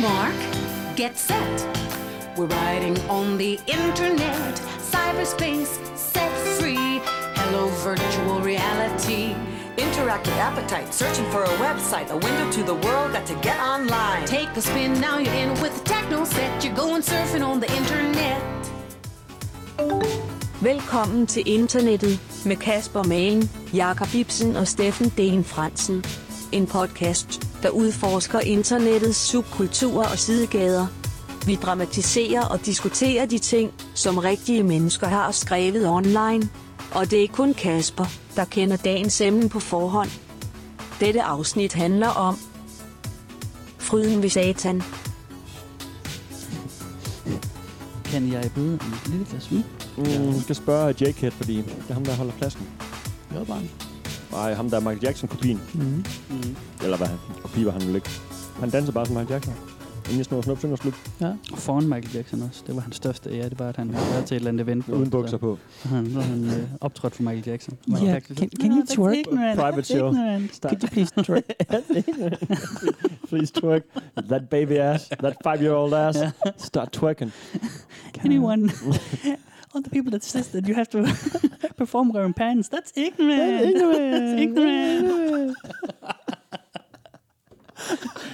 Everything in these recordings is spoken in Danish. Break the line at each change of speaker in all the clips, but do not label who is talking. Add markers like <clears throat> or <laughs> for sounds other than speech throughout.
mark, get set. We're riding on the internet, cyberspace set free. Hello, virtual reality.
Interactive appetite, searching for a website, a window to the world, got to get online.
Take a spin, now you're in with the techno set. You're going surfing on the internet.
Velkommen til internettet med Kasper Magen, Jakob Ibsen og Steffen Den Fransen. En podcast, der udforsker internettets subkulturer og sidegader. Vi dramatiserer og diskuterer de ting, som rigtige mennesker har skrevet online. Og det er kun Kasper, der kender dagens emne på forhånd. Dette afsnit handler om Fryden ved Satan.
Kan jeg byde en lille glas vin?
Mm, du skal spørge Jake fordi det er ham, der holder pladsen.
Jeg er bare
Nej, ham der er Michael Jackson-kopien. Mm. Mm.
Mhm.
Eller hvad han? Kopi var han vel ikke. Han danser bare som Michael Jackson. Inden jeg snor snup, synger slut.
ja. foran Michael Jackson også. Det var hans største ære. Det var, at han havde været til et eller andet event.
Uden bukser
på. Så
på.
han, så han øh, optrådte for Michael Jackson. Michael
Yeah,
Jackson
can,
sagde,
can
"No,
you
that's
twerk?
ignorant,
Private
that's
show."
ignorant."
Could you please twerk?
Please twerk. That baby ass. That five-year-old ass. Start twerking.
Anyone? All the people that says that you have to <laughs> perform wearing pants, that's ignorant. <laughs> That's ignorant.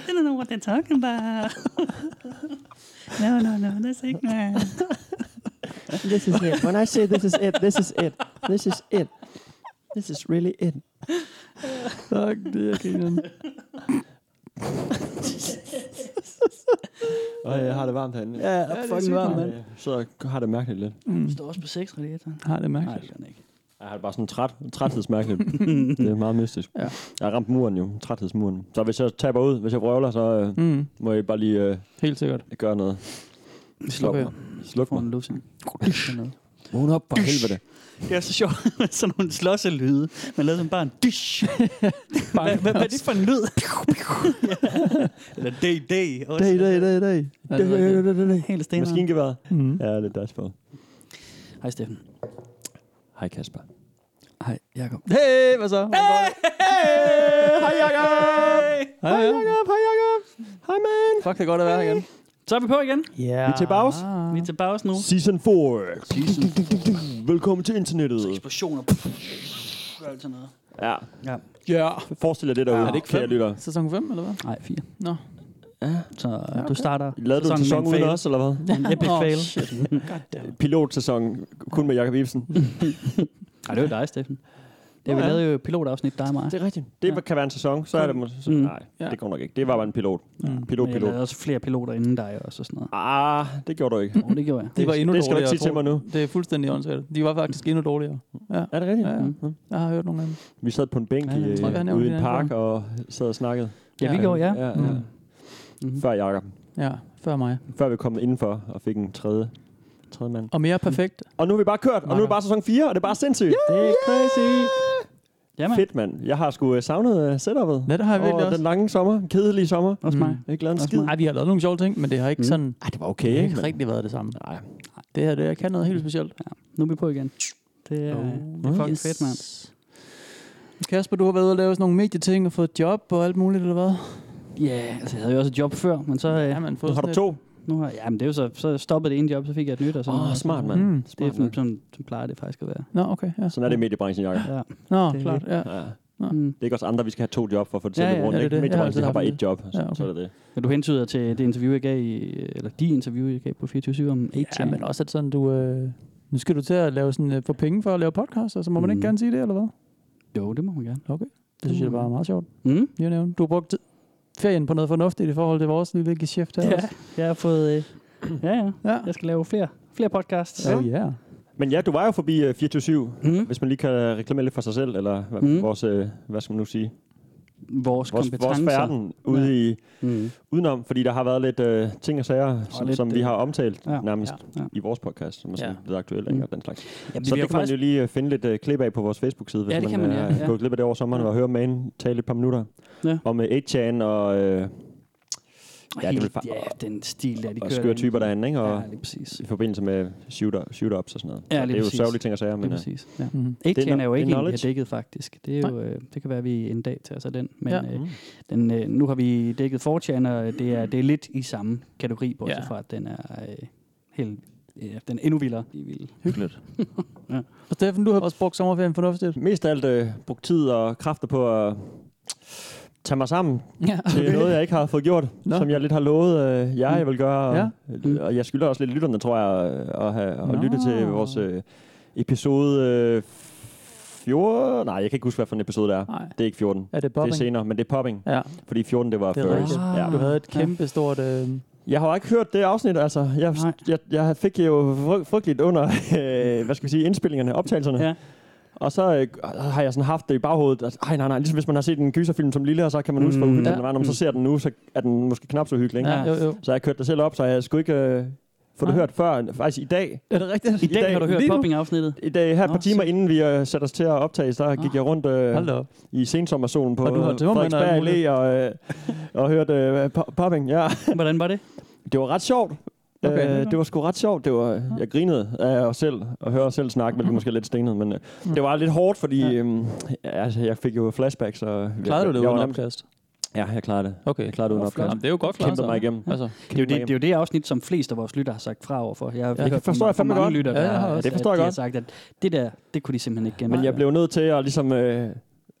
They don't know what they're talking about. no, no, no, that's ignorant.
this is it. When I say this is it, this is it. This is it. This is really it. Fuck, det er grineren.
Og jeg har det varmt herinde.
Ja, ja fucking varm, mand.
Jeg sidder og har det mærkeligt lidt.
Du står også på 6 radiatoren.
Har det
Nej, det
mærkeligt.
gør den ikke.
Jeg har det bare sådan træt,
<laughs>
træthedsmærkeligt. det er meget mystisk.
Ja.
Jeg har ramt muren jo, træthedsmuren. Så hvis jeg taber ud, hvis jeg vrøvler, så øh,
Mm,
må jeg bare lige øh,
helt sikkert.
gøre noget.
Vi
Sluk
slukker
mig. Sluk
for en
mig.
løsning.
Vågn op for helvede.
Det er så sjovt <laughs> med sådan nogle slåsselyde. Man lavede sådan bare en <laughs> dysh. Hvad, hvad, hvad er det for en <laughs> lyd? ja. Eller day day. Også.
Dag, dag, dag, dag. Dag, dag, dag, dag, dag.
Helt stenere.
Maskingeværet.
Mm.
Ja, det er dashboard.
Hej Steffen.
Hej Kasper.
Hej Jakob.
Hey, hvad så? Hey, hej Jakob! Hej Jakob, hej Jakob! Hej man! Fuck, det er godt at være her igen.
Så er vi på igen.
Ja.
Vi er til pause.
Vi er til pause nu.
Season 4. Season 4. Velkommen til internettet.
Eksplosioner. Og alt sådan noget.
Ja.
Ja.
Ja.
Forestil jer det derude.
Er det ikke
kære
fem?
lytter.
Sæson 5, eller hvad?
Nej, fire.
Nå.
Så okay. du starter
Lavede du en sæson
med en
uden
fail.
os, eller hvad?
En epic
Åh,
fail. <laughs>
shit. Goddammit.
Pilotsæson. Kun med Jakob Ibsen.
Mm.
Nej, det var dig, Steffen. Det, vi
Ja.
lavede jo et pilotafsnit, dig og mig.
Det er rigtigt. Det
Ja.
kan være en sæson. Så er det... må- Så,
Mm.
nej,
Ja.
det går nok ikke. Det var bare en pilot.
Mm.
Pilot,
Men Jeg
pilot.
lavede også flere piloter inden dig også og sådan noget.
Ah, det gjorde du ikke.
Oh, det gjorde jeg.
Det var endnu
det skal du
dårligere.
ikke sige til mig
tror
nu.
jeg. Det er fuldstændig åndssvagt. De var faktisk endnu dårligere.
Er det rigtigt?
Ja, ja.
Mm.
Jeg har hørt nogle af dem.
Vi sad på en bænk
Ja,
i,
jeg tror,
vi har
øh,
nævnt
ude i
det
en
her
park
før.
og sad og snakkede.
Ja, vi gjorde, ja.
ja, ja.
Mm.
Mhm.
Før Jakob.
Ja, før mig.
Før vi kom indenfor og fik en tredje, tredje mand.
Og mere perfekt.
Og nu er vi bare kørt, og nu er det bare sæson 4, og det er bare sindssygt.
Det er crazy.
Jamen,
Fedt, mand. Jeg har sgu øh, savnet uh, setupet.
Ja, det har jeg virkelig
Og den
også.
lange sommer, den kedelige sommer. Jeg
også mig.
har ikke lavet en
Også
skid.
Nej, vi har lavet nogle sjove ting, men det har ikke
Mm.
sådan...
Ej, det var
Det
okay,
har
ikke?
ikke
Men,
rigtig været det samme.
nej.
Det her, det kan noget helt specielt.
Nu er vi på igen. Det er,
øh,
det er fucking yes. fedt, mand.
Kasper, du har været ude og lave sådan nogle medieting og fået job og alt muligt, eller hvad?
Ja, yeah, altså jeg havde jo også et job før, men så... Øh,
man
Nu har du to.
nu har, ja, men det er jo så, så stoppede det ene job, så fik jeg et nyt og sådan
Åh, oh,
noget.
smart, mand.
Mm.
Det er
Smart,
sådan,
mand.
sådan, sådan plejer det faktisk at være.
Nå, okay. Ja.
Sådan er det i mediebranchen, Jacob.
Ja.
Nå,
Det er
klart. Ja.
Ja.
Mm.
Det er ikke også andre, vi skal have to job for at få det til at
Ja,
løbe
ja,
rundt.
er det
ikke?
det?
Mediebranchen
Jeg har
har bare
altid
et job,
Ja,
så,
okay.
så er det det.
Men du hentyder til det interview, jeg gav i... Eller de interview, jeg gav på 24 om 8
ja, men også at sådan, du... Øh, nu skal du til at lave sådan, øh, få penge for at lave podcast, så må man
Mm.
ikke gerne sige det, eller hvad?
Jo, det må man gerne.
Det synes jeg bare er meget sjovt.
Mm?
You know. Du har brugt tid- ferien på noget fornuftigt i forhold til vores lille geschæft her.
Ja,
også.
jeg har fået... Øh, ja, ja.
ja.
Jeg skal lave flere, flere podcasts.
Oh, yeah.
Men ja, du var jo forbi øh, 24-7.
Mm?
Hvis man lige kan øh, reklamere lidt for sig selv, eller hvad,
Mm.
mm. vores, øh, hvad skal man nu sige,
Vores,
vores, vores
kompetencer.
verden ude
Ja.
i,
Mm.
udenom, fordi der har været lidt øh, ting og sager, som,
lidt,
som vi
øh,
har omtalt
ja,
ja, nærmest
ja,
ja,
ja.
ja. i vores podcast, som er sådan
Ja.
blevet aktuel,
Mm.
ikke, og den slags.
Jamen,
Så det kan man jo lige øh, finde lidt øh, klip af på vores Facebook-side, hvis
Ja, det kan man,
øh,
ja,
er
ja.
gået glip af det over sommeren, øh, og høre Mane tale et par minutter
Ja.
om øh, 8chan og øh,
Og
Ja, det
hele,
vil fa-
ja, den stil der, de
og
kører.
skøre
derinde.
typer derinde, ikke? Og
Ja, lige præcis.
i forbindelse med shoot-ups shoot og sådan noget.
Ja,
og det
lige
er jo
præcis.
sørgelige ting at sige, men
Lige
øh,
præcis. Ja.
Mhm.
Ikke
Det er
den er jo
kno-
ikke
det er
en, vi har
knowledge.
dækket faktisk. Det, er jo, øh, det kan være, at vi en dag tager sig den. Men
Ja.
ja.
Mm.
øh, den, øh, nu har vi dækket 4chan, og det er, det er lidt i samme kategori, bortset
Ja.
ja. fra, at den er øh, helt... Ja, den er endnu vildere. I vild.
Hyggeligt.
Ja.
Og Steffen, du har også brugt sommerferien fornuftigt.
mest af alt øh, brugt tid og kræfter på at tage mig sammen.
Ja,
Det er noget, jeg ikke har fået gjort,
Nå.
Nå. som jeg lidt har lovet øh, jer, jeg vil gøre. Og,
Ja.
ja. og jeg skylder også lidt lytterne, tror jeg, øh, at, have, at
Nå.
lytte til vores øh, episode øh, 14. Nej, jeg kan ikke huske, hvad for en episode det er.
Nej.
Det er ikke 14.
Er det
Bobbing.
bobbing?
Det er senere, men det er popping.
Ja,
Fordi 14, det var
det er
furries.
rigtigt.
Ja.
Du havde et kæmpe stort... Øh,
Jeg har jo ikke hørt det afsnit, altså. Jeg,
Nej.
jeg, jeg fik jo fry- frygteligt under, <laughs> øh, hvad skal vi sige, indspillingerne, optagelserne.
Ja.
Og så øh, har jeg sådan haft det i baghovedet, at ej, nej, nej, ligesom hvis man har set en gyserfilm som lille, og så kan man huske, hvor
Mm.
uhyggelig
Ja.
den var. Når man så ser den nu, så er den måske knap så hyggelig, ikke?
ja,
Ja.
Ja.
jo, jo.
Så jeg kørte det selv op, så jeg skulle ikke øh, få det
Nej.
hørt før, faktisk i dag.
Er det rigtigt?
I dag har du hørt
Lige nu?
popping-afsnittet.
I dag, her et
Nå,
par timer
se.
inden vi øh, satte os til at optage, der gik
Ah.
jeg rundt øh,
Hold da op.
i sensommersolen på
Og du har
øh,
tømmermænd og alt
Frederiksberg Allé og, øh, og hørte øh, po- popping, ja.
Hvordan var det?
Det var ret sjovt.
Okay.
Okay. Øh, det var sgu ret sjovt. Det var, jeg grinede af os selv og høre os selv snakke,
Mhm.
hvilket måske er lidt stenet, men øh,
Mm.
det var lidt hårdt, fordi
Ja.
ja. øhm, ja, altså, jeg fik jo flashbacks. Og,
Klarede du det
jeg, jeg var
uden
nærmest-
opkast?
Ja, jeg klarede det.
Okay.
Jeg klarede det uden
Flot.
opkast.
Jamen, det er jo godt klaret.
Kæmpede mig igennem.
Altså,
Det er, jo det, det er jo det afsnit, som flest af vores lytter har sagt fra overfor. Jeg har
Ja,
ja,
det
hørt
forstår jeg
fra
fandme
mange
godt.
lytter,
Ja,
der,
jeg har
også.
at
Det forstår jeg
de
godt.
har sagt, at det der, det kunne de simpelthen ikke gennemføre.
Men jeg blev nødt til at ligesom... Øh,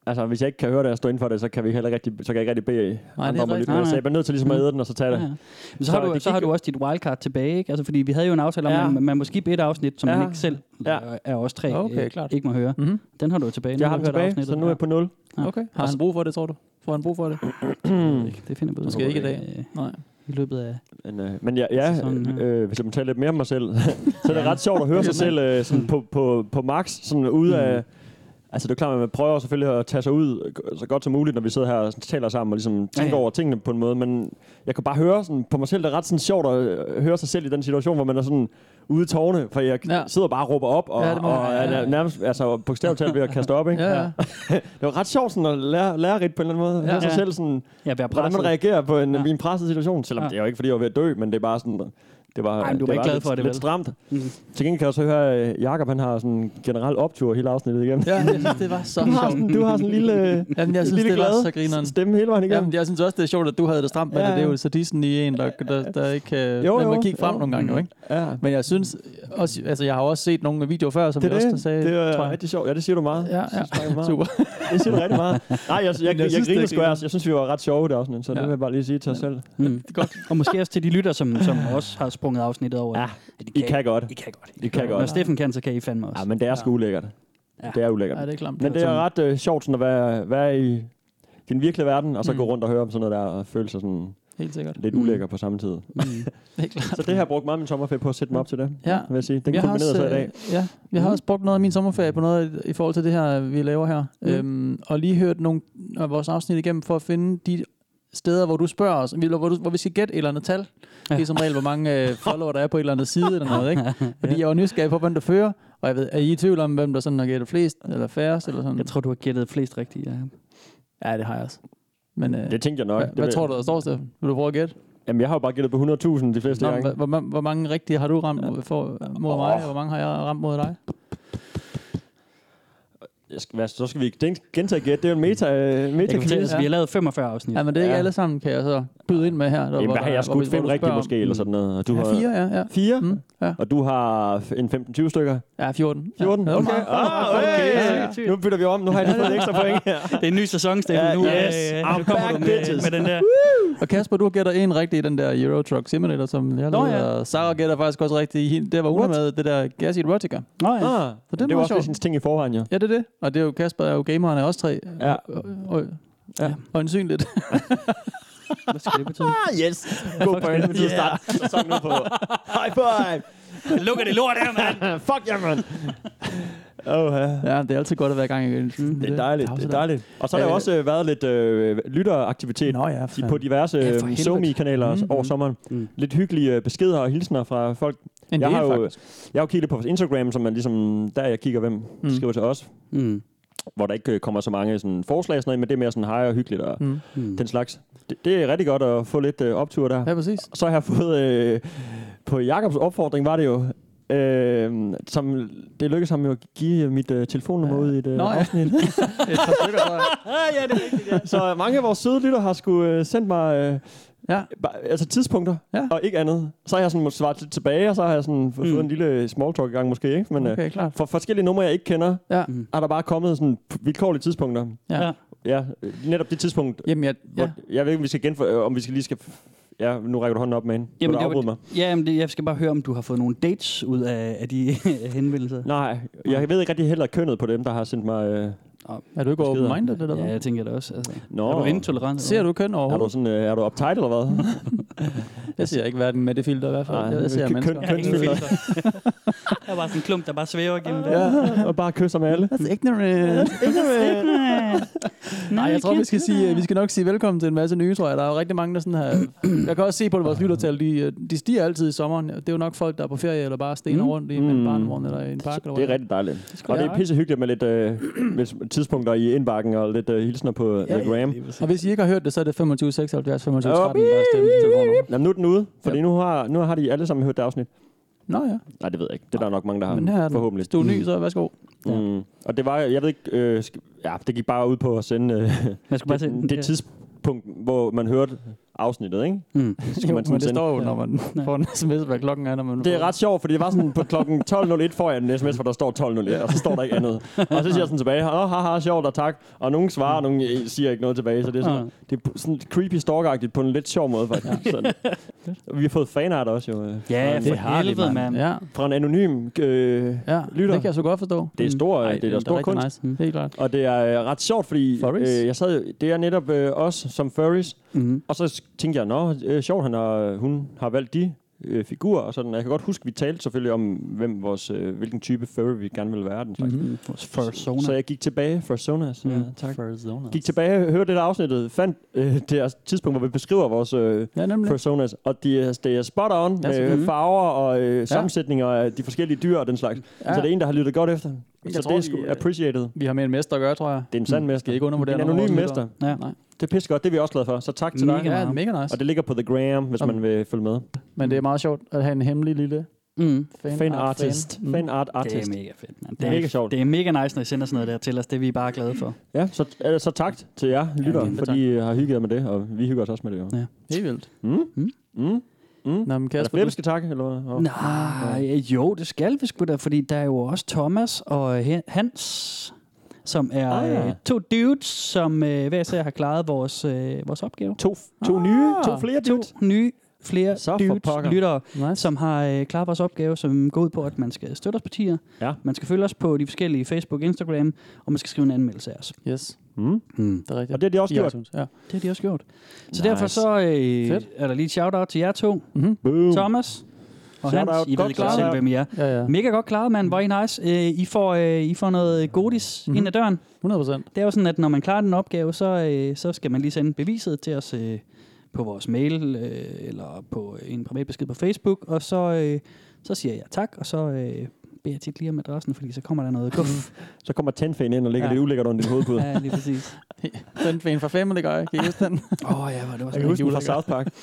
altså, hvis jeg ikke kan høre det og stå inden for det, så kan, vi heller ikke rigtig, så kan jeg ikke rigtig bede andre om at
rigtigt.
lytte
Nej,
med. Så
nej.
jeg blev nødt til ligesom at æde den og så tage
Ja,
det.
ja. Men så,
Så
har du,
det
så har
gik
du også dit wildcard tilbage, ikke? Altså, fordi vi havde jo en aftale om,
Ja.
at man, man må skippe et afsnit, som
Ja.
man ikke selv
Ja.
ja. er også tre
Okay,
øh,
klart.
ikke må høre.
Mhm.
Den har du jo tilbage. Nu
Jeg har den
du hørt
tilbage,
afsnittet.
så nu er jeg på 0.
Ja.
okay. Har han brug for det, tror du? Får han brug for det?
Ja, Det finder vi ud af.
Måske ikke i dag.
øh,
Nej.
I løbet af...
Men, øh, men ja, ja
Sæsonen her.
øh, hvis jeg må tale lidt mere om mig selv, <laughs> så er det ret sjovt at høre sig selv øh,
Mm.
sådan på, på, på max, sådan ude af... Altså det er jo klart, at man prøver selvfølgelig at tage sig ud øh, så godt som muligt, når vi sidder her og sådan taler sammen og ligesom tænker
Ja, ja.
over tingene på en måde, men jeg kan bare høre sådan, på mig selv, det er ret sådan sjovt at øh, høre sig selv i den situation, hvor man er sådan ude i tårne, for jeg
Ja.
ja. sidder bare og råber op, og,
Ja,
ja,
det må
og
man- ja, ja.
er nærmest altså, bogstaveligt talt ved at kaste op. Ikke?
Ja, ja.
Det var ret sjovt sådan at lære, lære på en eller anden måde. Ja.
Ja.
Høre sig
Ja.
selv sådan,
Ja, være
hvordan man
presset.
reagerer på en,
Ja.
ja. en presset situation, selvom
Ja.
ja. det er jo ikke, fordi jeg var ved at dø, men det er bare sådan, det var,
Ej, men du var
det
ikke glad
lidt,
for det, vel?
lidt stramt.
Mm.
Mm. Til gengæld kan jeg så høre, at Jacob han har sådan en generel optur hele afsnittet igennem.
Ja, jeg synes, <laughs> det var så
<laughs> Du har,
sjovt.
sådan, du har sådan en lille,
Jamen, jeg synes,
lille
det var
glade
så grineren.
stemme hele vejen igennem.
Jamen, jeg synes også, det er sjovt, at du havde det stramt med ja,
Ja,
det. Det er
ja.
jo så Disney i en, der, der, der ikke kan...
Jo,
man må
jo,
kigge frem
jo.
nogle gange, jo, ikke?
Ja,
Men jeg synes også... Altså, jeg har også set nogle videoer før, som
det
jeg
er
også
det.
sagde,
det
tror
er
jeg.
rigtig sjovt. Ja, det siger du meget.
Ja, ja.
Det siger du meget.
Super.
Det siger du rigtig meget. Nej, jeg, jeg, jeg, jeg,
synes,
jeg
det er
griner sgu af
grineren.
os. Jeg synes, vi var ret sjove i det afsnit, så
Ja.
det vil jeg bare lige sige til os selv.
Mm. Godt. Og måske også til de lytter, som,
<laughs>
som også har sprunget afsnittet over.
Ja,
at de
I kan godt.
I kan godt.
I kan
Når
godt.
Steffen kan, så kan I fandme også.
Ja, men det er sgu ulækkert.
Ja.
Det er ulækkert.
Ja, det er klamt.
Men det er ret øh, sjovt sådan at være, være i den virkelige verden, og så
Mm.
mm. gå rundt og høre om sådan noget der, og føle sig sådan
Helt sikkert.
lidt
Mm.
ulækker på samme tid.
Mm.
Det er klart.
Så det har jeg brugt meget af min sommerferie på at sætte mig op til det,
Ja.
vil jeg sige. Den
Jeg har
kombinerede
også,
sig i dag. Mm.
øh, Ja, jeg har også brugt noget af min sommerferie på noget i forhold til det her, vi laver her. Mm. Øhm, og lige hørt nogle af vores afsnit igennem for at finde de steder, hvor du spørger os, eller hvor, du, hvor vi skal gætte et eller andet tal. Ja. Det er som regel, hvor
<laughs>
mange øh, follower der er på et eller andet side eller noget, ikke? Fordi jeg var nysgerrig på, hvem der fører, og jeg ved, er I i tvivl om, hvem der sådan har gættet flest, eller færrest, eller sådan?
Jeg tror, du har gættet flest rigtigt. Ja.
Ja, det har jeg også. Men øh,
Det tænkte jeg nok.
hvad,
Det
hvad
ved-
tror du, der står, Steffen? Vil du prøve at gætte?
Jamen, jeg har jo bare gættet på 100.000 de fleste
Nå,
gange.
hvor, hvor, ma- hvor mange rigtige har du ramt for, mod mig, og hvor mange har jeg ramt mod dig?
Jeg skal, hvad, så skal vi ikke den- gentage gæt. Det er jo en meta, øh,
Jeg kan
meta
fortælle,
quiz.
at vi har lavet 45 afsnit. <laughs>
Ja, men det er ikke
Ja.
alle sammen, kan jeg så byde ind med her. Der,
Jamen, hvad har
der-
jeg
hvor
skudt
vi- hvor
fem
du
rigtigt
spørger om- Mm.
måske, eller sådan noget. Og du
Ja,
har
fire, ja. ja.
Fire?
Mm, ja.
Og du har f- en 15-20 stykker?
ja, 14.
14?
Ja,
Okay. Ah, okay.
Ja,
Ja, Nu bytter vi om. Nu har jeg lige fået et ekstra point her.
Det er en ny sæson, Steffen.
Ja,
nu,
yes.
øh,
I'm
nu kommer
back,
du med,
bitches.
med den der.
Og Kasper, du gætter en rigtig i den der Euro Truck Simulator, som jeg
Nå,
lavede.
ja.
Og Sarah gætter faktisk også rigtig i hende. Det var hun
What?
med det der Gas Erotica.
Nå, ja.
Ah,
er
det, det
meget
var også
sjovt.
lidt hans ting i forvejen, jo.
Ja, det er det. Og det er jo Kasper er jo gameren af os tre. Øh,
Ja.
Og, og,
Ja.
og ansynligt.
Hvad skal det <laughs> betyde?
Ah, yes. God point. Vi yeah. starte sæsonen nu på. High five.
Lukker det lort her, mand!
Fuck ja, yeah, man. Oh, ja.
<laughs> ja, det er altid godt at være i gang igen.
Det er dejligt, det er dejligt. Og så har der
Øh,
jo også øh, været lidt øh, lytteraktivitet
Nå ja,
de- på diverse
Ja, for
ja,
helvede.
SoMe-kanaler
Mm.
mm, over sommeren.
Mm.
Mm. Lidt hyggelige øh, beskeder og hilsner fra folk.
En
jeg
del,
har jo
faktisk.
jeg har jo kigget på vores Instagram, som er ligesom der jeg kigger hvem mm. skriver til os.
Mm.
hvor der ikke øh, kommer så mange sådan, forslag og sådan noget, men det er mere sådan hej og hyggeligt og mm. den slags. Det, det er rigtig godt at få lidt øh, optur der.
Ja, præcis.
Så har jeg fået, øh, på Jakobs opfordring var det jo, øh, som, det lykkedes ham jo at give mit øh, telefonnummer ud i et øh,
Nå, ja. <laughs>
afsnit. ja, det er rigtigt, ja. Så mange af vores søde lytter har skulle øh, sendt mig øh,
Ja.
bare- altså tidspunkter,
Ja.
ja. og ikke andet. Så har jeg sådan måtte svare lidt tilbage, og så har jeg sådan fået mm. en lille small talk i gang måske, ikke? Men øh,
Okay, klart.
for forskellige numre, jeg ikke kender,
Ja.
er der bare kommet sådan vilkårlige tidspunkter.
Ja.
Ja.
Mm. Ja, øh, netop det tidspunkt,
Jamen, jeg,
ja.
ja.
hvor, jeg ved ikke, om vi skal genfor, øh, om vi skal lige skal... Ja, nu rækker du hånden op med hende. Jamen, du
det
afbryde
var,
mig?
ja, jamen, det, jeg skal bare høre, om du har fået nogle dates ud af, af de <laughs> henvendelser.
Nej, jeg ved ikke rigtig heller kønnet på dem, der har sendt mig... Øh,
er du ikke
Beskeder.
open-minded, eller
Ja,
hvad?
jeg tænker det også. Altså.
Nå.
Er du intolerant?
Ser du køn
er du
overhovedet?
sådan, øh, er du uptight eller hvad?
Jeg ser ikke verden med det filter i hvert fald.
Nej,
Nej, jeg ser
køn-
mennesker.
køn-
Ingen filter. <laughs> der er bare sådan en klump, der bare svæver gennem det.
ja, og bare kysser med alle.
That's ignorant. Nej, jeg tror, vi skal, sige, øh, vi skal nok sige velkommen til en masse nye, tror jeg. Der er jo rigtig mange, der sådan her... Jeg kan også se på, at vores lyttertal, de, øh, de stiger altid i sommeren. Det er jo nok folk, der er på ferie, eller bare stener rundt i en
Mm.
barnevogn, eller i en park. Eller
Det er
hvor.
rigtig dejligt.
sgu
og
da
det er
dejligt.
pisse hyggeligt med lidt øh, <clears throat> med tidspunkter i indbakken og lidt øh, hilsner på ja, The Gram.
Og hvis I ikke har hørt det, så er det 25, 76, 25, 13,
Op.
der er stemt til telefonen.
Nå, nu er den ude, fordi nu, har, nu har de alle sammen hørt det afsnit.
Nå ja,
Nej, det ved jeg ikke. Det er der nok mange, der har.
men her er den.
forhåbentlig.
Hvis du er ny, så værsgo.
Mm. Og det var, jeg ved ikke, øh, sk- ja, det gik bare ud på at sende øh,
Man skal bare se den.
det, det tidspunkt, hvor man hørte
<laughs>
afsnittet, ikke?
Mm.
Så
Jo,
skulle man
men
sådan
det
sende.
står jo, når man <laughs> får en sms, hvad klokken er, når man
Det
får
er ret sjovt, fordi det var sådan på klokken 12.01 får jeg en sms, hvor der står 12.01, og så står der ikke andet. Og så siger jeg sådan tilbage, åh, haha, sjovt og tak. Og nogen svarer, og nogen øh, siger ikke noget tilbage, så det er sådan, det er sådan lidt creepy stalkeragtigt på en lidt sjov måde, faktisk. Sådan. Og Vi har fået fanart også jo, øh,
Ja,
fra,
for
en,
har de,
helvede, mand.
Ja,
fra en anonym øh,
ja.
Lytter.
Det kan jeg så godt forstå. Mm.
Det er stor,
Ej,
det er da
da
stor
rigtig
kunst.
Nice. Mm. Helt klart.
Og det er øh, ret sjovt, fordi øh,
Furries?
jeg sad, det er netop øh, os som furries,
Mm.
og så s- tænkte jeg, nå, øh, sjovt, han har, hun har valgt de øh, figurer, og sådan. Jeg kan godt huske, vi talte selvfølgelig om, hvem vores, øh, hvilken type furry vi gerne ville være. Den slags.
Mm-hmm.
Mm. Fursona.
Så jeg gik tilbage, Fursonas, mm. ja, tak.
Fursona.
Gik tilbage, hørte det der afsnittet, fandt øh, det tidspunkt, hvor vi beskriver vores øh,
Ja, nemlig.
personas, og de, er- det er spot on
Mm. Ja,
med
selvfølgelig. Mm.
øh, farver og øh, sammensætninger af de forskellige dyr og den slags.
Ja.
Ja. Så det er en, der har lyttet godt efter.
Jeg
så
tror,
det er
vi,
sgu
øh,
appreciated.
Vi har med en mester at gøre, tror jeg. Mm.
Det er en sand mester.
Skal ikke undervurdere
en
nogen af
anonym
vores
mester.
Ja.
Nej.
Det er pissegodt, det er vi også glade for. Så tak til
Mega
dig.
Ja,
meget.
det er mega nice.
Og det ligger på The Gram, hvis man vil følge med.
Men det er meget sjovt at have en hemmelig lille
Mm.
fan,
Fan artist.
Mm.
Fan art
Det
artist.
er mega fedt, mand.
Det er mega sjovt.
Det er mega nice, når I sender sådan noget der til os. Det er vi bare glade for.
Ja, så, øh, så tak til jer lyttere,
kæmpe
fordi I har hygget jer med det, og vi hygger os også med det. Jo.
Ja.
Helt vildt.
Mm.
Mm.
Mm. Mm.
Nå, men
Er der
Kasper,
flere,
du-
vi skal takke? Eller? hvad? Og-
Nej, jo, det skal vi sgu da, fordi der er jo også Thomas og øh, Hans, som er
Ah, ja.
øh, to dudes, som øh, hver især har klaret vores, øh, vores opgave.
To, to ah. nye, to flere
To
dudes.
nye, flere
Så for
dudes,
pokker.
lyttere,
nice.
som har øh, klaret vores opgave, som går ud på, at man skal støtte os på tier.
Ja.
Man skal følge os på de forskellige Facebook, Instagram, og man skal skrive en anmeldelse af os.
Yes,
Mm.
Mm.
det er rigtigt.
Og det har de også
I
gjort.
iTunes, Ja.
Det har de også gjort. Så
Nice.
derfor så øh,
Fedt.
er der lige et shout-out til jer to.
Mm-hmm.
Boom.
Thomas og Hans,
Uh. Shout-out.
I
Godt
ved godt
klaret.
selv, hvem I er.
Ja, ja.
Mega godt klaret, mand. Hvor er I nice. Øh, I, får, øh, I får noget godis mm-hmm. ind ad døren.
100 procent.
Det er jo sådan, at når man klarer den opgave, så, øh, så skal man lige sende beviset til os øh, på vores mail øh, eller på en privat besked på Facebook, og så, øh, så siger jeg tak, og så øh, beder jeg tit lige om adressen, fordi så kommer der noget kuff.
Så kommer tandfæn ind og ligger
Ja.
ja. lidt ulækkert under din hovedpude.
<laughs> ja, lige præcis.
Den fan fra Family Guy, kan I huske den?
Åh oh, ja, hvor det var
Jeg
sådan
kan huske den
julelækker.
fra South Park.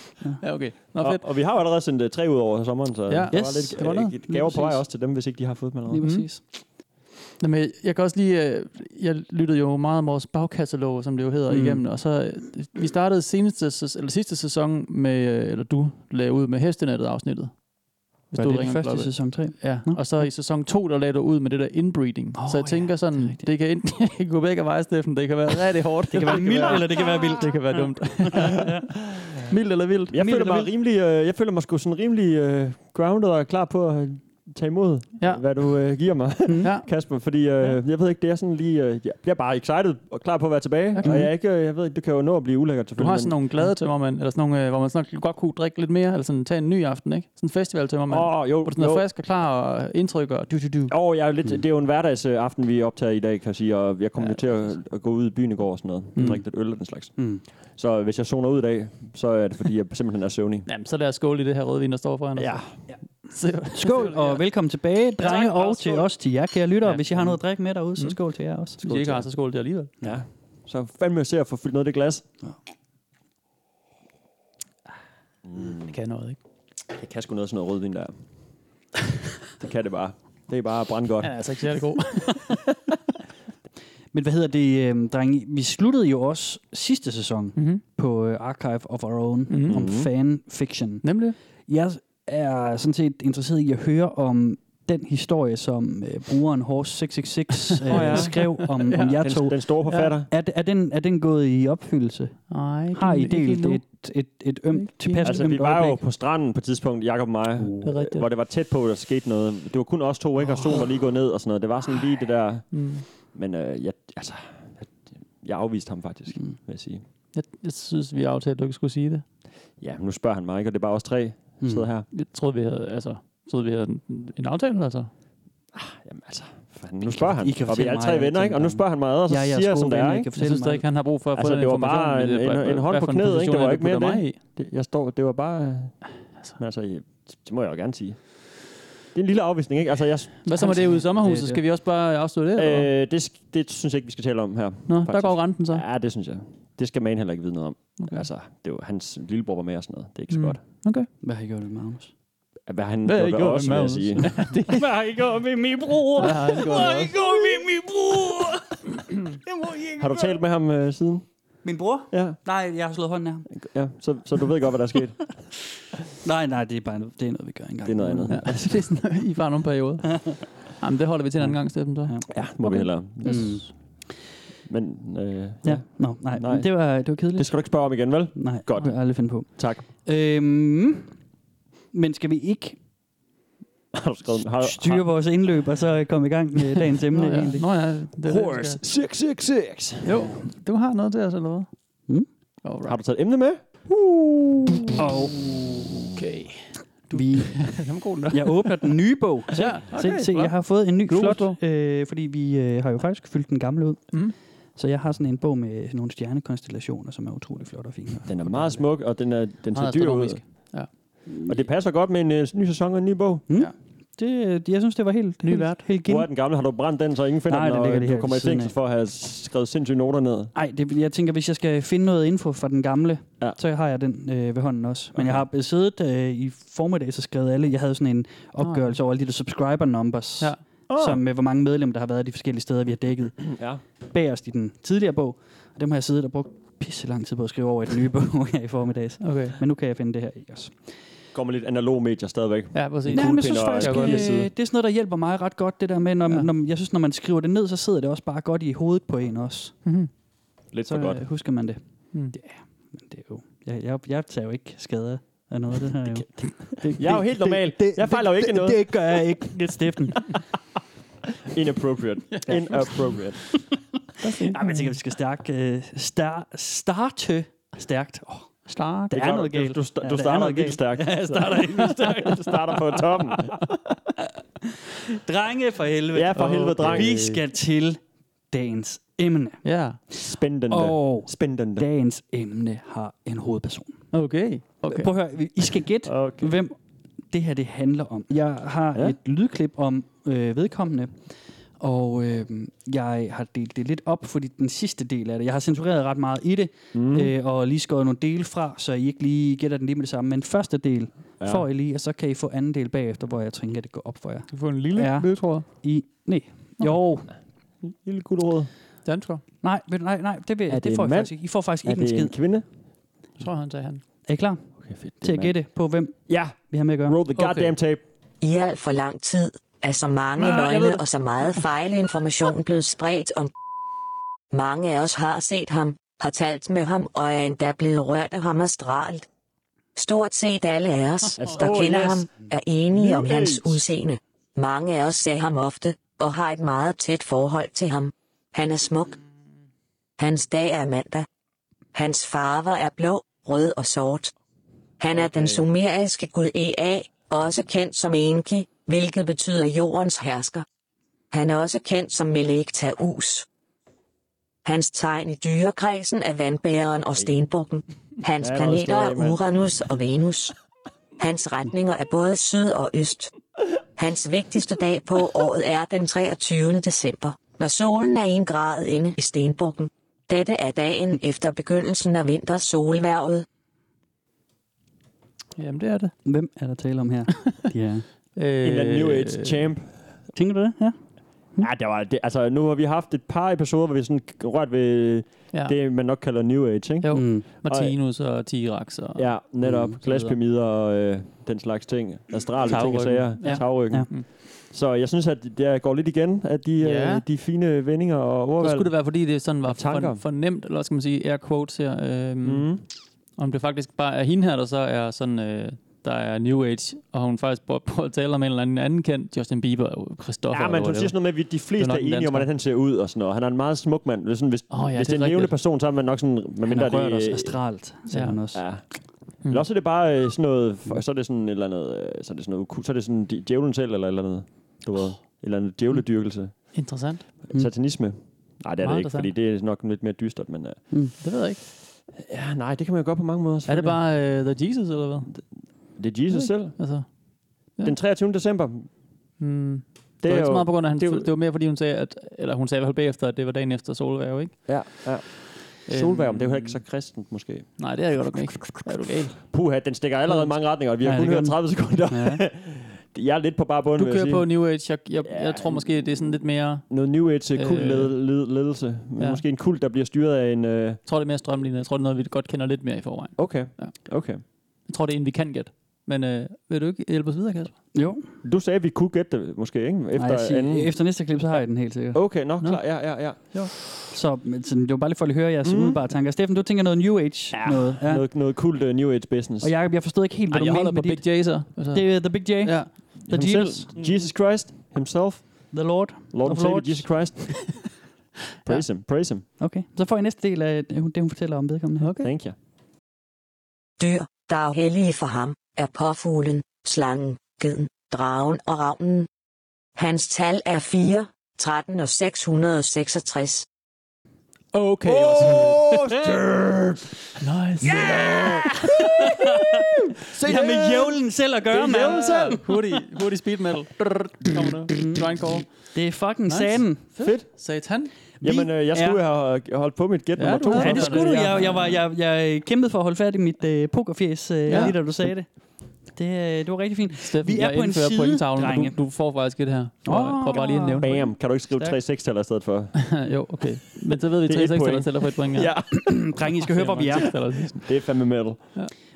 ja, okay. Nå,
Og,
fedt.
og vi har jo allerede sendt øh, tre ud over sommeren, så der
Yes,
var
det var noget.
lidt øh,
Lige
gaver på vej
præcis.
også til dem, hvis ikke de har fået dem allerede.
Lige præcis.
Nå, men jeg kan også lige, øh, jeg lyttede jo meget om vores bagkatalog, som det jo hedder, mm.
Mm.
igennem, og så, øh, vi startede seneste, sæs- eller sidste sæson med, øh, eller du lagde ud med hestenettet afsnittet. Hvis
Var det den
ringer
første
klokke.
sæson 3?
Ja,
Nå.
og så i sæson 2, der lagde du ud med det der inbreeding.
Åh,
Oh, så jeg tænker
ja,
sådan,
det er
det,
rigtigt.
kan, ind, <laughs> det kan gå begge veje, Steffen. Det kan være rigtig hårdt.
Det kan være mildt, eller det kan være vildt.
Det kan være dumt. mildt eller vildt.
Jeg
Mildt
føler,
eller
mig rimelig, øh, jeg føler mig sgu sådan rimelig øh, grounded og klar på at øh, tage imod,
Ja.
ja. hvad du øh, giver mig, <laughs>
Mm.
Ja.
Kasper. Fordi øh, ja. jeg ved ikke, det er sådan lige... Øh, jeg bliver bare excited og klar på at være tilbage. Okay. Og jeg, er ikke, øh, jeg ved ikke, det kan jo nå at blive ulækkert
Du
selvfølgelig.
har sådan nogle glade tømmermænd, eller sådan nogle, øh, hvor man sådan nok godt kunne drikke lidt mere, eller sådan tage en ny aften, ikke? Sådan en festival tømmermand. Oh,
Åh, oh, jo,
hvor du sådan er
jo.
frisk og klar og indtryk og du, du, du.
Åh, oh, jeg er jo lidt, det er jo en hverdagsaften, vi optager i dag, kan jeg sige, og jeg kom
Ja,
ja, til at, at gå ud i byen i går og sådan noget,
Mm.
mm. drikke lidt øl og den slags.
Mm.
Så hvis jeg zoner ud i dag, så er det fordi, jeg simpelthen er søvnig.
Jamen, <laughs> så lad os skåle i det her rødvin, der står foran os.
Ja,
Skål, og velkommen tilbage, drenge,
og
og til
skål.
os, til jer, kære lyttere.
Ja.
Hvis I har noget at drikke med derude, så skål til jer også.
Hvis I ikke har, så skål det alligevel.
Ja. Så fandme ser at få fyldt noget af det glas.
Det kan noget, ikke?
Det kan sgu noget sådan noget rødvin <laughs> der. det kan det bare. Det er bare brandgodt.
Han
Ja.
er altså ikke særlig
<laughs>
god.
Men hvad hedder det, øh, drenge? Vi sluttede jo også sidste sæson
Mhm.
mm-hmm. på øh, Archive of Our Own mm-hmm. om fanfiction.
Nemlig.
Jeg er sådan set interesseret i at høre om den historie, som øh, brugeren <laughs> Horse666 øh, oh, ja. skrev om, <laughs> ja. om jer to.
Den, den store forfatter. Ja.
Er, er, den, er den gået i opfyldelse?
Nej,
Har I delt et, et, et ømt,
Ikke
tilpas
Altså,
ømt
vi var jo
øjeblik?
på stranden på et tidspunkt, Jakob og mig,
Det er rigtigt.
hvor det var tæt på, at der skete noget. Det var kun os to, ikke? Og solen var lige gået ned og sådan noget. Det var sådan lige det der...
Mm.
Men øh, jeg, altså, jeg, jeg afviste ham faktisk, mm. vil jeg sige.
Jeg, jeg synes, vi aftalte, at du ikke skulle sige det.
Ja, men nu spørger han mig, ikke? Og det er bare os tre,
Mm.
der
Hmm.
sidder her.
Jeg troede, vi havde, altså, troede, vi havde en, en aftale, altså.
Jamen altså, fanden, nu spørger han.
I kan
Og vi
fortælle
er alle
mig,
tre venner,
jeg
ikke? Og nu
tænker,
spørger han mig ad, og så
Jeg er jeres
siger jeg,
gode
som det
ven,
er,
jeg
ikke?
kan
Jeg
fortælle
synes da
mig.
ikke, han har brug for at
Altså,
få den
det var
information.
bare en-
i det.
en-
Hvad-
en hånd
hvad
på
for en
knæet, ikke?
position
Det var
er
ikke mere
puttet
end
mig i?
Det, jeg står, det var bare... Altså. Men altså, jeg- det må jeg jo gerne sige. Det er en lille afvisning, ikke? Altså, jeg,
Hvad så med det ude i
Det er
sommerhuset?
det.
Skal vi også bare afslutte det? eller hvad?
øh, det, sk- det synes jeg ikke, vi skal tale om her.
Nå, der
faktisk.
går renten så.
Ja, det synes jeg. Det skal man heller ikke vide noget om.
Okay.
Okay. Altså, det var hans lillebror var med og sådan noget. Det er ikke så
Mm.
mm. godt.
Okay.
Hvad har I gjort med Magnus?
Hvad han
Hvad har I
gjorde,
gjort
gjort også,
med
vil jeg
Magnus? <laughs>
sige.
Hvad har I gjort med min bror?
Ja, det går også.
gjort med min bror?
har du talt med ham øh, siden?
Min bror?
Ja.
Nej, jeg har slået hånden af ham.
ja så, så du ved godt, hvad der er sket.
Nej, nej, det er bare det er noget, vi gør engang.
Det er noget andet.
Ja, <laughs> altså, det er sådan, I var nogle
<laughs>
perioder. Jamen, det holder vi til en anden gang, Steffen, så.
<laughs> Ja.
Ja, må okay. vi hellere.
Mm.
Men øh, ja.
Ja, nå, nej,
Nej.
nej. Det, var, det var kedeligt.
det skal du ikke spørge om igen, vel?
Nej,
Godt.
det har jeg aldrig finde på.
Tak.
Øhm, men skal vi ikke
<laughs> Har du skrevet? Har,
styre vores indløb, og så øh, komme i gang med
<laughs>
dagens emne
Nå, ja.
egentlig?
Nå, ja, det er
har,
det,
Horse
vi
666.
skal. Jo, du har noget til os, eller hvad?
Mm.
Alright.
Har du taget et emne med?
Og
Okay.
vi,
<laughs> Den var god, den der.
jeg åbner den nye
<laughs>
bog. Se,
Ja,
se, se, jeg har fået en ny
Globus
flot, øh, fordi vi øh, har jo faktisk fyldt den gamle ud.
Mm.
Så jeg har sådan en bog med nogle stjernekonstellationer, som er utrolig flot og fin.
Den er meget smuk, og den, er, den ser
Meget
dyr ud.
astronomisk.
Og det passer godt med en øh, ny sæson og en ny bog.
Mm? Det, øh, jeg synes, det var helt,
Ny
helt,
vært.
helt
Hvor
genialt.
er den gamle? Har du brændt den, så ingen finder
Nej,
den,
den
og
ligger lige
du
her
kommer i
ved siden
fængsel
af.
for at have skrevet sindssyge noter ned?
Nej, det, jeg tænker, hvis jeg skal finde noget info fra den gamle,
Ja.
ja. så har jeg den øh, ved hånden også. Men jeg har siddet øh, i formiddag, så skrevet alle. Jeg havde sådan en opgørelse over alle de der subscriber numbers,
Ja.
ja. oh. som med hvor mange medlemmer, der har været de forskellige steder, vi har dækket.
Ja.
Bagerst i den tidligere bog, og dem har jeg siddet og brugt pisse lang tid på at skrive over i den nye bog <laughs> her i formiddags.
Okay.
Men nu kan jeg finde det her ikke også.
Kommer lidt analog medier stadigvæk.
Ja, præcis.
Nej, men jeg synes
kuglepen og
faktisk,
jeg
øh,
går
det er
lige side.
sådan noget, der hjælper mig ret godt, det der med, når,
Ja.
ja. når, jeg synes, når man skriver det ned, så sidder det også bare godt i hovedet på en også.
Mhm.
Lidt
Så
for godt.
øh, husker man det.
Mm.
Men det er jo... Jeg, jeg, jeg tager jo ikke skade af noget af det her. Jo.
Jeg er jo helt normal. Jeg fejler jo ikke noget.
Det gør jeg ikke. Det er stiften. <laughs>
Inappropriate. Inappropriate.
Nej, men jeg tænker, vi skal stærk, øh, star, starte stærkt. Oh,
Start.
der
Det
er,
gør
noget
du.
galt.
Du, sta-
Ja, der
du
er
starter
noget
vildt
galt. <laughs>
stærkt.
Ja, jeg
<laughs>
starter helt vildt stærkt.
Du starter på
<laughs>
toppen.
Drenge for helvede.
Ja, for helvede, drenge.
Vi skal til dagens emne.
Ja.
Spændende.
Og
Spændende.
dagens emne har en hovedperson.
Okay. Okay.
Prøv at høre, I skal gætte,
Okay.
okay. hvem det her det handler om. Jeg har
Ja.
ja. et lydklip om øh, vedkommende, og øh, jeg har delt det lidt op, fordi den sidste del af det, jeg har censureret ret meget i det,
Mhm.
mm. øh, og lige skåret nogle dele fra, så I ikke lige gætter den lige med det samme. Men første del
Ja.
ja. får I lige, og så kan I få anden del bagefter, hvor jeg tænker, at det går op for jer.
Du får en lille
Ja.
ledtråd.
I, nej, jo,
Lille guldråd.
Dansker,
nej, ved du- nej, nej, det, vil,
Er
det,
det
det får
en
I
mand?
faktisk ikke. I får faktisk
Er
ikke en
det
skid.
en kvinde?
tror jeg, han sagde han.
Er I klar
Okay, fedt. Det er
til at
mand.
gætte på, hvem
Ja,
vi har med at gøre?
roll the goddamn tape.
I alt for lang tid er så mange
Ah,
ah,
jeg ved det.
løgne og så meget fejlinformation blevet spredt om. Mange af os har set ham, har talt med ham og er endda blevet rørt af ham astralt. Stort set alle af os, der
Åh,
kender
yes.
ham, er enige om
Yes.
hans udseende. Mange af os ser ham ofte og har et meget tæt forhold til ham. Han er smuk. Hans dag er mandag. Hans farver er blå, rød og sort. Han er den sumeriske gud Ea, også kendt som Enki, hvilket betyder jordens hersker. Han er også kendt som Melekta Us. Hans tegn i dyrekredsen er vandbæreren og stenbukken. Hans
Ja, der er også
planeter
noget, mand.
er Uranus og Venus. Hans retninger er både syd og øst. Hans vigtigste dag på året er den 23. december, når solen er en grad inde i Stenbukken. Dette er dagen efter begyndelsen af vintersolværvet.
Jamen, det er det.
Hvem er der tale
<laughs>
om her? De er...
En eller anden New
Øh,
Age champ.
Tænker du det? Ja.
Ja, det var, det, altså, nu har vi haft et par episoder, hvor vi sådan rørt ved
Ja.
ja. det, man nok kalder New Age, ikke?
Jo,
Mm.
mm. Martinus og T-Rex og...
Ja, netop.
Mm, så videre.
Mm, Glaspyramider og øh, den slags ting. Astrale ting
Tagryggen.
og sager.
Ja.
Ja. Tagryggen.
Ja.
Ja.
Mm.
Så jeg synes, at det går lidt igen af de,
Ja.
ja. øh, de fine vendinger og
Så
ordvalg.
skulle det være, fordi det sådan var
tanker.
for, for nemt, eller hvad skal man sige, air quotes her. Øhm, mm.
Mm.
Om det faktisk bare er hende her, der så er sådan, øh, der er New Age, og hun faktisk prøver, prøver at tale om en eller anden, anden kendt, Justin Bieber, Christoffer.
Ja, men
eller
hun siger sådan noget med, at vi- de
Det er
fleste
nok
er
en
enige
dansker.
om, hvordan han ser ud og sådan noget. Han er en meget smuk mand. Hvis, hvis,
Åh, ja,
hvis
det er
det er en levende
rigtigt.
person, så er man nok sådan... Men
Han
mindre
har rørt
det,
os
øh,
astralt, sagde
ja.
han også.
Ja. Mm. Eller også er det bare øh, sådan
Mm.
noget, f- så er det sådan et eller andet, øh, så er det sådan noget, oku- så er det sådan di- djævlen selv eller et eller andet, du ved, et eller andet djævledyrkelse,
noget. Interessant.
mm. satanisme. Nej, det er
Meget Mm,
det ikke, fordi det er nok lidt mere dystert, men øh,
Det ved jeg ikke.
ja, nej, det kan man jo gøre på mange måder.
Er det
selvfølgelig.
bare øh, The Jesus, eller hvad?
Det er Jesus selv.
Altså,
Den 23. december.
mm, det,
Det
var
er
ikke så
jo...
meget på grund af, at han,
det
det,
er jo-
det, var mere fordi hun sagde, at, eller hun sagde i hvert fald bagefter, at det var dagen efter solværv, ikke?
Ja, ja. Solværm, det er jo heller ikke
Øhm.
så kristent, måske.
Nej, det er jo nok ikke. Er du gal?
Puha, den stikker allerede i mange retninger, og vi har
Ja,
ja, kun
det gør
hørt
den.
30 sekunder.
Ja.
<laughs> jeg er lidt på bare bunden,
Du
vil jeg
kører
sige.
på New Age. Jeg, jeg, jeg
Ja.
tror måske, det er sådan lidt mere...
Noget New Age øh, kult
Øh.
led- led- ledelse. Men
Ja.
Måske en kult, der bliver styret af en... Øh,
Jeg tror, det er mere strømlignet. Jeg tror, det er noget, vi godt kender lidt mere i forvejen.
okay,
Ja.
okay.
Jeg tror, det er en, vi kan gætte. Men øh, vil du ikke hjælpe os videre, Kasper?
Jo,
Du sagde, at vi kunne gætte det, måske, ikke? Efter
efter, Nej, siger,
anden...
efter næste klip, så har jeg den helt sikkert.
Okay, nok klar. Ja, ja, ja.
Så men sådan, det var bare lige for at høre jeres mm. umiddelbare tanker. Steffen, du tænker noget New Age ja. noget. Ja.
ja. Noget, noget kult uh, New Age business.
Og Jacob, jeg forstod ikke helt, hvad
Ej, jeg
du
holder
mente
på
med dit.
Big J, så. Altså,
Det er The Big J,
ja.
The
Ham
Jesus,
selv. Jesus Christ himself.
The Lord.
Lord and
Of
Savior
Lords.
Jesus
<laughs>
Christ. Praise him, praise him.
Okay, så får I næste del af det, hun det, hun fortæller om vedkommende. her.
Thank you.
Dyr, der er hellige for ham, er påfuglen, slangen, geden, dragen og ravnen. Hans tal er 4, 13 og 666.
Okay, oh! Nice.
<laughs> Så jeg har med jævlen selv at gøre, mand.
selv. Hurtig, hurtig speed metal. Drrr, Kommer nu. Grind call.
Det er fucking satan.
Fedt.
Satan.
Jamen, øh, jeg skulle
er-
have holdt på mit gæt
Ja,
nummer
du
to.
havde
Ja,
så.
det skulle
<laughs>
du. Jeg, jeg, var, jeg, jeg kæmpede for at holde fat i mit øh, pokerfjes, øh,
Ja.
ja. lige da du sagde det. Det, øh, det var rigtig fint.
Steffen,
Vi er
jeg
på en
indfører
side,
pointtavlen, og
drenge.
Du, du får faktisk et her. Prøv,
Åh.
oh, prøv bare lige at nævne.
Bam. Kan du ikke skrive
Stærkt.
3 6 taller i stedet
<laughs>
for?
<laughs> jo, okay. Men så ved vi,
Det er et
3 6
point.
eller tæller for et point.
ja,
<clears throat> Drenge, I skal høre, hvor vi er.
det er fandme metal.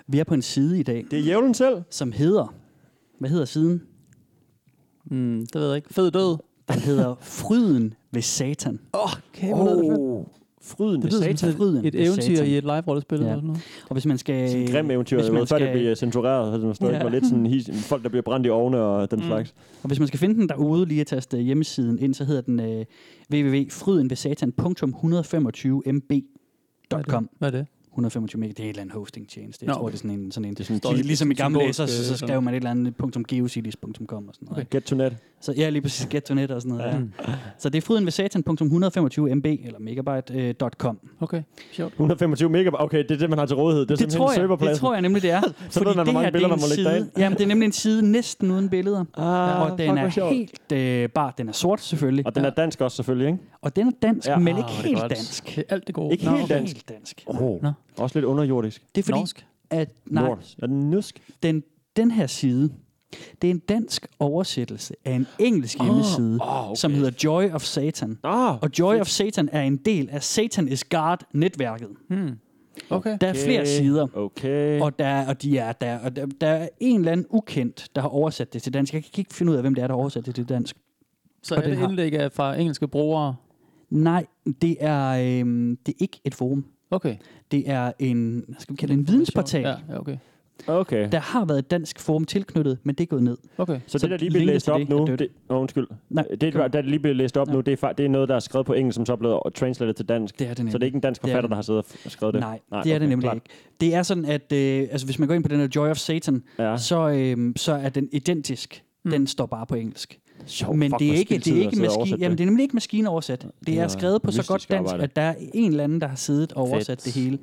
Vi er på en side i dag,
Det er jævlen selv.
som hedder... Hvad hedder siden?
Mm, det ved jeg ikke. Fed død.
Den hedder Fryden ved Satan.
Okay,
Oh. Fryden
Det
ved
lyder
satan.
som sådan
Fryden
et, et
ved
eventyr
Satan.
i et live-rollespil
Ja.
eller sådan noget.
Og hvis man skal...
Sådan en grim eventyr,
Øh, hvis
jeg ved,
man
før det
skal,
bliver censureret, så det var stadig
Ja. Mm.
var lidt sådan his, folk, der bliver brændt i ovne og den slags.
og hvis man skal finde den derude, lige at taste øh, hjemmesiden ind, så hedder den øh, www.frydenvesatan.125mb.com.
Hvad er det?
125 meg, det er et eller andet hosting tjeneste. Jeg
Nå,
tror,
okay.
det er sådan en... Sådan en det
sådan
er
en-
ligesom i gamle dage, så,
symbolsk,
så,
øh,
så
sådan.
skrev man et eller andet .geocities.com og sådan noget.
Okay.
Okay.
Get to net.
Så ja, lige præcis get.net og sådan noget. Ja. Så det er frydenvesatan.125mb eller megabyte.com. Øh,
Okay, sjovt.
125 megabyte. Okay, det er det, man har til rådighed. Det er
det tror
simpelthen
jeg, det
serverpladsen.
tror jeg nemlig, det er.
ved man, hvor mange
her, det er
billeder
en
man må lægge
side,
derind.
Jamen, det er nemlig en side næsten uden billeder.
Ah,
og den
fuck, hvor
er
sjovt.
helt øh, bare, den er sort selvfølgelig.
Og den er dansk også, selvfølgelig, ikke?
og den er dansk, ja.
Ja.
men
Ah,
ikke helt dansk.
Det er alt det gode.
Ikke
Nå,
helt
okay.
dansk.
Helt dansk.
Oh.
Nå.
Også lidt underjordisk.
Det er fordi,
Norsk.
at nej,
Norsk. Er den nysk?
den, den her side, det er en dansk oversættelse af en engelsk hjemmeside, oh, okay. som hedder Joy of Satan.
Ah,
Og Joy of Satan er en del af Satan is God-netværket.
Okay.
Der er flere sider.
Okay.
Og, der, er- og de er der, og der, der er en eller anden ukendt, der har oversat det til dansk. Jeg kan ikke finde ud af, hvem det er, der har oversat det til dansk.
Så
og
er
den
det
har-
indlæg af- fra engelske brugere.
Nej, det er, øhm, det er ikke et forum.
Okay.
Det er en, hvad skal vi kalde det, en vidensportal.
Ja, ja, okay.
okay.
Der har været et dansk forum tilknyttet, men det er gået ned.
Okay.
Så,
Så
så det, der lige
linket
blev læst
til
op
det er
nu,
dødt.
det, oh, undskyld.
Nej,
Nej, det,
kom.
der, der lige blev læst op nu, det er, fa- det er noget, der er skrevet på engelsk, som så er blevet translated til dansk.
Det er det
så det
nemlig.
er ikke en dansk
Det er
forfatter,
det.
der har siddet og f- skrevet det?
Nej, Nej det er det
okay,
nemlig
klart.
ikke. Det er sådan, at øh, altså, hvis man går ind på den her Joy of Satan,
Ja.
så, øh, så er den identisk.
Hmm.
Mm. Den står bare på engelsk.
Sjovt,
Men
fuck,
det er
hvor
ikke,
spildtid
det er
at
ikke
sidde og
maskine,
oversætte
jamen det
det.
er nemlig ikke maskineoversat. Det er
er
skrevet på så
mystisk
godt dansk,
arbejde.
at der er en eller anden, der har siddet og oversat
Fedt.
det hele.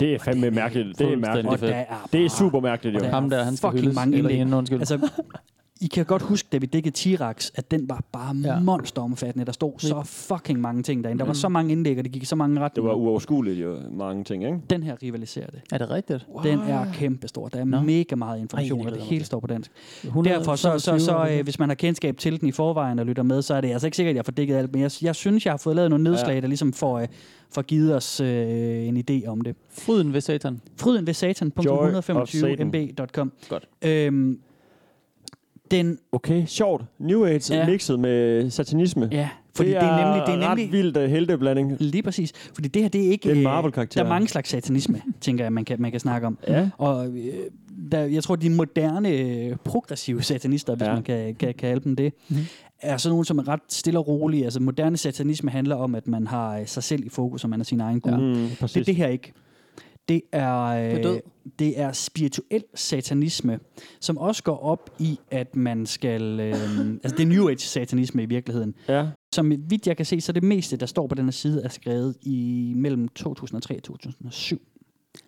Det er fandme mærkeligt. Det er mærkeligt.
Fuldstændig fedt.
Det er super mærkeligt, jo.
der
Ham der,
er
han skal
fucking
hyldes.
mange
Eller
indlæg.
hende, undskyld.
Altså, I kan godt huske, da vi dækkede T-Rex, at den var bare ja.
Ja. Mm.
monsteromfattende. Der stod så fucking mange ting derinde. Der var så mange indlæg, og det gik i så mange
Det
retninger.
var uoverskueligt jo, mange ting, ikke?
den her rivaliserer det.
Er det rigtigt?
Den er kæmpestor. Der er
Nå.
mega meget information,
Ej, det
og det
glæder mig
hele
til.
står på dansk.
100,
Derfor, så, så, så,
127,
øh, hvis man har kendskab til den i forvejen og lytter med, så er det altså ikke sikkert, at jeg får dækket alt, men jeg, jeg synes, jeg har fået lavet nogle nedslag, der ligesom får, øh, får givet os øh, en idé om det.
Fryden ved satan.
Fryden ved
Joy of
satan.125mb.com
Godt.
Øhm, den,
Okay, sjovt. New Age
Ja.
ja. mixet med satanisme.
ja, fordi det er, det er nemlig... Det er
ret
nemlig Mm,
vildt uh, helteblanding.
Lige præcis. Fordi det her, det er ikke...
Det er en
øh,
Marvel-karakter.
Der er mange slags satanisme, tænker jeg, man kan, man kan snakke om.
Ja.
Og øh, der, jeg tror, de moderne, øh, progressive satanister, hvis ja.
Ja. Mhm.
man kan, kan kalde dem det, mm-hmm. er sådan nogle, som er ret stille og rolige. Altså, moderne satanisme handler om, at man har øh, sig selv i fokus, og man er sin egen gud. Ja.
Mm,
det er
præcis.
det her ikke. Det er, øh,
er død.
det er spirituel satanisme, som også går op i, at man skal... Øh, altså, det er New Age satanisme i virkeligheden
Ja.
som vidt jeg kan se, så det meste, der står på den her side, er skrevet i mellem 2003 og 2007.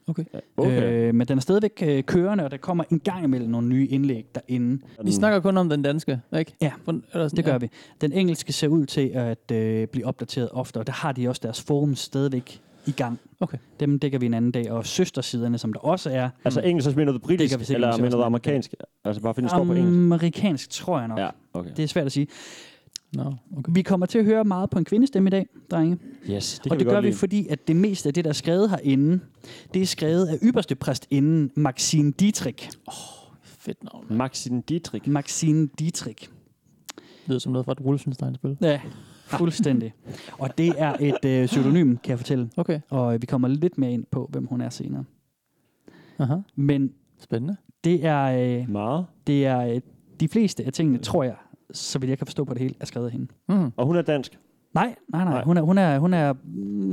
Okay.
Okay. Øh,
Øh, men den er stadigvæk øh, kørende, og der kommer en gang imellem nogle nye indlæg derinde.
Vi snakker kun om den danske, ikke?
Ja,
Hvordan- eller sådan-
Mm. det gør
ja.
vi. Den engelske ser ud til at øh, blive opdateret ofte, og der har de også deres forums stadigvæk i gang.
Okay.
Dem dækker vi en anden dag, og søstersiderne, som der også er,
altså engelsk, så mener du
mm. Det
britisk,
kan vi sikkert
eller
også
mener du
snakke om.
amerikansk? Altså bare fordi det står på engelsk.
amerikansk, tror jeg nok.
Ja, okay.
Det er svært at sige.
Nå, okay.
Vi kommer til at høre meget på en kvindestemme i dag, drenge.
Yes, det
Det og det
vi
gør
godt
vi,
lide.
fordi at det meste af det, der er skrevet herinde, det er skrevet af ypperste præstinden Maxine Dietrich.
Fedt navn.
Maxine Dietrich.
Maxine Dietrich.
Lyder som noget fra et Wolfenstein-spil.
Ja, Ah. fuldstændig. og det er et øh, pseudonym, kan jeg fortælle.
Okay.
Og øh, vi kommer lidt mere ind på, hvem hun er senere.
Aha.
Men
Spændende.
det er, øh,
Meget.
det er øh, de fleste af tingene, tror jeg, så vidt jeg kan forstå på det hele, er skrevet af hende.
Mm.
Og hun er dansk.
Nej, nej, nej.
Nej.
Hun er, hun er, hun er mm,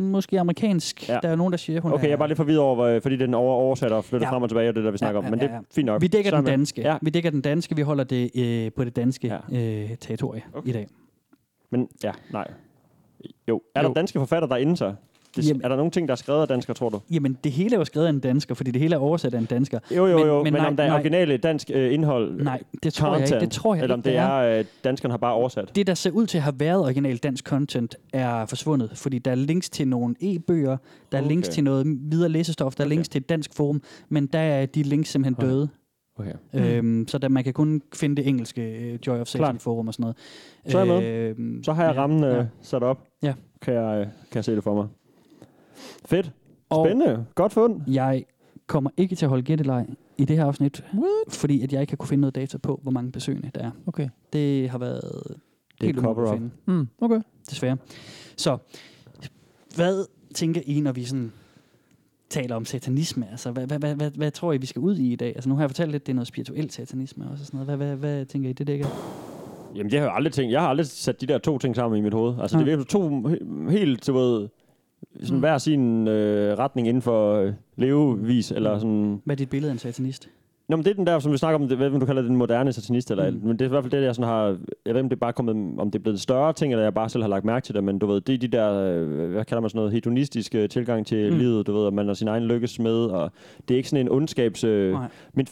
måske amerikansk. Ja.
Ja.
Der er nogen, der siger, hun
Okay, jeg
er...
er bare lidt forvirret over, hvor- fordi den over oversat og flytter
Ja.
ja. frem og tilbage, og det er der, vi snakker
ja,
om. Men
ja,
det
ja.
er fint nok.
Vi dækker
Så er
den
jeg med.
danske.
Ja,
Vi dækker den danske. Vi holder det øh, på det danske
Ja.
øh, territorie okay. i dag.
men ja, nej. Jo. Er der
Jo.
danske forfatter derinde så? Det,
Jamen.
er der nogle ting, der er skrevet af danskere, tror du?
Jamen, det hele er jo skrevet af en dansker, fordi det hele er oversat af en dansker.
Jo, jo,
Men-
jo. Men,
men
men,
nej,
om der er
nej.
originale dansk øh, indhold?
Nej, det tror jeg ikke. Det tror jeg
Eller om
ikke,
det
det er.
er, øh, danskerne har bare oversat?
Det, der ser ud til at have været original dansk content, er forsvundet, fordi der er links til nogle e-bøger, der er okay. links
Okay.
til noget videre læsestof, der er links til et dansk forum, men der er de links simpelthen okay. døde.
Okay. Mm.
Øhm, så der, man kan kun finde det engelske øh, Joy of Satan
Klart.
forum og sådan noget.
Så er jeg
Øhm,
Så har jeg rammen øh,
Ja.
sat op.
Ja.
Kan jeg, øh, kan jeg se det for mig. Fedt.
Og-
Spændende. Godt fund.
Jeg kommer ikke til at holde gætteleg i det her afsnit, What? fordi at jeg ikke har kunne finde noget data på, hvor mange besøgende der er.
Okay.
Det har været
er
helt umuligt
cover-up.
at finde.
Mm. Okay.
desværre. Så, hvad tænker I, når vi sådan taler om satanisme? Altså, hvad, hvad, hvad, hvad, hvad tror I, vi skal ud i i dag? Altså, nu har jeg fortalt lidt, det er noget spirituel satanisme også og sådan noget. Hvad, hvad, hvad tænker I, det dækker?
Jamen, det har jeg aldrig tænkt. Jeg har aldrig sat de der to ting sammen i mit hoved. Altså,
Nej.
det virker som to he- helt, du ved, sådan
Mm.
hver sin øh, retning inden for øh, levevis,
Mm.
eller sådan...
Hvad er dit billede af en satanist?
Nå, men det er den der, som vi snakker om, det, hvad du kalder den moderne satanist, eller
Mm.
mm. men det er i hvert fald det, jeg sådan har, jeg ved ikke, om det er bare kommet, om det er blevet en større ting, eller jeg bare selv har lagt mærke til det, men du ved, det er de der, øh, hvad kalder man sådan noget, hedonistiske tilgang til
Mm.
mm. livet, du ved, at man er sin egen lykkes med, og det er ikke sådan en ondskabs... Øh,
Nej.
min,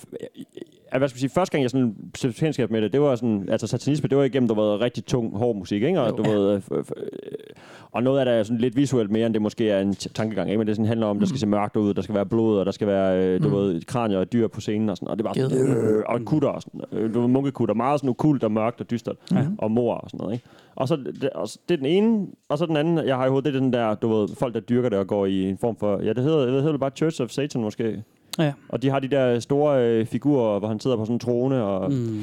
jeg, hvad skal man sige, første gang jeg sådan stiftede kendskab med det, det var sådan, altså satanisme, det var igennem, du ved, rigtig tung, hård musik, ikke? Og,
Jo.
du ved, øh, f- f- øh, og noget af det er sådan lidt visuelt mere, end det måske er en t- tankegang, ikke? Men det sådan handler om, der skal se mørkt ud, der skal være blod, og der skal være, øh, du
Mm.
ved, kranier og dyr på scenen og sådan, og det var sådan,
Geder.
øh, og kutter og sådan, øh, du ved, munkekutter, meget sådan okult og mørkt og dystert,
Ja.
og mor og sådan noget, ikke? Og så, det, og så- det er den ene, og så den anden, jeg har i hovedet, det er den der, du ved, folk, der dyrker det og går i en form for, ja, det hedder, det hedder det bare Church of Satan måske,
Ja.
og de har de der store øh, figurer, hvor han sidder på sådan en trone. Og, mm.
Mm.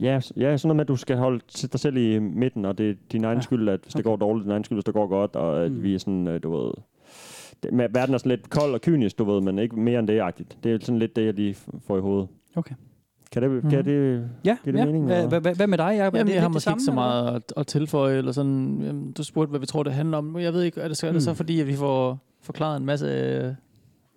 ja, s- ja, sådan noget med, at du skal holde sætte dig selv i midten, og det er din egen
Ja.
ja. skyld, at hvis okay. det går dårligt, din egen skyld, hvis det går godt, og at
Mm.
mm. vi er sådan, øh, du ved... Det, men verden er sådan lidt kold og kynisk, du ved, men ikke mere end det-agtigt. Det er sådan lidt det, jeg lige f- får i hovedet.
Okay.
Kan det...
Mhm.
Kan det
Ja,
Giver det
ja.
mening,
Hvad,
eller?
hvad, hvad, hvad med dig, Jacob? Er
Jamen,
det
jeg har
lidt det
måske ikke så
samme, eller
meget at, at tilføje, eller sådan, Jamen, du spurgte, hvad vi tror, det handler om. Men Jeg ved ikke, er det så, er det så
Mm.
fordi, at vi får forklaret en masse, øh,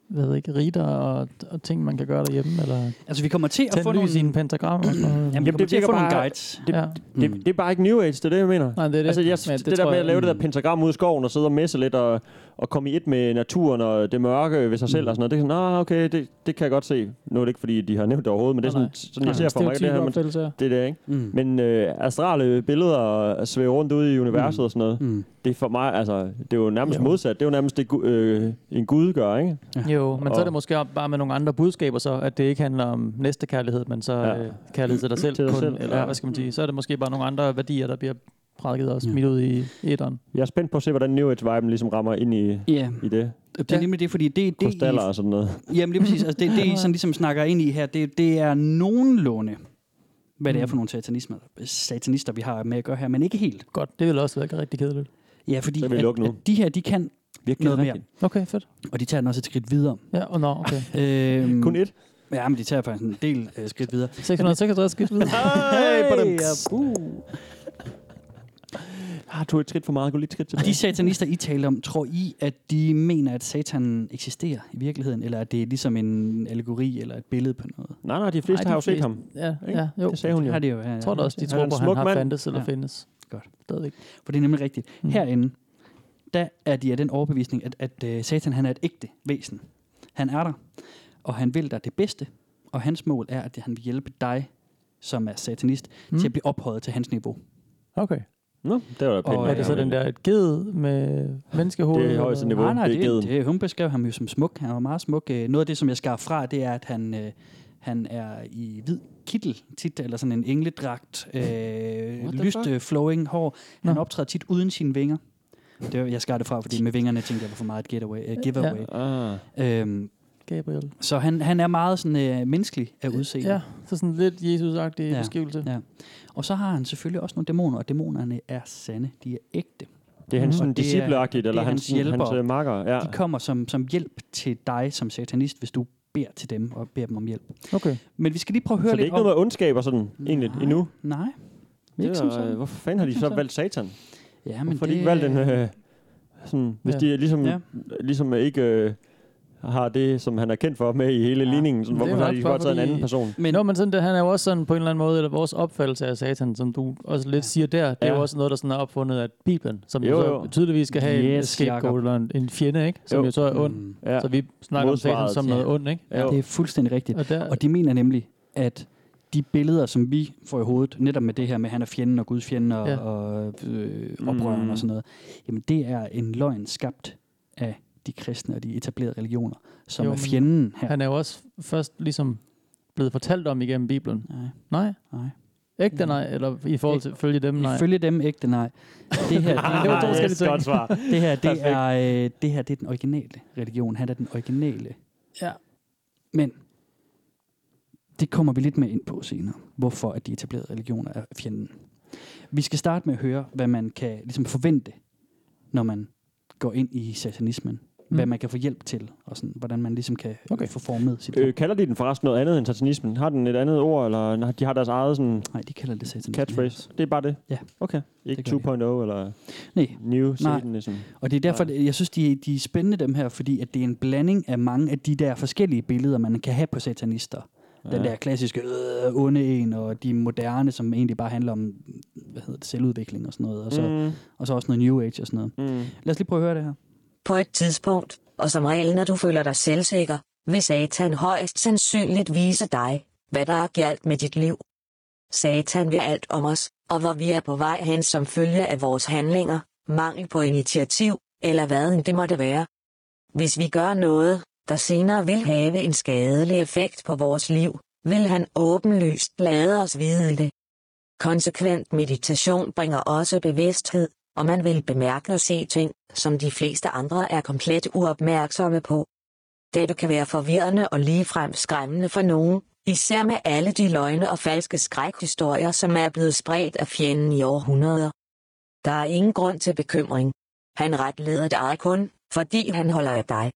hvad ved jeg ikke, riter og, og ting, man kan gøre derhjemme, eller
hvad? Altså, vi kommer til at få
tænde
nogle...
lys i en pentagram. Og sådan noget.
Jamen, vi
Jamen,
kommer
det
til at få
virker
nogle
bare-
guides.
ja.
mm. det, det, er bare ikke New Age, det er det, jeg mener.
Nej, det er det.
Altså, jeg,
Men
det, det der
tror
med
jeg-
at lave det der
Mm.
pentagram ud i skoven og sidde og messe lidt og, at komme i et med naturen og det mørke ved sig selv mm. og sådan noget. Det er sådan, ah, okay, det, det kan jeg godt se. Nu er det ikke, fordi de har nævnt det overhovedet, men det er
Nej,
sådan, sådan jeg ser for mig det her. Men
Stereotype her.
det er det, ikke?
Mm.
Men øh, astrale billeder svæver rundt ude i universet mm. og sådan noget.
Mm.
Det er for mig, altså, det er jo nærmest jo. modsat. Det er jo nærmest det, gu- øh, en gud gør, ikke?
Jo, men så er
Og-
det måske op- bare med nogle andre budskaber så, at det ikke handler om næste kærlighed, men så
Ja.
ja. øh, kærlighed til dig selv
Til dig
kun,
selv,
eller
ja.
ja. hvad skal man sige. Så er det måske bare nogle andre værdier, der bliver prædiket og smidt ud i etteren.
Jeg er spændt på at se, hvordan New Age-viben ligesom rammer ind i,
Ja,
i det.
det er nemlig det, fordi det, det
Krystaller og sådan noget.
Jamen lige præcis. Altså, det, det, I sådan ligesom snakker ind i her, det, det er nogenlunde, hvad det er for nogle satanismer, satanister, vi har med at gøre her, men ikke helt.
Godt, det ville også være rigtig kedeligt.
Ja, fordi
Så kan vi
at,
lukke nu.
At de her, de kan
Virkelig
noget mere,
rigtigt.
Okay, fedt.
og de tager den også et skridt videre.
Ja, og nå, okay.
Øhm,
Kun et.
Ja, men de tager faktisk en del øh, skridt videre.
666 skidt
<laughs>
videre.
Hey, på dem.
Uh.
Har du et skridt for meget? Gå lige et skridt tilbage.
De satanister, I taler om, tror I, at de mener, at satan eksisterer i virkeligheden, eller at det er ligesom en allegori eller et billede på noget?
Nej, nej, de
Ej,
fleste
de
har jo set
fleste-
ham.
Ja,
Ikke?
ja, jo.
Det sagde hun jo.
Har det jo, ja, ja.
Jeg tror da også, de
Han er
tror
en
på,
smuk
han har
mand.
fandtes eller
Ja.
ja. findes.
Godt.
Stadigvæk.
For det er nemlig rigtigt. Mm.
Mm.
Herinde, der er de af den overbevisning, at, at uh, satan han er et ægte væsen. Han er der, og han vil dig det bedste, og hans mål er, at han vil hjælpe dig, som er satanist, mm.
Mm.
til at blive ophøjet til hans niveau.
Okay.
Nå, det var da pænt.
Og
Er det så den der et ged med menneskehoved?
Det er højeste niveau.
nej, nej,
det er geden.
det, det, hun beskrev ham jo som smuk. Han var meget smuk. Øh, Noget af det, som jeg skar fra, det er, at han, øh, han er i hvid kittel tit, eller sådan en engledragt, øh,
the
lyst
fuck?
øh, flowing hår. Han
Nå.
optræder tit uden sine vinger. Det var, jeg skar det fra, fordi med vingerne tænkte jeg var for meget et getaway, uh, giveaway.
Ah,
Ja. Øhm,
Gabriel.
så han, han er meget sådan, øh, menneskelig af udseende.
Ja, så sådan lidt Jesus-agtig
Ja.
ja. beskrivelse.
Ja. Og så har han selvfølgelig også nogle dæmoner, og dæmonerne er sande. De er ægte.
det er hans
Mhm.
sådan
Og det er-
discipleagtigt,
det
eller
er
hans,
hans
sådan-
hjælpere.
hans øh, makker. Ja.
De kommer som, som hjælp til dig som satanist, hvis du beder til dem og beder dem om hjælp.
Okay.
Men vi skal lige prove at høre
Så det
lidt
er ikke
om...
noget med ondskab og sådan, egentlig,
Nej.
endnu.
Nej,
Det
ikke
er,
som
øh,
sådan.
hvorfor fanden har de
Ikke
så
som
valgt satan?
Ja,
Hvorfor har de ikke valgt en... Øh, sådan, hvis
Ja.
de ligesom,
Ja.
ligesom ikke øh, har det, som han er kendt for med i hele
Ja.
ligningen, sådan,
Det er
hvorfor har
nok
de
bare
bare taget en
fordi-
anden person?
Men-
Men, Nå, men sådan, det, han er jo også sådan på en eller anden måde, eller vores opfattelse af satan, som du også lidt siger der, det er
Ja.
jo også noget, der sådan er opfundet af Bibelen, som
Jo,
jo,
jo.
jo. så tydeligvis skal have yes, en
Yes, Jacob.
scapegoat eller en, en fjende, ikke? som
Jo.
jo, jo så er ond.
Mm,
Ja.
Ja. Så vi snakker om satan
Modsvaret
som
til-
noget ondt, ikke?
Jo.
det er fuldstændig rigtigt.
Og der,
Og de mener nemlig, at de billeder, som vi får i hovedet, netop med det her med, at han er fjenden og Guds fjende og, ja.
Ja.
og øh, oprøreren
Mm.
mm. og sådan noget, jamen det er en løgn skabt af de kristne og de etablerede religioner, som
Jo,
jo, er
men
fjenden her.
han er jo også først ligesom blevet fortalt om igennem Bibelen.
Nej,
Nej,
nej.
ægte nej, eller i forhold til følge dem, nej.
Ifølge dem ægte nej. Det
<laughs>
her,
Ah,
det var to
yes,
forskellige ting.
Godt svar.
det her, det
Perfekt.
er, øh, det her det er den originale religion. Han er den originale.
Ja.
Men det kommer vi lidt mere ind på senere, hvorfor at de etablerede religioner er fjenden. Vi skal starte med at høre, hvad man kan ligesom forvente, når man går ind i satanismen. Mm. Hvad
Mm.
man kan få hjælp til, og sådan, hvordan man ligesom kan okay.
Okay.
få formet sit
Øh,
øh.
kalder de den forresten noget andet end satanismen? Har den et andet ord, eller nej, de har deres eget sådan
Nej, de kalder det satanisme.
catchphrase? Det er bare det?
Ja.
Okay. Ikke
gør de.
2.0 eller
Nej,
new satanism?
Og det er derfor, jeg synes, de, de er spændende dem her, fordi at det er en blanding af mange af de der forskellige billeder, man kan have på satanister. Ja. Den der klassiske øh, onde en, og de moderne, som egentlig bare handler om hvad hedder det, selvudvikling og sådan noget. Og så, mm.
Mm,
og så også noget New Age og sådan noget.
mm.
Lad os lige prøve at høre det her.
På et tidspunkt, og som regel når du føler dig selvsikker, vil Satan højst sandsynligt vise dig, hvad der er galt med dit liv. Satan vil alt om os, og hvor vi er på vej hen som følge af vores handlinger, mangel på initiativ, eller hvad end det måtte være. Hvis vi gør noget, der senere vil have en skadelig effekt på vores liv, vil han åbenlyst lade os vide det. Konsekvent meditation bringer også bevidsthed, og man vil bemærke og se ting, som de fleste andre er komplet uopmærksomme på. Dette kan være forvirrende og ligefrem skræmmende for nogen, især med alle de løgne og falske skrækhistorier, som er blevet spredt af fjenden i århundreder. Der er ingen grund til bekymring. Han retleder dig kun, fordi han holder af dig.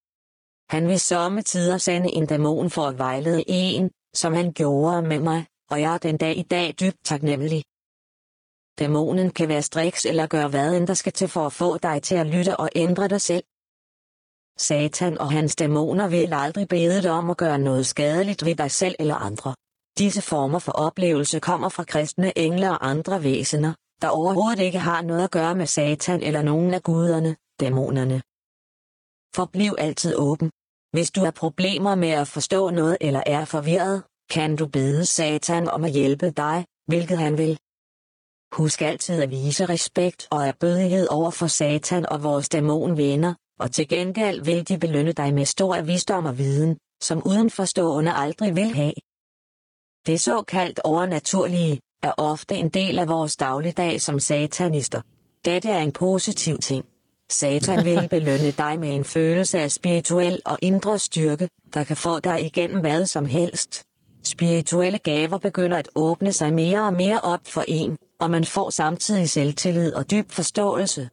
Han vil sommetider sende en dæmon for at vejlede en, som han gjorde med mig, og jeg er den dag i dag dybt taknemmelig. Dæmonen kan være striks eller gøre hvad end der skal til for at få dig til at lytte og ændre dig selv. Satan og hans dæmoner vil aldrig bede dig om at gøre noget skadeligt ved dig selv eller andre. Disse former for oplevelse kommer fra kristne engle og andre væsener, der overhovedet ikke har noget at gøre med Satan eller nogen af guderne, dæmonerne. Forbliv altid åben. Hvis du har problemer med at forstå noget eller er forvirret, kan du bede Satan om at hjælpe dig, hvilket han vil. Husk altid at vise respekt og erbødighed over for Satan og vores dæmonvenner, og til gengæld vil de belønne dig med stor visdom og viden, som udenforstående aldrig vil have. Det såkaldt overnaturlige er ofte en del af vores dagligdag som satanister. Dette er en positiv ting. Satan vil belønne dig med en følelse af spirituel og indre styrke, der kan få dig igennem hvad som helst. Spirituelle gaver begynder at åbne sig mere og mere op for en, og man får samtidig selvtillid og dyb forståelse.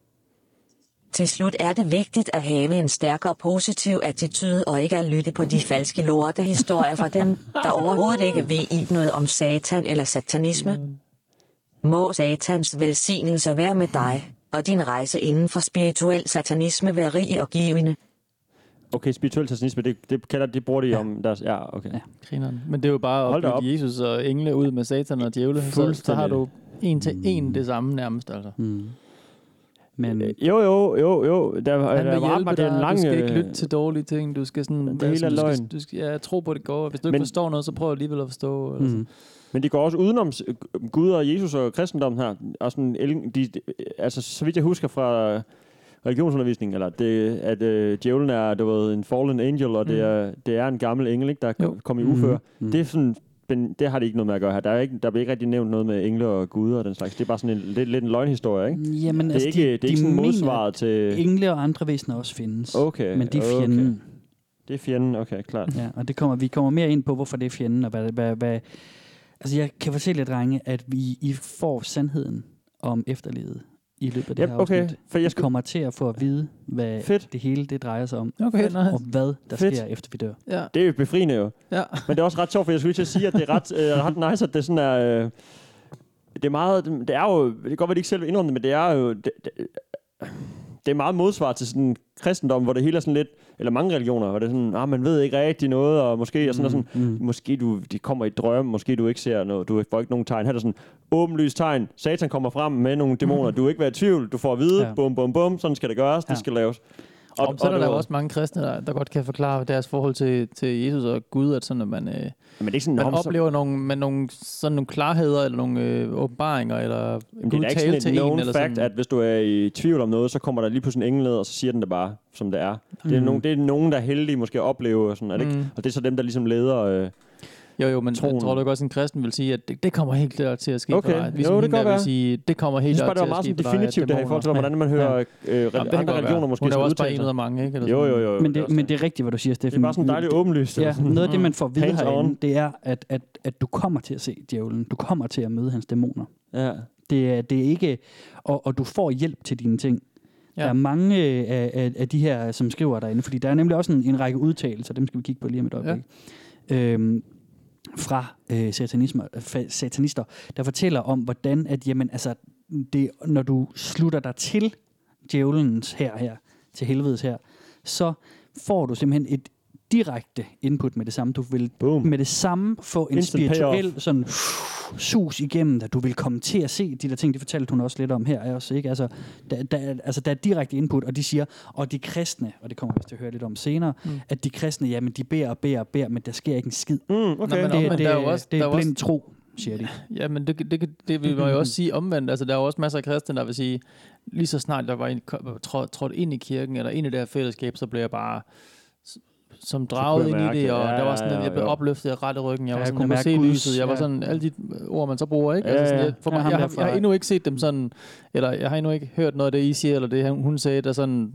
Til slut er det vigtigt at have en stærk og positiv attitude og ikke at lytte på de falske lortehistorier fra dem, der overhovedet ikke ved i noget om satan eller satanisme. Må satans velsignelse være med dig, og din rejse inden for spirituel satanisme være rig og givende.
Okay, spirituel satanisme, det, det, kalder, det bruger de ja. om deres... Ja, okay. Ja.
Grineren. Men det er jo bare
Hold
at
da
bytte Jesus og engle ud med satan og djævle. Så, så har
Fuldstændig.
du en til en det samme nærmest. Altså. Mm.
Men
Jo, jo, jo, jo. Der,
Han
der
vil
var
hjælpe
det er en
dig,
lang...
du skal ikke
øh,
lytte til dårlige ting. Du skal sådan...
Det hele er
du skal,
løgn.
du skal, ja, tro på, at det går. Hvis du ikke
Men-
forstår noget, så prøv alligevel at forstå. Eller
mm,
sådan.
Men de går også udenom s- Gud og Jesus og kristendommen her. Og sådan, el- de, de- altså, så vidt jeg husker fra øh, religionsundervisningen, eller det, at øh, djævlen er du ved, en fallen angel, og det,
Mm.
er, det er en gammel engel, ikke, der
Jo.
kom, kom i
Mhm.
uføre.
Mhm.
Det, er sådan, den, det har de ikke noget med at gøre her. Der, er ikke, der bliver ikke rigtig nævnt noget med engle og guder og den slags. Det er bare sådan en, lidt, lidt en løgnhistorie, ikke?
jamen,
Det er
altså,
ikke,
de,
det er
de
ikke sådan
mener,
modsvaret
at
til...
engle og andre væsener også findes.
Okay,
men de er
okay.
fjenden. Mm-hmm.
Det er fjenden, okay, klart.
Ja, og det kommer, vi kommer mere ind på, hvorfor det er fjenden, og hvad, hvad, hvad... Altså, jeg kan fortælle jer, drenge, at vi, I får sandheden om efterlivet i løbet af det
Yep,
her
okay,
afsnit.
for jeg
Jeg
skal...
kommer til at få at vide, hvad
Fedt.
Fedt. det hele det drejer sig om,
Okay,
og
nice.
hvad der
Fedt.
Fedt. sker, efter vi dør.
Ja,
Det er jo befriende jo.
ja.
Men det er også ret sjovt, for jeg skulle lige til at sige, at det er ret, øh, ret nice, at det sådan er... Øh, det er meget... Det er jo... Det kan godt være, de ikke selv vil indrømme det, men det er jo... Det, det, det er meget modsvar til sådan kristendom, hvor det hele er sådan lidt... Eller mange religioner, hvor det er sådan, ah, man ved ikke rigtig noget, og måske... Og sådan, og sådan,
Mm.
Måske du, de kommer i drøm, måske du ikke ser noget, du får ikke nogen tegn. Her er der sådan åbenlyst tegn. Satan kommer frem med nogle dæmoner. Du vil ikke være i tvivl. Du får at vide,
Ja.
bum, bum, bum, sådan skal det gøres,
Ja.
det skal laves.
Og, og så er
det
der, der jo
var-
også mange kristne, der, der godt kan forklare deres forhold til, til Jesus og Gud, at sådan, at man, øh,
Men det er ikke sådan,
man
"Nå, men så-
oplever nogle, man, nogle, sådan nogle klarheder, eller nogle øh, åbenbaringer, eller
Jamen, det er
Gud
da
tale
ikke
til
sådan et
en,
known
eller
fact,
sådan.
at hvis du er i tvivl om noget, så kommer der lige pludselig en engel ned, og så siger den det bare, som det er. Det er,
Mm.
nogen, det er nogen, der er heldige måske at opleve, og sådan, er det ikke?
Mm.
Og det er så dem, der ligesom leder... Øh,
Jo, jo, men
troen.
troen. tror du ikke også, en kristen vil sige, at det, det kommer helt klart til at ske
Okay.
for dig? sådan
Jo, det
hende,
kan
der
være.
vil sige, det kommer
jeg
helt
synes
klart
bare,
til
det var
at
meget
ske
sådan
for dig, at
definitivt, det her i forhold til,
dæmoner-
hvordan man hører øh, re-
Jamen, det kan
andre
godt være.
religioner måske
Hun er jo
skal
også bare
udtale
en ud af mange, ikke? Eller
sig. Jo,
sådan.
jo, jo. jo
Men,
er
det,
også
men det er rigtigt, hvad du siger,
det
Steffen.
er bare sådan dejligt åbenlyst.
Ja, noget af det, man får at vide
Hands
herinde,
on.
det er, at, at, at du kommer til at se djævlen. Du kommer til at møde hans dæmoner.
ja.
Det er, det er ikke... Og, og du får hjælp til dine ting. Ja. Der er mange øh, af, af, af de her, som skriver derinde, fordi der er nemlig også en, en række udtalelser, dem skal vi kigge på lige om et øjeblik, ja. øhm, fra øh, satanismer, fa- satanister, der fortæller om, hvordan at, jamen, altså, det, når du slutter dig til djævelens her, her til helvedes her, så får du simpelthen et direkte input med det samme. Du vil
Boom.
med det samme få en
Instant
spirituel sådan sus igennem dig. Du vil komme til at se de der ting, det fortalte hun også lidt om her også, ikke? Altså, der, der, er- altså, der er direkte input, og de siger, og de kristne, og det kommer vi til at høre lidt om senere, mm. at de kristne, jamen de beder og beder og beder, men der sker ikke en skid.
Mm, okay.
Nå, men-
Nå,
det,
der
det,
er jo også-
det
der
er,
er jo
blind tro, siger de.
Ja, men det, det, det, det vil man jo også sige omvendt. Altså, der er jo også masser af kristne, der vil sige, lige så snart jeg var ind, kom- trå- trådte ind i kirken, eller ind i det her fællesskab, så blev jeg bare s- som draget
jeg
ind i
mærke
det,
det.
og
Ja,
der var
ja,
sådan, at
ja,
jeg blev
jo.
opløftet af rette ryggen, jeg
Ja,
var
jeg
sådan,
kunne
jeg kunne
mærke
se
Guds-
lyset, jeg var
ja.
sådan, alle de ord, man så bruger, ikke?
Ja,
altså,
ja,
sådan,
ja.
jeg, for
Ja,
mig,
ham
jeg, har,
derfra.
jeg har endnu ikke set dem sådan, eller jeg har endnu ikke hørt noget af det, I siger, eller det han- hun sagde, der sådan,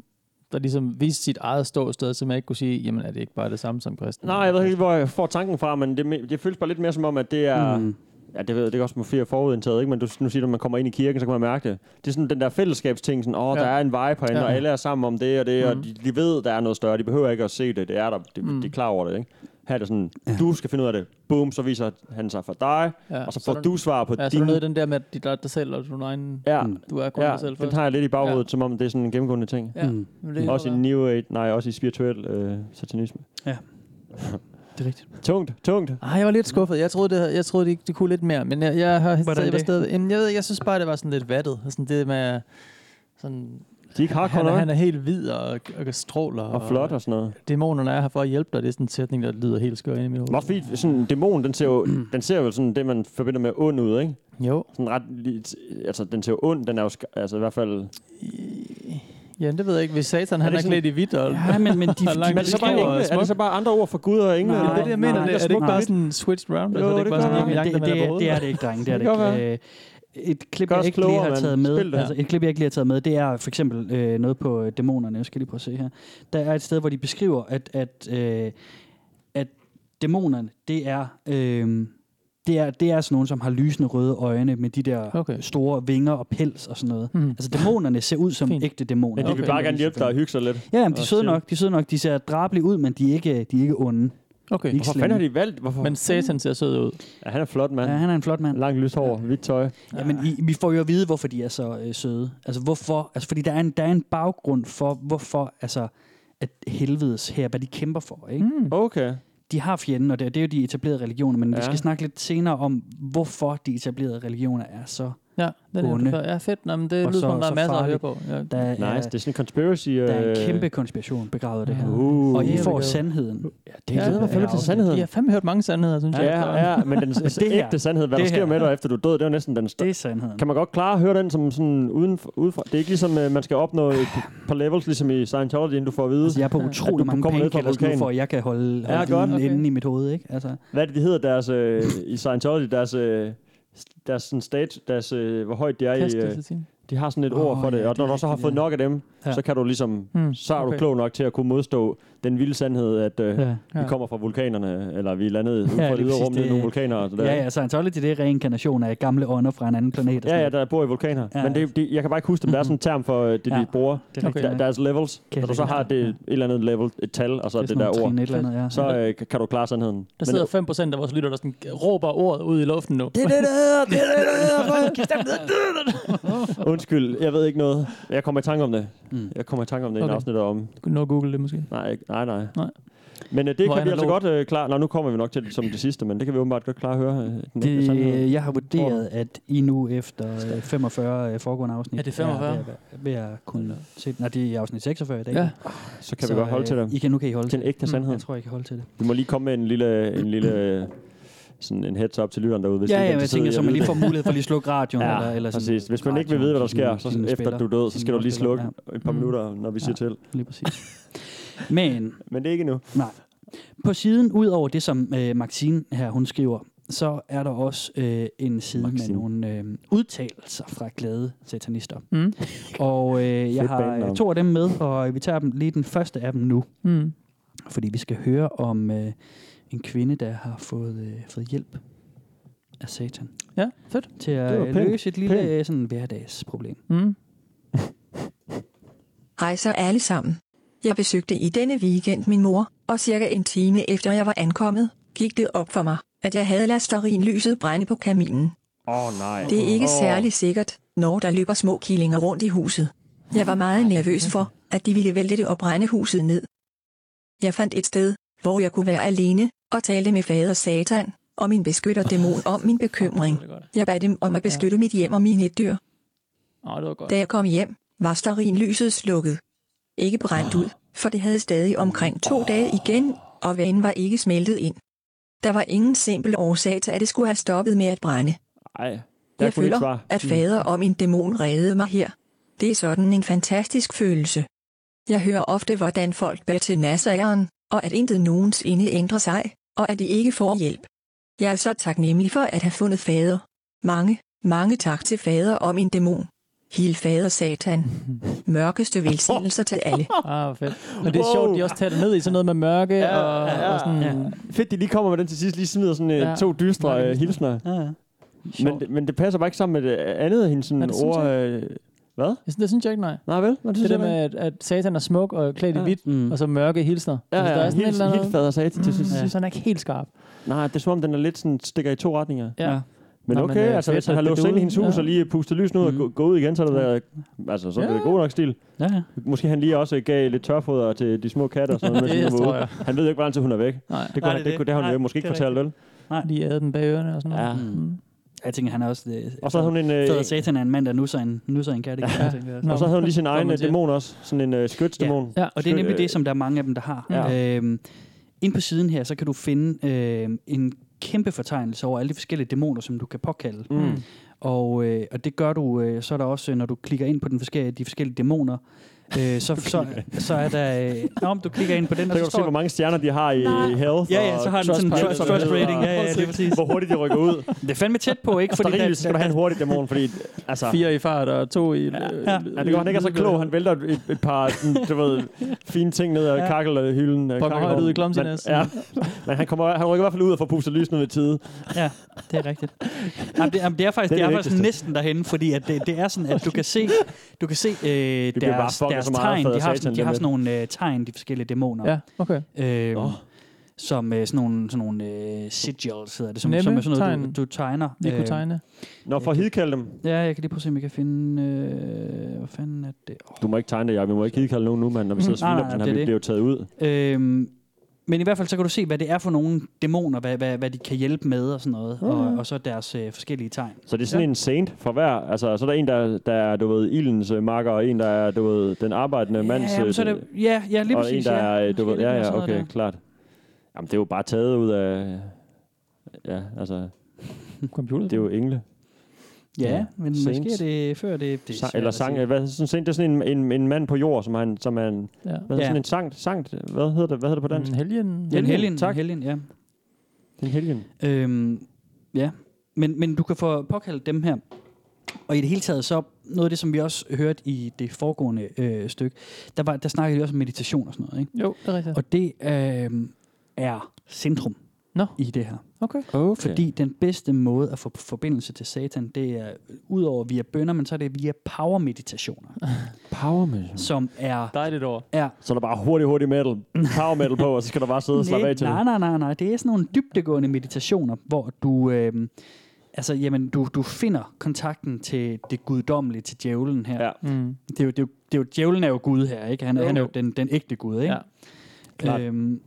der ligesom viste sit eget ståsted, som jeg ikke kunne sige, jamen er det ikke bare det samme som kristen?
Nej, jeg ved ikke, hvor jeg får tanken fra, men det, me- det føles bare lidt mere som om, at det er...
Mm.
Mm. Ja, det ved jeg, det er også måske forudindtaget, ikke? Men du, nu siger du, at man kommer ind i kirken, så kan man mærke det. Det er sådan den der fællesskabsting, sådan, åh, oh,
Ja.
ja. der er en vibe herinde,
Ja.
ja. og alle er sammen om det og det, mm. og de, de ved, der er noget større. De behøver ikke at se det, det er der, de, mm. de er klar over det, ikke? Her er det sådan, du skal finde ud af det. Boom, så viser han sig for dig,
Ja,
ja. og så
så
får
er der-
du svar på
Ja, så er
din...
du nede i Mm. den der med, at der er dig selv, og du er din egen,
ja,
du er kun
ja
dig selv
den
først.
har jeg lidt i baghovedet, ja. som om det er sådan en gennemgående ting.
Ja,
Mm.
men det kan
Også i
godt være.
New Age, nej, også i spirituel øh, satanisme. <laughs>
Det er rigtigt.
Tungt, tungt.
Ej, jeg var lidt skuffet. Jeg troede, det, havde- jeg troede, det, det kunne lidt mere, men jeg, jeg, har
Hvordan
jeg, var
det?
stadig, jamen, jeg, ved, ikke, jeg synes bare, det var Altså, sådan lidt vattet. Sådan det med sådan,
De er ikke hardcore
Han, er-
nok.
han er helt hvid og, og stråler.
Og flot og sådan noget.
Dæmonerne er her for at hjælpe dig. Det er sådan en sætning, der lyder helt skør ind i mit hoved.
Meget fint. Sådan en dæmon, den ser jo,
<clears throat>
den ser jo sådan det, man forbinder med ond ud, ikke?
Jo.
Sådan ret, lidt- altså, den ser jo ond, den er jo, sk- altså i hvert fald...
Ja, det ved jeg ikke. Hvis Satan
Er
han
det
er
sådan-
klædt i hvidt og...
Ja,
<laughs>
men, men de,
Og
de,
langt
Men er det, så
beskriver
bare engle, er
smukt.
det så bare andre ord for Gud og engle?
Nej,
eller
Det er det, jeg mener.
nej,
det, er det ikke bare sådan switched round? altså, det er ikke bare sådan, at
men
vi
det,
jagter
det,
med på
det, det er
hovedet.
det ikke, dreng. Det er
Det
det
kan
ikke. Øh, et klip,
Gør
jeg
os
ikke lige
klogere,
har
mand.
taget med,
Spil det.
altså, et klip, jeg ikke lige har taget med, det er for eksempel øh, noget på øh, dæmonerne. Jeg skal lige prøve at se her. Der er et sted, hvor de beskriver, at, at, øh, at dæmonerne, det er... Øh, det er, det er sådan nogen, som har lysende røde øjne med de der
Okay.
okay. store vinger og pels og sådan <laughs> noget.
Mhm.
Mm. Altså, dæmonerne ser ud som
Fint.
Fint. ægte dæmoner.
Men de vil
Okay.
bare gerne hjælpe dig og hygge sig lidt.
Ja, jamen, de er
Og
søde
chill.
nok. De er søde nok. De ser drabelige ud, men de er ikke, øh, de er ikke onde.
Okay.
Ikke
Hvorfor
slemme.
fanden har de valgt? Hvorfor?
Men Satan ser sød ud.
ja, han er flot, mand.
Ja, han er en flot mand.
Langt lyst hår, hvidt tøj.
Ja, men
Ah.
I, vi får jo at vide, hvorfor de er så øh, søde. Altså hvorfor? Altså fordi der er en, der er en baggrund for, hvorfor altså, at helvedes her, hvad de kæmper for. Ikke? Mm.
Okay.
De har fjenden, og det, det er jo de etablerede religioner, men ja.
Ja.
vi skal snakke lidt senere om, hvorfor de etablerede religioner er så.
Ja, den er
Onde.
før. Ja, fedt. Nå, men det
Og
lyder
så-
som, der er
så
masser at
farlig.
høre på. Ja.
Der er,
Nice, det er sådan en conspiracy.
der er en
øh,
kæmpe konspiration begravet i det her.
Uh.
Og I
Here we
får
go.
sandheden. Ja, det
glæder mig fandme
til sandheden.
Jeg har fandme hørt mange sandheder, synes jeg.
Ja, ja, men
<laughs>
den
det her-
ægte sandhed, hvad der
det
sker
her-
med dig efter du er død, det er jo næsten den
Det
største.
er sandheden.
Kan man godt klare at høre den som sådan uden, udefra? Det er ikke ligesom, øh, man skal opnå et par levels, ligesom i Scientology, inden du får at vide.
Altså, jeg er på
At du
utrolig mange
kommer ned fra
painkillers nu,
vulkanen.
for at jeg kan holde, holde
Ja,
ja,
godt.
godt, okay.
Okay.
inde i mit hoved. Ikke? Altså,
hvad er det, de hedder deres, øh, i Scientology, deres, øh, deres sådan stat, deres, øh, hvor højt de er i, øh, de har sådan et ord
Åh,
for det,
ja,
og
det
når
er
du så har
rigtigt,
fået
ja.
nok af dem,
Ja.
så kan du ligesom,
Hmm,
så er du
okay.
klog nok til at kunne modstå den vilde sandhed, at øh,
ja.
vi
Ja.
kommer fra vulkanerne, eller vi er landet uden
Ja,
for det
lige
ydre
præcis,
rum, nede i
det-
nogle vulkaner og sådan der.
Ja, ja, Scientology, det er reinkarnation af gamle ånder fra en anden planet. Og
Ja,
sådan
ja, der bor i vulkaner. Ja.
Ja.
Men det, det, jeg kan bare ikke huske, om der er sådan en term for øh, det, de
Ja.
bruger.
Det er rigtigt,
Der,
ja.
deres levels.
Kan
Når du
jeg
så
huske.
har det, et eller andet level, et tal, og så det,
Det er sådan
det der
nogle
ord,
trin, et eller andet, ja.
så øh, kan du klare sandheden.
Der sidder 5% af vores lytter, der sådan råber ordet ud i luften nu.
det er det, der hedder, det er det, der <laughs> hedder. Undskyld, jeg ved ikke noget. Jeg kommer i tanke om det.
Mm.
Jeg kommer i tanke om det i okay.
Okay.
en afsnit om.
Du kunne nå at google det måske.
Nej, ikke- nej, nej.
Nej.
Men øh, det
Hvor
kan vi altså
analogt.
godt øh, klare. Nå, nu kommer vi nok til det som det sidste, men det kan vi åbenbart godt klare at høre. Øh, den ægte sandhed.
Det, jeg har vurderet, at I nu efter øh, 45 øh, foregående afsnit...
Er det 45?
Er ved, at, være- ved at kunne se... Nej, det er afsnit 46 i dag.
Ja.
Så kan vi godt holde
øh,
til det.
I kan, nu kan I holde
Til
til
en ægte sandhed.
Jeg tror, I kan holde til det.
Vi må lige komme med en lille, en lille sådan en heads up til lytteren derude. Hvis
ja,
de
ja,
ikke er
men jeg
interesseret
tænker,
i
så
at
man
vide
lige
det. <laughs>
får mulighed for at lige at slukke radioen.
Ja,
eller, eller sådan,
præcis. Hvis man ikke vil vide, hvad der sker,
radioen,
så
sine
efter
spiller,
du er død, så
sine
skal du lige
afspillere.
slukke et par minutter, når vi siger til.
Ja, lige præcis. Men
Men det er ikke nu.
Nej. På siden, ud over det, som øh, Maxine her, hun skriver, så er der også øh, en side
Maxine.
Maxine. med nogle øh, udtalelser fra glade satanister.
Mm.
Og øh, jeg
Fedt
har øh,
bandnavn.
to af dem med, og vi tager dem lige den første af dem nu,
Mm.
fordi vi skal høre om øh, en kvinde, der har fået, øh, fået hjælp af satan
Ja, fedt.
til
Det var
at øh,
pænt.
løse et lille
Pænt.
øh, sådan, hverdagsproblem.
Mm.
Hej så alle sammen. Jeg besøgte i denne weekend min mor, og cirka en time efter jeg var ankommet, gik det op for mig, at jeg havde ladet stearinlyset brænde på kaminen.
Åh, oh, nej.
Det er ikke særlig sikkert, når der løber små killinger rundt i huset. Jeg var meget nervøs for, at de ville vælte det og brænde huset ned. Jeg fandt et sted, hvor jeg kunne være alene, og talte med fader Satan, og min beskytter dæmon om min bekymring.
Det var godt.
Jeg bad dem om at beskytte mit hjem og mine dyr.
Åh, det var godt.
Da jeg kom hjem, var stearinlyset slukket. Ikke brændt ud, for det havde stadig omkring to dage igen, og vanen var ikke smeltet ind. Der var ingen simpel årsag til, at det skulle have stoppet med at brænde.
Nej, der
Jeg
kunne ikke
føler,
svare.
at fader og min dæmon reddede mig her. Det er sådan en fantastisk følelse. Jeg hører ofte, hvordan folk beder til nassageren, og at intet nogensinde ændrer sig, og at de ikke får hjælp. Jeg er så taknemmelig for at have fundet fader. Mange, mange tak til fader og min dæmon. Hil fader
<laughs>
satan. Mørkeste velsignelser til alle.
Ah, hvor fedt. Men det er
Wow.
sjovt, de også tager det ned i sådan noget med mørke
Ja,
og,
ja,
og sådan...
ja. Fedt, de lige kommer med den til sidst, lige smider sådan øh,
Ja.
to dystre
Mange
øh, hilsner.
Ja, ja.
Men, det- men det passer bare ikke sammen med det øh, andet af hendes
Nej,
sådan
det synes
ord. Øh, hvad?
Jeg synes, det synes jeg ikke, nej.
Nej, vel? Hvad
Det
synes
der
jeg
med,
med?
at, at satan er smuk og klædt i
Ja.
hvidt,
Mm.
og så mørke hilsner.
Ja,
Altså, der
ja,
er sådan et
helt,
eller andet... Mm.
helt fader sagde til til sidst.
Ja. Så den er ikke helt skarp.
Nej, det er som om, den er lidt sådan, stikker i to retninger.
Ja.
Men
Nå,
okay,
men, øh,
altså
fedt,
hvis han
at
har
det
låst sig ind
derude-
i hendes hus
ja.
og lige øh, pustet lys nu og
Mhm.
gå- gå ud igen, så er det været, altså, så er det
Ja.
ja. god nok stil.
Ja, ja.
Måske han lige også gav lidt tørfoder til de små katter. og Sådan noget,
Det
mens hun
tror
var ude.
jeg.
Han ved jo ikke, hvor lang tid hun er
Nej,
væk. Det, kunne,
Nej,
han,
det er
det,
det.
kunne, det har hun
Nej,
jo måske
det
ikke
er
fortalt, vel?
lige æde den bag ørerne og sådan noget.
Ja.
Mm.
Jeg tænker, han er også... Øh,
Og så havde hun en, øh,
Fader Satan er en mand, der nusser en, nusser en kat. Ikke? Ja. Tænker, jeg.
Og så havde hun lige sin egen øh,
til.
dæmon også. Sådan en øh, skytsdæmon.
Ja, og det er nemlig det, som der er mange af dem, der har. Ja.
Ja.
Øhm, ind på siden her, så kan du finde øhm, en kæmpe fortegnelse over alle de forskellige dæmoner, som du kan påkalde.
Mm.
Og, øh, og det gør du, øh, så er der også, øh, når du klikker ind på den forskellige, de forskellige dæmoner, øh, så, så, så er der... Øh, nå, om du klikker ind på den, og
Så
så
kan du se, hvor
står...
mange stjerner de har i øh,
Nej.
health.
Ja, ja,
og
så har den sådan en
trustpilot
trust,
og
trust
så videre.
rating. Ja, ja, det er præcis.
Hvor hurtigt de rykker ud.
Det er fandme tæt på,
<laughs>
ikke?
Fordi
der-
der, skal du have en hurtig dæmon, fordi... Altså,
Fire i fart og to i... Ja,
Ja, det går han ikke er så klog. Han vælter et, et par sådan, du ved, fine ting ned af
Ja.
ja. kakkelhylden. øh,
Pokker højt
kakkelvognen.
ud i clumsiness.
Men, ja. Men han, kommer, han rykker i hvert fald ud og får pustet lysene ved tide.
Ja, det er
<laughs>
rigtigt. Jamen, det, jamen, det er faktisk,
Det
det
er
er
det
faktisk næsten derhen, fordi at det, det er sådan, at du kan se, du kan se øh,
bliver bare
deres,
fucket
deres
så meget af
tegn. De har,
Fader Satan
sådan, de
lige
har
om
sådan nogle øh, tegn, de forskellige dæmoner.
Ja, okay.
Ja. Øh,
Nå.
Som øh, sådan nogle, sådan nogle øh, sigils hedder det, som,
Nemme
som er sådan noget,
tegn.
du, du tegner. øhm,
Lige
Øhm,
kunne tegne.
Nå, for at hidkalde dem.
Ja, jeg kan lige prøve at se, om jeg kan finde... Øh, hvad fanden er det? Oh.
Du må ikke tegne det, Jacob. Vi må ikke hidkalde nogen nu, mand. Når vi sidder og
Nej,
sviner
nej,
på den
det
her,
er det.
vi bliver jo taget ud.
Øhm, men i hvert fald så kan du se, hvad det er for nogle dæmoner, hvad, hvad, hvad de kan hjælpe med og sådan noget, mm. og, og så deres øh, forskellige tegn.
Så det er sådan ja. en saint for hver. Altså, så er der en, der, der er, du ved, ildens øh, makker, og en, der er, du ved, den arbejdende mands...
ja, men
øh,
så er det, ja, ja, lige
og
præcis.
en, der
ja.
er, øh, du
Måske
ved,
lidt
ja,
mere
ja,
sådan noget
okay,
der.
klart. Jamen, det er jo bare taget ud af... Ja, altså,
Computer.
det er jo engle.
Ja,
Ja,
men
sent.
måske er det før det... det er
Sang,
svært
eller
at
sang,
sige.
øh, hvad, sådan, det er sådan en, en, en mand på jord, som han, som han
Ja.
hvad
Ja.
ja. sådan en sankt, sankt, hvad hedder det, hvad hedder det på dansk?
Mm, helgen.
Ja, en helgen, tak.
øh, tak.
helgen, ja. Mm.
Den helgen.
Øhm, ja, men, men du kan få påkaldt dem her. Og i det hele taget så, noget af det, som vi også hørte i det foregående øh, stykke, der, var, der snakkede vi også om meditation og sådan noget, ikke?
Jo, det er rigtigt.
Og det øh, er centrum
Nå.
i det her.
Okay.
Okay.
Fordi den bedste måde at få forbindelse til satan, det er øh, udover via bønder, men så er det via power meditationer,
Power metal.
som er...
Dejligt år.
er
Så er der bare hurtig, hurtig metal, power metal på, og så skal der bare sidde og slappe
nej,
af til
nej,
det.
nej, nej, nej. Det er sådan nogle dybdegående meditationer, hvor du, øh, altså, jamen, du, du finder kontakten til det guddommelige, til djævlen her.
Ja.
Mm.
Det er jo, det er jo, det er jo, djævlen er jo Gud her, ikke? Han, er-
Jo,
han er jo
jo.
den, den ægte Gud, ikke?
Ja, klart.
Øhm,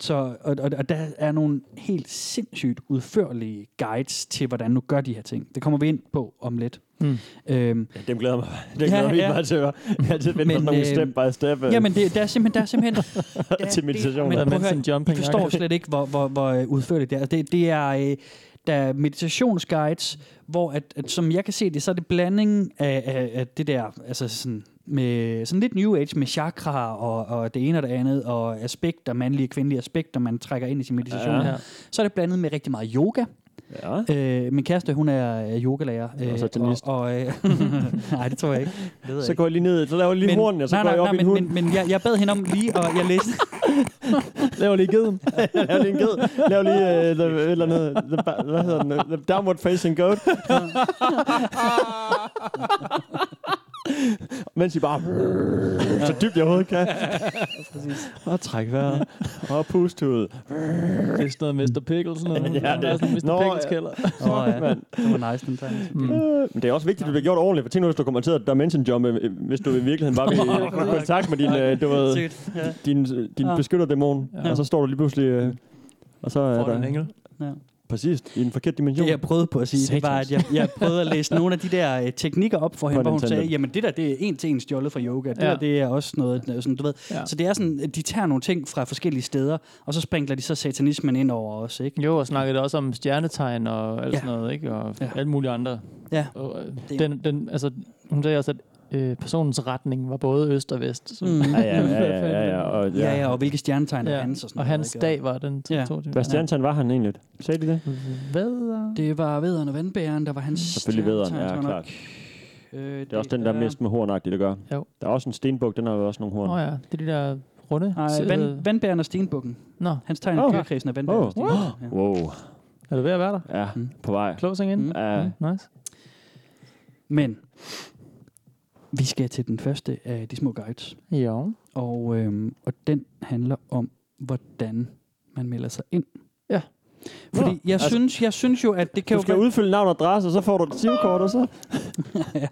så, og, og, og der er nogle helt sindssygt udførlige guides til, hvordan du gør de her ting. Det kommer vi ind på om lidt.
Mm.
Øhm,
Ja, dem glæder mig. Dem
Ja,
glæder mig
ja.
ja. meget til at høre. Jeg har altid ventet på
Men,
sådan nogle
øh,
step by step. øh,
jamen, det, der er simpelthen... Der er simpelthen der,
Til meditation.
Det,
Der
men
er
prøv at høre,
mindst en jumping.
I forstår slet ikke, hvor, hvor, hvor øh, udførligt det er. Det, det er, øh, der er meditationsguides, hvor, at, at, som jeg kan se det, så er det blanding af, af, af det der, altså sådan, med sådan lidt New Age med chakra og, og det ene og det andet, og aspekter, mandlige og kvindelige aspekter, man trækker ind i sin meditation.
Ja.
Ja. Så er det blandet med rigtig meget yoga.
Ja.
Øh, min kæreste, hun er øh, yogalærer. Øh,
Og så tennis.
Og, og, øh, <laughs> nej, det tror jeg ikke. Det ved jeg
Så
ikke.
går jeg lige ned, så laver jeg lige
Men-
hornene, og så
nej,
går
nej,
jeg op
nej,
i
men,
en hund.
men, men jeg, jeg bad hende om lige, og jeg
<laughs>
læste,
Laver lige geden.
Lav lige en ged. Lav lige øh, the, et eller andet, the, ba- hvad hedder den? The downward facing goat. <laughs> Mens I bare... Så dybt jeg overhovedet kan. Og træk vejret. Og pust ud.
Det er sådan noget Mr. Pickles. Noget.
Ja, det-
Der er sådan Mr.
Nå,
Pickles
ja. <laughs> Mm.
kælder.
Åh oh, ja, det var nice den tegn.
Men det er også vigtigt, at det bliver gjort ordentligt, for tænk nu, hvis du kommer til at dimension jump, øh, hvis du i virkeligheden
<laughs>
var ved i kontakt med din, øh, du ved,
Sygt. Ja.
din, din
Ja.
beskytterdæmon,
Ja.
og så står du lige pludselig, øh, og så er
Får du en
der
engel?
præcis i en forkert dimension.
Det jeg prøvede på at sige, det var, at jeg, jeg prøvede at læse nogle af de der øh, teknikker op for hende,
På
hvor hun
Nintendo.
sagde, jamen det der, det er en til en stjålet fra yoga, det
Ja.
der, det er også noget, sådan, du ved.
Ja.
Så det er sådan, at de tager nogle ting fra forskellige steder, og så sprinkler de så satanismen ind over os, ikke?
Jo, og snakkede også om stjernetegn og alt
Ja.
ja. sådan noget, ikke? Og
Ja.
ja. alle mulige andre.
Ja.
Og, øh,
Det-
den, den, altså, hun sagde også, at øh, personens retning var både øst og vest. Så,
Mm. <laughs>
Ja, ja, ja, ja, ja, ja, og,
Ja, ja, og hvilke stjernetegn er
ja.
hans og sådan
og
noget,
hans
ikke?
dag var den
Ja.
22.
Hvad stjernetegn var han egentlig? Sagde de det?
Hvad?
Det var vederen og vandbæreren, der var hans
Selvfølgelig vederen,
stjernetegn,
ja,
tror jeg nok.
klart.
Øh,
Det er også den, der er mest med hornagtigt, der gør.
Jo.
Der er også en stenbuk, den har jo også nogle horn.
Nå ja, det er de der runde.
Nej,
øh,
vand, vandbæren og stenbukken.
Nå,
Hans tegn er
Oh.
dyrkredsen af vandbæren
Oh.
og stenbukken. Ja.
Wow.
er du ved at være der?
Ja,
Mm.
på vej.
Closing in?
Mm.
Ja.
Mm. Nice.
Men vi skal til den første af de små guides,
Jo.
og, øhm, og den handler om, hvordan man melder sig ind.
Ja.
Fordi
Nå,
jeg, altså,
altså-
synes, jeg synes jo, at det kan
Du
jo
skal
<laughs>
udfylde navn og adresse, og så får du et SIM-kort, og så,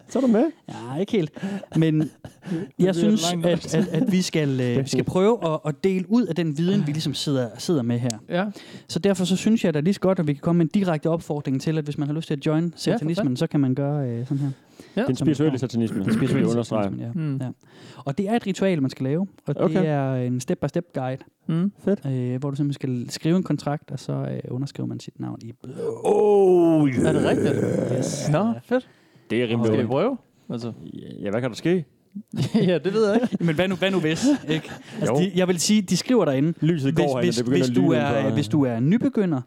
så er du med.
Ja, ikke helt. Men
bliver
jeg synes,
langt.
at, at, at vi skal, øh, skal prøve at, at dele ud af den viden, vi ligesom sidder, sidder med her.
Ja.
Så derfor så synes jeg da lige så godt, at vi kan komme med en direkte opfordring til, at hvis man har lyst til at join satanismen, ja, så kan man gøre øh, sådan her.
Ja.
Den spirituelle satanisme, det vil jeg understrege.
Ja.
Mm.
Ja. Og det er et ritual, man skal lave, og
Okay.
det er en step-by-step guide,
Mm.
øh, hvor du simpelthen skal skrive en kontrakt, og så øh, underskriver man sit navn i blå.
Oh,
Er det rigtigt?
Yes.
Nå, fedt.
Det er rimelig
Skal vi
ondt.
prøve? Altså.
Ja, hvad kan der ske?
<laughs> ja, det ved jeg ikke.
Men hvad nu, hvad nu
<laughs>
hvis? Ikke? Altså,
Jo.
de, jeg vil sige, de skriver derinde,
Lyset går herinde,
hvis,
det
hvis,
begynder
hvis,
at
du
lyne.
er, hvis du er nybegynder,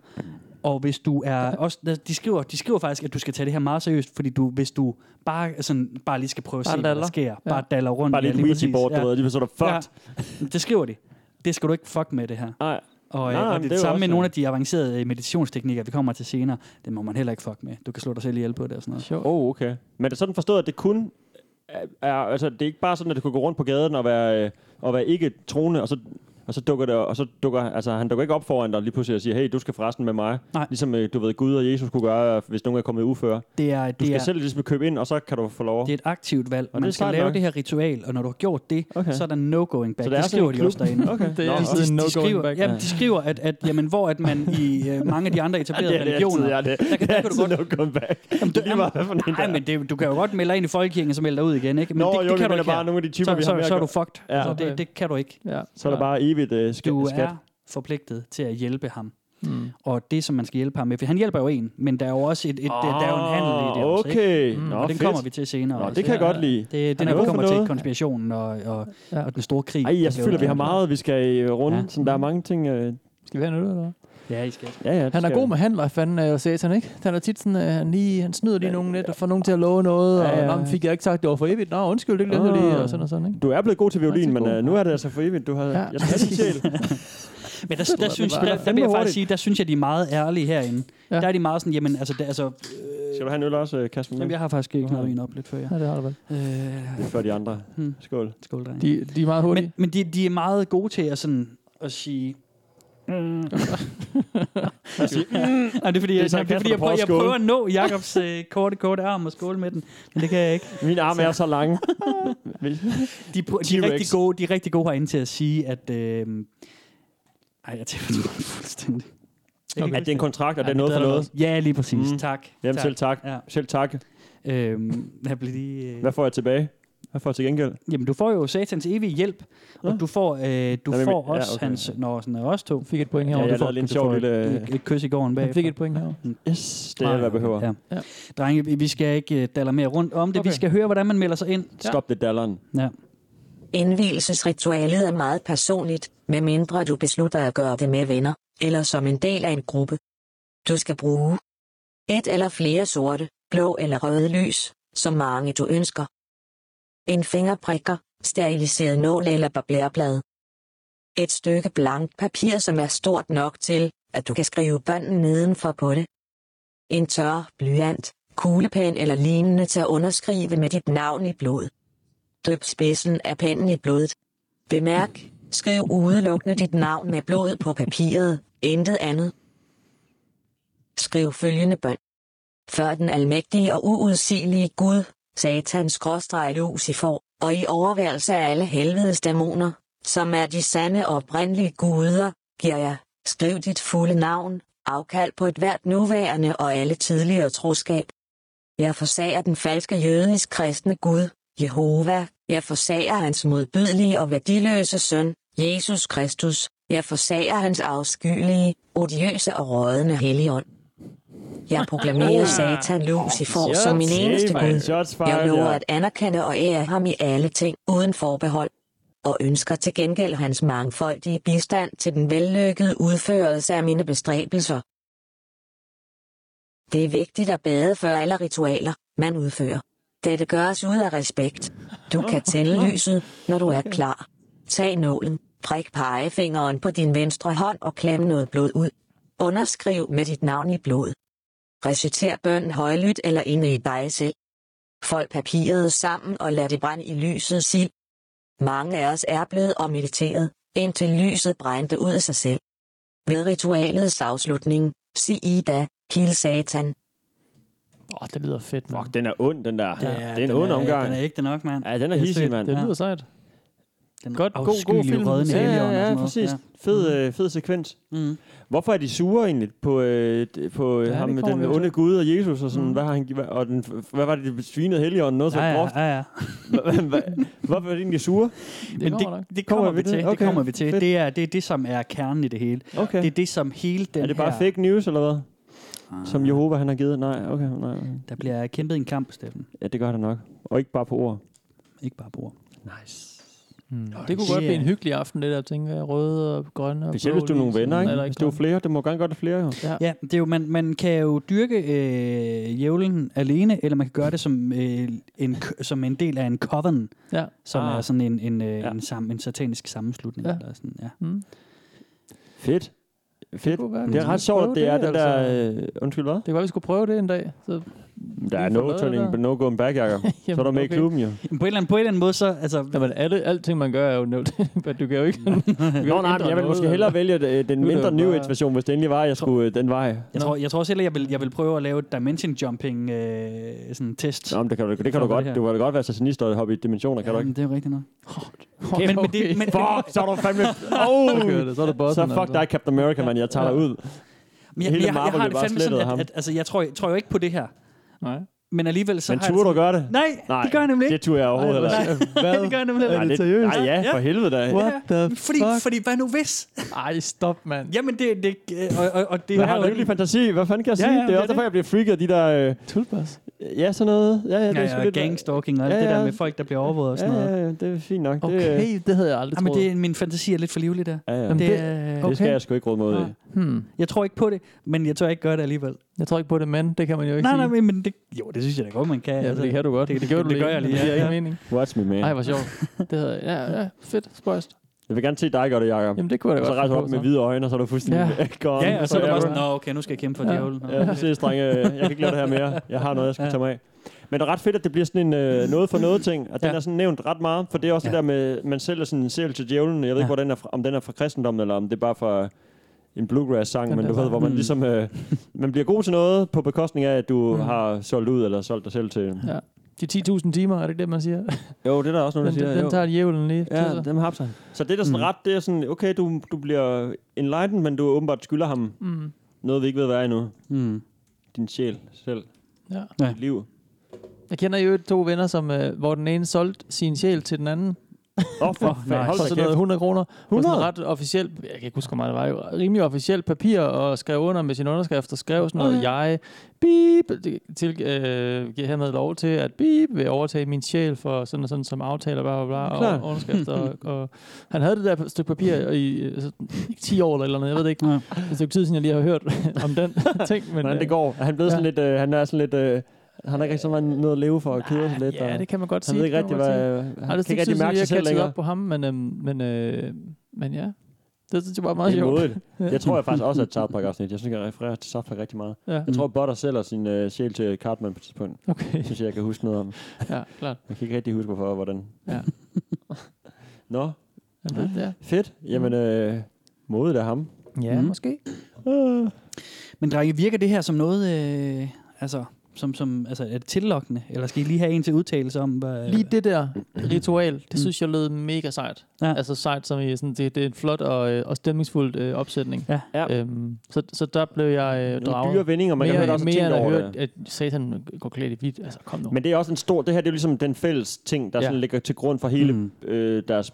og hvis du er også, de skriver, de skriver faktisk, at du skal tage det her meget seriøst, fordi du, hvis du bare, sådan, bare lige skal prøve at
Bare
se, hvad
daller.
der sker, bare daller rundt.
Bare lige
ja,
et Ouija
præcis.
board, du ved, lige så er der fucked.
Ja, det skriver de. Det skal du ikke fuck med, det her.
Nej.
Og,
Nej,
Nej, og
men
det,
det er
det
jo
samme
også
med
en-
nogle af de avancerede øh, meditationsteknikker, vi kommer til senere. Det må man heller ikke fuck med. Du kan slå dig selv ihjel på det og sådan noget.
Sjovt.
Oh, okay. Men er det sådan forstået, at det kun er, er, altså, det er ikke bare sådan, at det kunne gå rundt på gaden og være, øh, og være ikke troende, og så, og så dukker det, og så dukker, altså han dukker ikke op foran dig lige pludselig og siger, hey, du skal forresten med mig.
Nej.
Ligesom, øh, du ved, Gud og Jesus kunne gøre, hvis nogen er kommet i uføre.
Det er,
Du
det
skal
er,
selv ligesom købe ind, og så kan du få lov.
det er et aktivt valg.
Og
Og
det er
man skal
sejt
lave
nok.
det her ritual, og når du har gjort det,
Okay.
okay. så er der no going back.
så
Så
det
det,
er
det skriver
sådan en
de
klub.
også
<laughs>
derinde.
Okay.
Det er
Nå,
altid
også-
en no
de
going
skriver,
back.
jamen, de skriver at, at jamen, hvor at man i øh, mange af de andre etablerede
Ja, det er
religioner...
altid, ja, det,
der kan,
det er
der kan du
altid
godt,
no going back. Jamen, det er lige meget, hvad for en der
nej,
er.
men det, du kan jo godt melde dig ind i folkekirken, og så melde dig ud igen, ikke? Men
Nå,
det,
jo,
det kan du
men det er
ikke
bare
her.
nogle af de typer,
så,
vi har
så,
med at
så er
gøre.
du fucked.
Ja.
Ja. Så det, det kan du ikke.
Ja.
Så er der bare evigt øh, skat.
Du
skat.
er forpligtet til at hjælpe ham.
Mm.
Og det, som man skal hjælpe ham med, for han hjælper jo en, men der er jo også et, et, oh, der er jo en handel i det
Ah,
også, ikke?
Okay.
Mm,
Nå,
og den
fedt.
kommer vi til senere.
Nå,
også.
det kan jeg godt lide.
det, det
Han er
når vi
god for
kommer til
noget.
konspirationen og, og,
Ja.
og den store krig.
Ej,
der
jeg
blev
føler, vi har
udkæmpet.
meget, vi skal øh, runde. Ja.
Ja.
Sådan, der er mange ting. Øh, ja,
Skal vi have en øl, eller hvad?
Ja, I skal.
ja, det
Han er
skal
god
vi.
med handler, fanden er jo satan, ikke? Han er tit sådan, at han, lige, han snyder lige nogen lidt og får nogen til at love noget,
Ja,
og
ja.
ja, fik jeg ikke sagt, det var for evigt. Nå, undskyld, det glemte jeg lige,
Ah.
og sådan og sådan, ikke?
Du er blevet god til violin,
Rigtig
men
god.
øh, nu er det altså for evigt. Du har, ja.
Ja.
Jeg skal have
<laughs>
din
Øh.
sjæl.
Men der, der, der, synes,
var-
der, der,
fandme
vil jeg
hurtigt.
faktisk sige, der synes jeg, de er meget ærlige herinde.
Ja.
Ja. Der er de meget sådan, jamen altså, der, altså
Skal du have en øl også, øh, Kasper?
jamen,
Jamen,
jeg har faktisk ikke noget en op lidt før jeg.
Ja, det har du vel.
Øh,
Før de andre.
Hmm.
Skål.
skål, drenge.
De, de er meget hurtige.
Men, men de, de er meget gode til at, sådan, at sige... Mm. <laughs> Nej, det er fordi,
Mm. Det er
jeg, det
så
er, fordi jeg,
Kasper, der prøver
prøver,
at
jeg
skåle.
prøver at nå Jakobs øh, korte, korte arm og skåle med den, men det kan jeg ikke.
Min arm er så
<laughs>
lang.
De, de,
T-Rex.
de, er rigtig gode, de er rigtig gode herinde til at sige, at... Øh, ej, jeg tæller den fuldstændig. Jeg kan ikke
At det er en kontrakt, og det
Ja,
er noget for
driller
noget.
os. Ja, lige præcis.
Mm.
Mm. Tak.
Jamen, selv tak.
Ja.
Selv tak.
Øhm, <laughs> jeg blev lige, øh...
Hvad får jeg tilbage? Hvad får jeg til gengæld?
Jamen, du får jo satans evige hjælp,
Nå.
og du får, øh, du
Nå, men-
får
ja,
også okay.
okay.
hans... Nå, sådan er også to.
Du fik et point
Ja,
herovre.
jeg
du får,
lavede lige en
du
sjov
får
lille-
et, et kys i gården
Han
bag.
fik et point herovre.
Yes, det er, hvad jeg behøver.
Ja.
Ja.
Ja. Drenge, vi- vi skal ikke øh, dalle mere rundt om det. Okay.
Okay.
Vi skal høre, hvordan man melder sig ind.
Stop det dalleren.
Ja.
Indvielsesritualet er meget personligt, medmindre du beslutter at gøre det med venner, eller som en del af en gruppe. Du skal bruge et eller flere sorte, blå eller røde lys, så mange du ønsker. En fingerprikker, steriliseret nål eller barberblad. Et stykke blankt papir, som er stort nok til, at du kan skrive bønden nedenfor på det. En tør blyant, kuglepen eller lignende til at underskrive med dit navn i blod. Døb spidsen af pennen i blodet. Bemærk, skriv udelukkende dit navn med blod på papiret, intet andet. Skriv følgende bøn. Før den almægtige og uudsigelige Gud, satans skråstreg Lucifer, og i overværelse af alle helvedes dæmoner, som er de sande og oprindelige guder, giver jeg, skriv dit fulde navn, afkald på et hvert nuværende og alle tidligere troskab. Jeg forsager den falske jødisk kristne Gud, Jehova. Jeg forsager hans modbydelige og værdiløse søn, Jesus Kristus. Jeg forsager hans afskyelige, odiøse og rådende helligånd. Jeg proklamerer Satan Lucifer som min eneste Gud.
Shots
Jeg
fired,
lover
ja.
at anerkende og ære ham i alle ting uden forbehold, og ønsker til gengæld hans mangfoldige bistand til den vellykkede udførelse af mine bestræbelser. Det er vigtigt at bade for alle ritualer, man udfører. Dette gøres ud af respekt. Du kan tænde lyset, når du er klar. Tag nålen, prik pegefingeren på din venstre hånd og klem noget blod ud. Underskriv med dit navn i blod. Reciter bøn højlydt eller inde i dig selv. Fold papiret sammen og lad det brænde i lyset sild. Mange af os er blevet og mediteret, indtil lyset brændte ud af sig selv. Ved ritualets afslutning, sig I da, Kiel Satan.
Åh, oh, det lyder fedt, mand.
Mm. Fuck, den er ond, den der.
Ja,
Ja, det er en
den
ond
er-
omgang.
den er ægte nok, mand.
Ja, den er
Jeg
hissig,
ser-
mand.
Det
Ja.
lyder sejt.
Den
Godt, god- god
afskyelige
film.
rødne
Ja,
alien og
ja,
sådan
ja,
noget.
præcis.
Ja. Mhm.
Fed, øh, fed sekvens.
Mm.
Hvorfor er de sure egentlig på, øh, d- på
Ja,
ja, ham
det
med
kommer
den
vi jo til.
onde gud og Jesus og sådan, mm. hvad har han gi- hva- og den, hvad var det, de svinede Helligånden, noget så
Ja,
ja, groft.
ja, ja, ja.
Hvorfor er de egentlig sure?
Det
Men
kommer nok.
det, det kommer vi til. Det
Okay,
kommer vi til.
fedt.
Det er det, er det, som er kernen i det hele.
Okay.
Det er det, som hele den
er det bare
her... Ah,
fake news, eller hvad? Som
Ah.
Jehova, han har givet? Nej, okay, nej. okay.
Der bliver kæmpet en kamp, Steffen.
Ja, det gør han nok. Og ikke bare på ord.
Ikke bare bror.
Nice.
Det kunne godt
det
blive en
er-
hyggelig aften, det der, tænker jeg. Røde og grønne og
Specielt
blå
hvis du er nogle
lys,
venner,
eller
ikke? Hvis du er
grønne.
flere, det må gerne gøre det flere, jo.
Ja, det er jo, man, man kan jo dyrke øh, jævlen alene, eller man kan gøre det som, øh, en, k- som en del af en coven,
Ja.
som
Ah.
ah. er sådan en, en, øh, ja.
Ja.
en, sam, en satanisk sammenslutning.
Ja.
Ja. Eller sådan, ja.
Mm.
Fedt. Fedt.
kunne være,
Det
vi
er
skulle
ret sjovt,
prøve
at det er
det, altså.
den der... Øh, undskyld, hvad?
Det kan være, vi skulle prøve det en dag. Så
Der er
Lige
no
forlader
turning,
der.
but no going back, Jacob. Så er
<laughs> Jamen,
du med i
okay.
klubben, jo.
Men På, en eller anden, på en eller anden måde, så... Altså,
Jamen, alle, alting, man gør, er jo nødt <laughs> Men du kan jo ikke... du kan jo
Nå,
ikke
nej,
ændre
men jeg vil
noget,
måske hellere vælge øh, den
Nu er det
mindre
jo
New
bare-
Age version, hvis det endelig var, jeg skulle øh, den vej.
jeg, tror, jeg tror også heller, jeg vil, jeg vil prøve at lave et dimension jumping øh, sådan test.
Nå, men det kan du, det kan du
Sådan
godt.
her.
Du kan da godt være satanist og hoppe i dimensioner, kan
<laughs>
du
Jamen,
ikke?
det er jo rigtigt nok.
<laughs> Okay,
Men, men,
<laughs>
det, men,
Fuck, så er du fandme... <laughs>
Så kører
Oh!
det, så er det bossen. altså.
Så fuck dig, Captain America, man. Jeg tager dig ud.
men jeg,
Hele
jeg, jeg,
Marvel
jeg har
blev
det
bare
fandme
slettet af
sådan,
ham.
at, at altså, jeg tror, jeg tror jo ikke på det her.
Nej.
Men alligevel så
Men
har
turde du
jeg...
gøre det?
Nej, Nej, det gør jeg nemlig ikke.
Det turde jeg overhovedet heller ikke.
<laughs> Hvad?
det gør jeg nemlig heller
Nej,
ikke.
det- Nej, ja, for helvede da.
What the
Fordi,
fuck?
fordi hvad nu hvis?
Ej, stop, mand.
Jamen, det, det, øh, og, og, og det
Jeg
er
har
jo...
en lykkelig fantasi. Hvad fanden kan jeg
Ja,
sige?
ja,
det
det
er
er
også derfor,
det.
jeg bliver freaket af de der... øh,
Tulpas.
Ja, sådan noget. Ja, ja, det er sgu
Ja, ja,
lidt...
gangstalking og alt
Ja,
ja, ja. det
ja.
der med folk, der bliver overvåget og
Ja,
sådan noget.
ja, ja, det er fint nok. Det, øh,
Okay, det havde jeg aldrig
Ja, Ah, men
troet.
det, min fantasi er lidt for livlig der.
Ja, ja.
Jamen,
Det,
det-
øh,
Det skal
Okay.
jeg sgu ikke råde mod.
Nej.
Hmm.
Jeg tror ikke på det, men jeg tør ikke gøre det alligevel.
Jeg tror ikke på det, men det kan man jo ikke
Nej,
sige.
nej, men- men det, jo, det synes jeg da godt, man kan. altså.
Ja, men det kan du godt.
det- det-
gjorde
det
du lige,
gør jeg
men
lige,
Det giver
ja,
ikke mening.
Watch me, man.
Ej, hvor sjovt. Det havde jeg. Ja, ja, fedt. Spøjst.
Jeg vil gerne se dig gøre det, Jacob.
Jamen, det kunne jeg da godt.
Og så rejser du
finde
op
på,
med
så.
hvide øjne, og så er du fuldstændig
Ja.
gone.
Ja, og så er det
Forever.
bare sådan, nå, okay, nu skal jeg kæmpe for
Ja.
djævlen.
Ja, præcis, drenge. Jeg kan ikke lade det her mere. Jeg har noget, jeg skal tage mig af. Men det er ret fedt, at det bliver sådan en
Mm.
øh, noget for noget ting, og den
Ja.
er sådan nævnt ret meget, for det er også ja.
Ja.
det der med, man sælger sådan en sæl til djævlen. Jeg ved ikke,
Ja.
hvor den er fra, om den er fra kristendommen, eller om det er bare fra en bluegrass-sang,
Den
men
der
du ved,
sang.
hvor man
Mm.
ligesom, øh, man bliver god til noget på bekostning af, at du
Mm.
har solgt ud, eller solgt dig selv til.
Ja. De 10.000 timer, er det ikke det, man siger?
Jo, det er der også
Den,
nogen, der siger.
den, den
jo.
tager djævlen lige. til
Ja,
sig.
dem hapser han. Så det er da sådan
Mm.
ret, det er sådan, okay, du, du bliver enlightened, men du åbenbart skylder ham
Mm.
noget, vi ikke ved, hvad er endnu.
Mm.
Din sjæl selv.
Ja.
Ja.
Dit liv.
Jeg kender jo to venner, som, øh, hvor den ene solgte sin sjæl til den anden
Åh, oh, for
Åh,
fanden,
nej.
hold
for
da
sådan noget
kæft.
100 kroner. 100?
100?
Sådan ret officielt, jeg kan ikke huske, hvor meget det var, jo rimelig officielt papir, og skrev under med sin underskrift, og skrev sådan noget, jeg beep, det- til, øh, giver hermed lov til, at beep vil overtage min sjæl for sådan og sådan som aftaler, bla, bla, bla,
Klart.
og underskrifter.
<laughs>
og, og, han havde det der stykke papir i øh, så- i 10 år eller et eller andet, jeg ved det ikke.
Ja.
Det er et stykke tid siden, jeg lige har hørt <laughs> om den ting. Men,
Hvordan det
øh,
går. Han, blev sådan
Ja.
lidt, øh, han er sådan lidt... Øh, han har ikke rigtig så meget noget at leve for og keder sig lidt.
Ja,
og
det kan man godt sige.
han ved ikke
det kan
rigtig,
man godt sige.
hvad...
Nej,
Han
det
kan
er
ikke rigtig
ikke
mærke
mærke
sig selv
Jeg
længere.
op på ham, men, øhm, men, øh, men ja. Det synes jeg bare er meget
Det er
sjovt.
modigt. Jeg tror jeg faktisk også er et South Park afsnit. Jeg synes, jeg refererer til South Park rigtig meget.
Ja,
Jeg tror, Butter sælger sin øh, sjæl til Cartman på et tidspunkt.
okay.
<laughs> Det synes jeg, jeg kan huske noget om.
Ja, klart.
Jeg kan ikke rigtig huske, hvorfor og hvordan.
Ja.
Nå,
Jamen, ja,
fedt. Jamen,
Mm.
øh, modet af ham.
ja
Mm.
måske.
Men drenge, virker det her som noget, øh, altså, som, som, altså, er det tillokkende? Eller skal I lige have en til udtalelse om, hvad...
Lige det der ritual,
Mm.
det synes jeg lød mega sejt.
Ja.
Altså sejt, som i sådan, det, det er en flot og, øh, og stemningsfuld øh, opsætning.
Ja. Mm.
Ja.
Øhm, så, så der blev jeg øh,
Nogle
draget.
dyre vendinger, man kan høre, der også
mere,
har
mere
tænkt
end at
over
høre,
det.
at satan går klædt i hvidt. Altså, kom nu.
Men det er også en stor... Det her det er jo ligesom den fælles ting, der
Ja.
ja. sådan ligger til grund for hele
Mm.
mm. øh, deres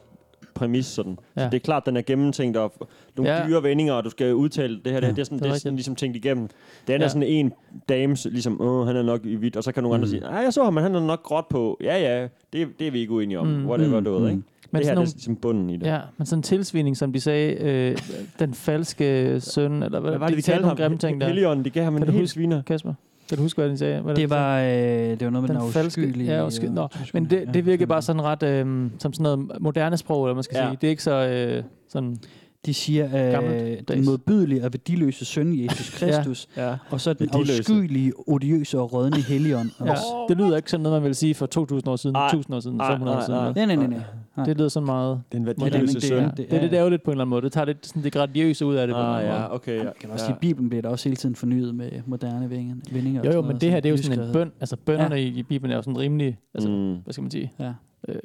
præmis. Sådan. Ja.
Ja.
Så det er klart, den er gennemtænkt og f- nogle
Ja.
ja. dyre vendinger, og du skal udtale det her. Det, her,
Ja,
det er sådan,
det er
det er sådan
rigtigt.
ligesom tænkt igennem. Den
Ja. Mm.
er sådan en dame, så ligesom, åh, han er nok i hvidt, og så kan nogle andre sige, nej, jeg så ham, men han er nok gråt på. Ja, ja, det, det er vi ikke uenige om.
Mm.
Mm. Whatever,
Mm.
du ved, ikke? Men det
sådan
her nogle...
nogle-
det er ligesom bunden i det.
Ja, men sådan en tilsvining, som de sagde, øh, den falske søn, eller hvad,
Hvad var det, de
talte
kaldte ham?
nogle grimme ting der.
Helion, de gav ham
Kan
en
du
helt
huske?
sviner.
Kasper, kan du huske, hvad de sagde? Hvad
Det var, øh, det var noget med den,
den falske...
afskyelige...
Ja, uskyldig. Nå,
øh,
men det, det
ja,
virker bare sådan ret øh, som sådan noget moderne sprog, eller man skal
Ja.
ja. sige. Det er ikke så øh, sådan...
De siger, øh,
Gammelt
den
dags.
modbydelige og værdiløse søn, Jesus Kristus,
<laughs> Ja.
og så den
Værdiløse.
afskyelige, odiøse og rødne helion.
Ja. Det lyder ikke sådan noget, man ville sige for 2.000 år siden,
Ej,
1.000 år siden,
ej,
500 år
ej,
siden.
ej.
vel?
Nej, nej, nej, nej. Nej.
Det lyder sådan meget...
Den
Ja, det er-
værdiløse
men det
søn.
er-
Ja,
det
det er lidt ærgerligt på en eller anden måde. Det tager lidt sådan det gradiøse ud af det. på en eller
Ah,
anden måde.
ja, okay. Ja.
Man kan også sige, at Bibelen bliver da også hele tiden fornyet med moderne vinger- vendinger. og
Jo, jo,
sådan
men
noget,
det her, det er jo sådan en
nysgerrighed.
bøn. Altså, bønderne ja. i Bibelen er jo sådan rimelig... Altså, mm.
mm.
hvad skal man sige?
Ja.
Øh,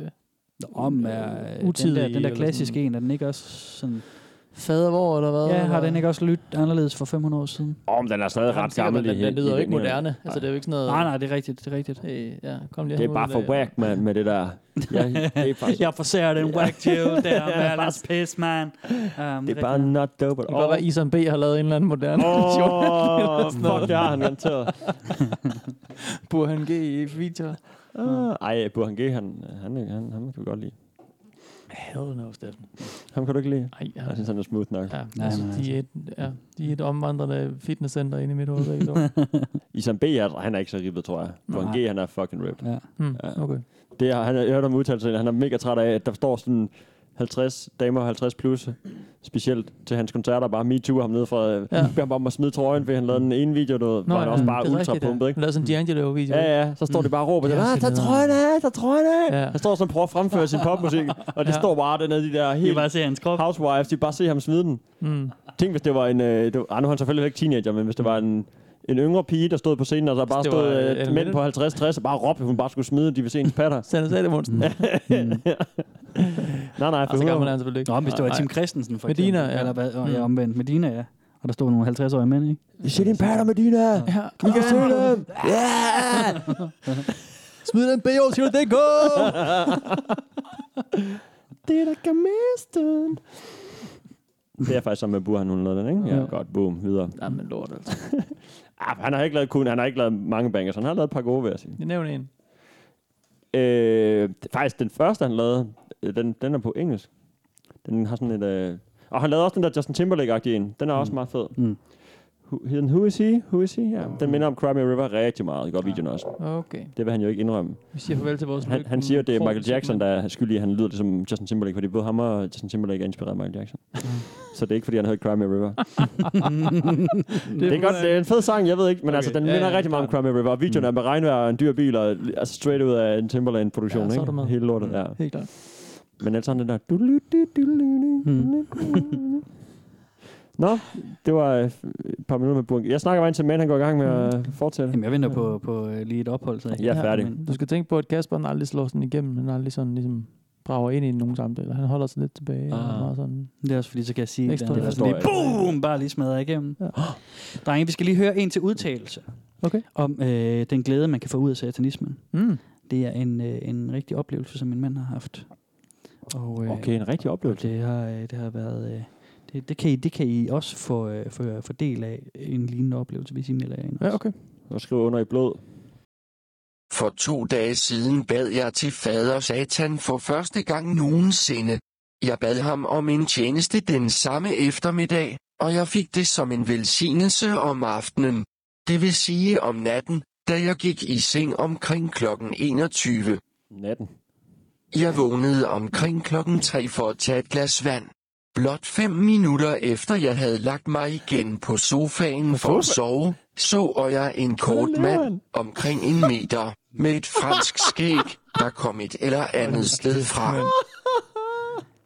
Nå, om er øh,
Utidig
den der, den der
eller
klassiske
sådan.
en, er den ikke også sådan...
fader hvor, eller hvad?
Ja, har
eller?
den ikke også lyttet anderledes for 500 år siden?
Åh, men den er stadig
Ja,
ret
sikkert,
gammel.
men
i-
Den, den
i
lyder jo ikke
vendingerne.
moderne. Altså, det er jo ikke sådan noget...
Nej, nej, det er rigtigt, det er rigtigt.
Øh, ja, kom lige
Det
herud
er bare
i
for
dag.
whack, mand, med det der. Ja, det
<laughs>
er faktisk...
Jeg forser den whack chill der, man. That's piss, man. Um,
Det er bare not dope at
Det kan godt være, at <laughs> Isam B. har lavet en eller anden moderne <laughs> version.
Åh, oh, fuck, det har han garanteret.
Burhan G. i feature.
Ah, Ej, Burhan G, han, han, han, han kan vi godt lide.
Hell no, Steffen.
Ham kan du ikke lide?
Ej, jeg
Jeg synes, han er smooth nok.
Ja,
Nej,
nej, altså,
men
de, er et, ja, de er et omvandrende fitnesscenter inde i mit hoved. begge to.
Isam B, er- han er ikke så ribbet, tror jeg. Burhan G, han er fucking ripped.
Ja.
Hmm,
Ja.
okay.
Det har han, jeg hørte om udtalelsen, han er mega træt af, at der står sådan 50 damer og 50 plus, specielt til hans koncerter, bare me too ham ned fra, ja. beder ham bare om at smide trøjen, fordi han lavede den ene video, du, ved, hvor han også bare
det er rigtigt,
ultrapumpet,
ja.
ikke?
Han lavede sådan en D'Angelo-video.
Ja, ja, så står det bare og råber,
Mm. Det er
ah,
også
tag
lidt
trøjen af, tag trøjen af.
Ja.
Han står sådan og prøver at fremføre sin popmusik, og det
Ja.
står bare dernede, de der
Det er
helt
bare at se hans krop.
housewives, de kan bare se ham smide den.
Mm.
Tænk, hvis det var en... Øh, det var, ah, nu er han selvfølgelig ikke teenager, men hvis det var en, en yngre pige, der stod på scenen, og der bare
det var,
stod
øh,
øh,
Anne
mænd på 50-60 og bare råbte, at hun bare skulle smide, de vil se hendes
<laughs>
patter.
Sande Salimonsen. Mm.
nej, nej, for
Og Ah, så gammel er
hun,
han selvfølgelig ikke.
Nå, men hvis det var
Nej.
Tim Christensen, for
Medina,
eksempel.
ja.
Eller hvad? Og, ja,
Mm.
omvendt. Medina, ja. Og der stod nogle 50-årige mænd,
<laughs>
ikke?
se din patter, Medina!
Ja.
I kan se dem! Ja!
Smid den BO til det go!
Det, der kan miste den. Det er faktisk sammen med Burhan, hun lavede den, ikke? Ja,
Ja.
godt, boom, videre.
Jamen lort altså.
Ah, han har ikke lavet kun, han har ikke lavet mange bangers, han har lavet et par gode, vil jeg sige.
Jeg nævner en.
Øh, det- faktisk den første, han lavede, øh, den, den er på engelsk. Den har sådan et... Øh, og han lavede også den der Justin Timberlake-agtige en. Den er også meget fed.
Mm.
Who, hed den Who Is He? Who Is He? Ja. Den minder om Cry Me a River rigtig meget. Godt videoen også.
Okay.
Det vil han jo ikke indrømme.
Vi siger farvel til vores
Han, han siger, at det er Michael Jackson, der er skyldig, at han lyder ligesom Justin Timberlake, fordi både ham og Justin Timberlake er inspireret af Michael Jackson. Så det er ikke, fordi han hedder Cry Me a River. Det er, godt, det er en fed sang, jeg ved ikke, men okay. altså, den
Ja,
minder
ja,
rigtig meget om Cry Me a River. Og videoen er med regnvejr og en dyr bil, og altså straight ud af en Timberlake-produktion,
Ja, så er Mm. du
ikke?
med.
Hele lortet, ja.
Helt klart.
Men altså den der... Nå, det var øh, et par minutter med Burk. Jeg snakker vejen til mand, han går i gang med at fortsætte.
Jamen, jeg venter på, på øh, lige et ophold. Så.
Jeg er færdig.
Men,
Du skal tænke på, at Kasper han aldrig slår sådan igennem. Han aldrig sådan ligesom brager ind i nogen samtaler. Han holder sig lidt tilbage. Og
Ah.
meget sådan.
det er også fordi, så kan jeg sige, at
Ekstra-
det er
Forstår
sådan lige, boom, bare lige smadret igennem.
Ja.
<gasps> Drenge, vi skal lige høre en til udtalelse
Okay.
om øh, den glæde, man kan få ud af satanismen.
Mm.
Det er en, øh, en rigtig oplevelse, som min mand har haft. Og, øh,
Okay, en rigtig
Og
oplevelse.
det har, øh, det har været... Øh, det, det, kan I, det kan I også få, øh, få, få del af en lignende oplevelse, hvis I melder jer ind.
Ja, okay.
Og skriver under i blod.
For to dage siden bad jeg til fader Satan for første gang nogensinde. Jeg bad ham om en tjeneste den samme eftermiddag, og jeg fik det som en velsignelse om aftenen. Det vil sige om natten, da jeg gik i seng omkring klokken 21.
Natten.
Jeg vågnede omkring klokken 3 for at tage et glas vand. Blot fem minutter efter jeg havde lagt mig igen på sofaen for at sove, så jeg en kort mand, omkring en meter, med et fransk skæg, der kom et eller andet sted fra.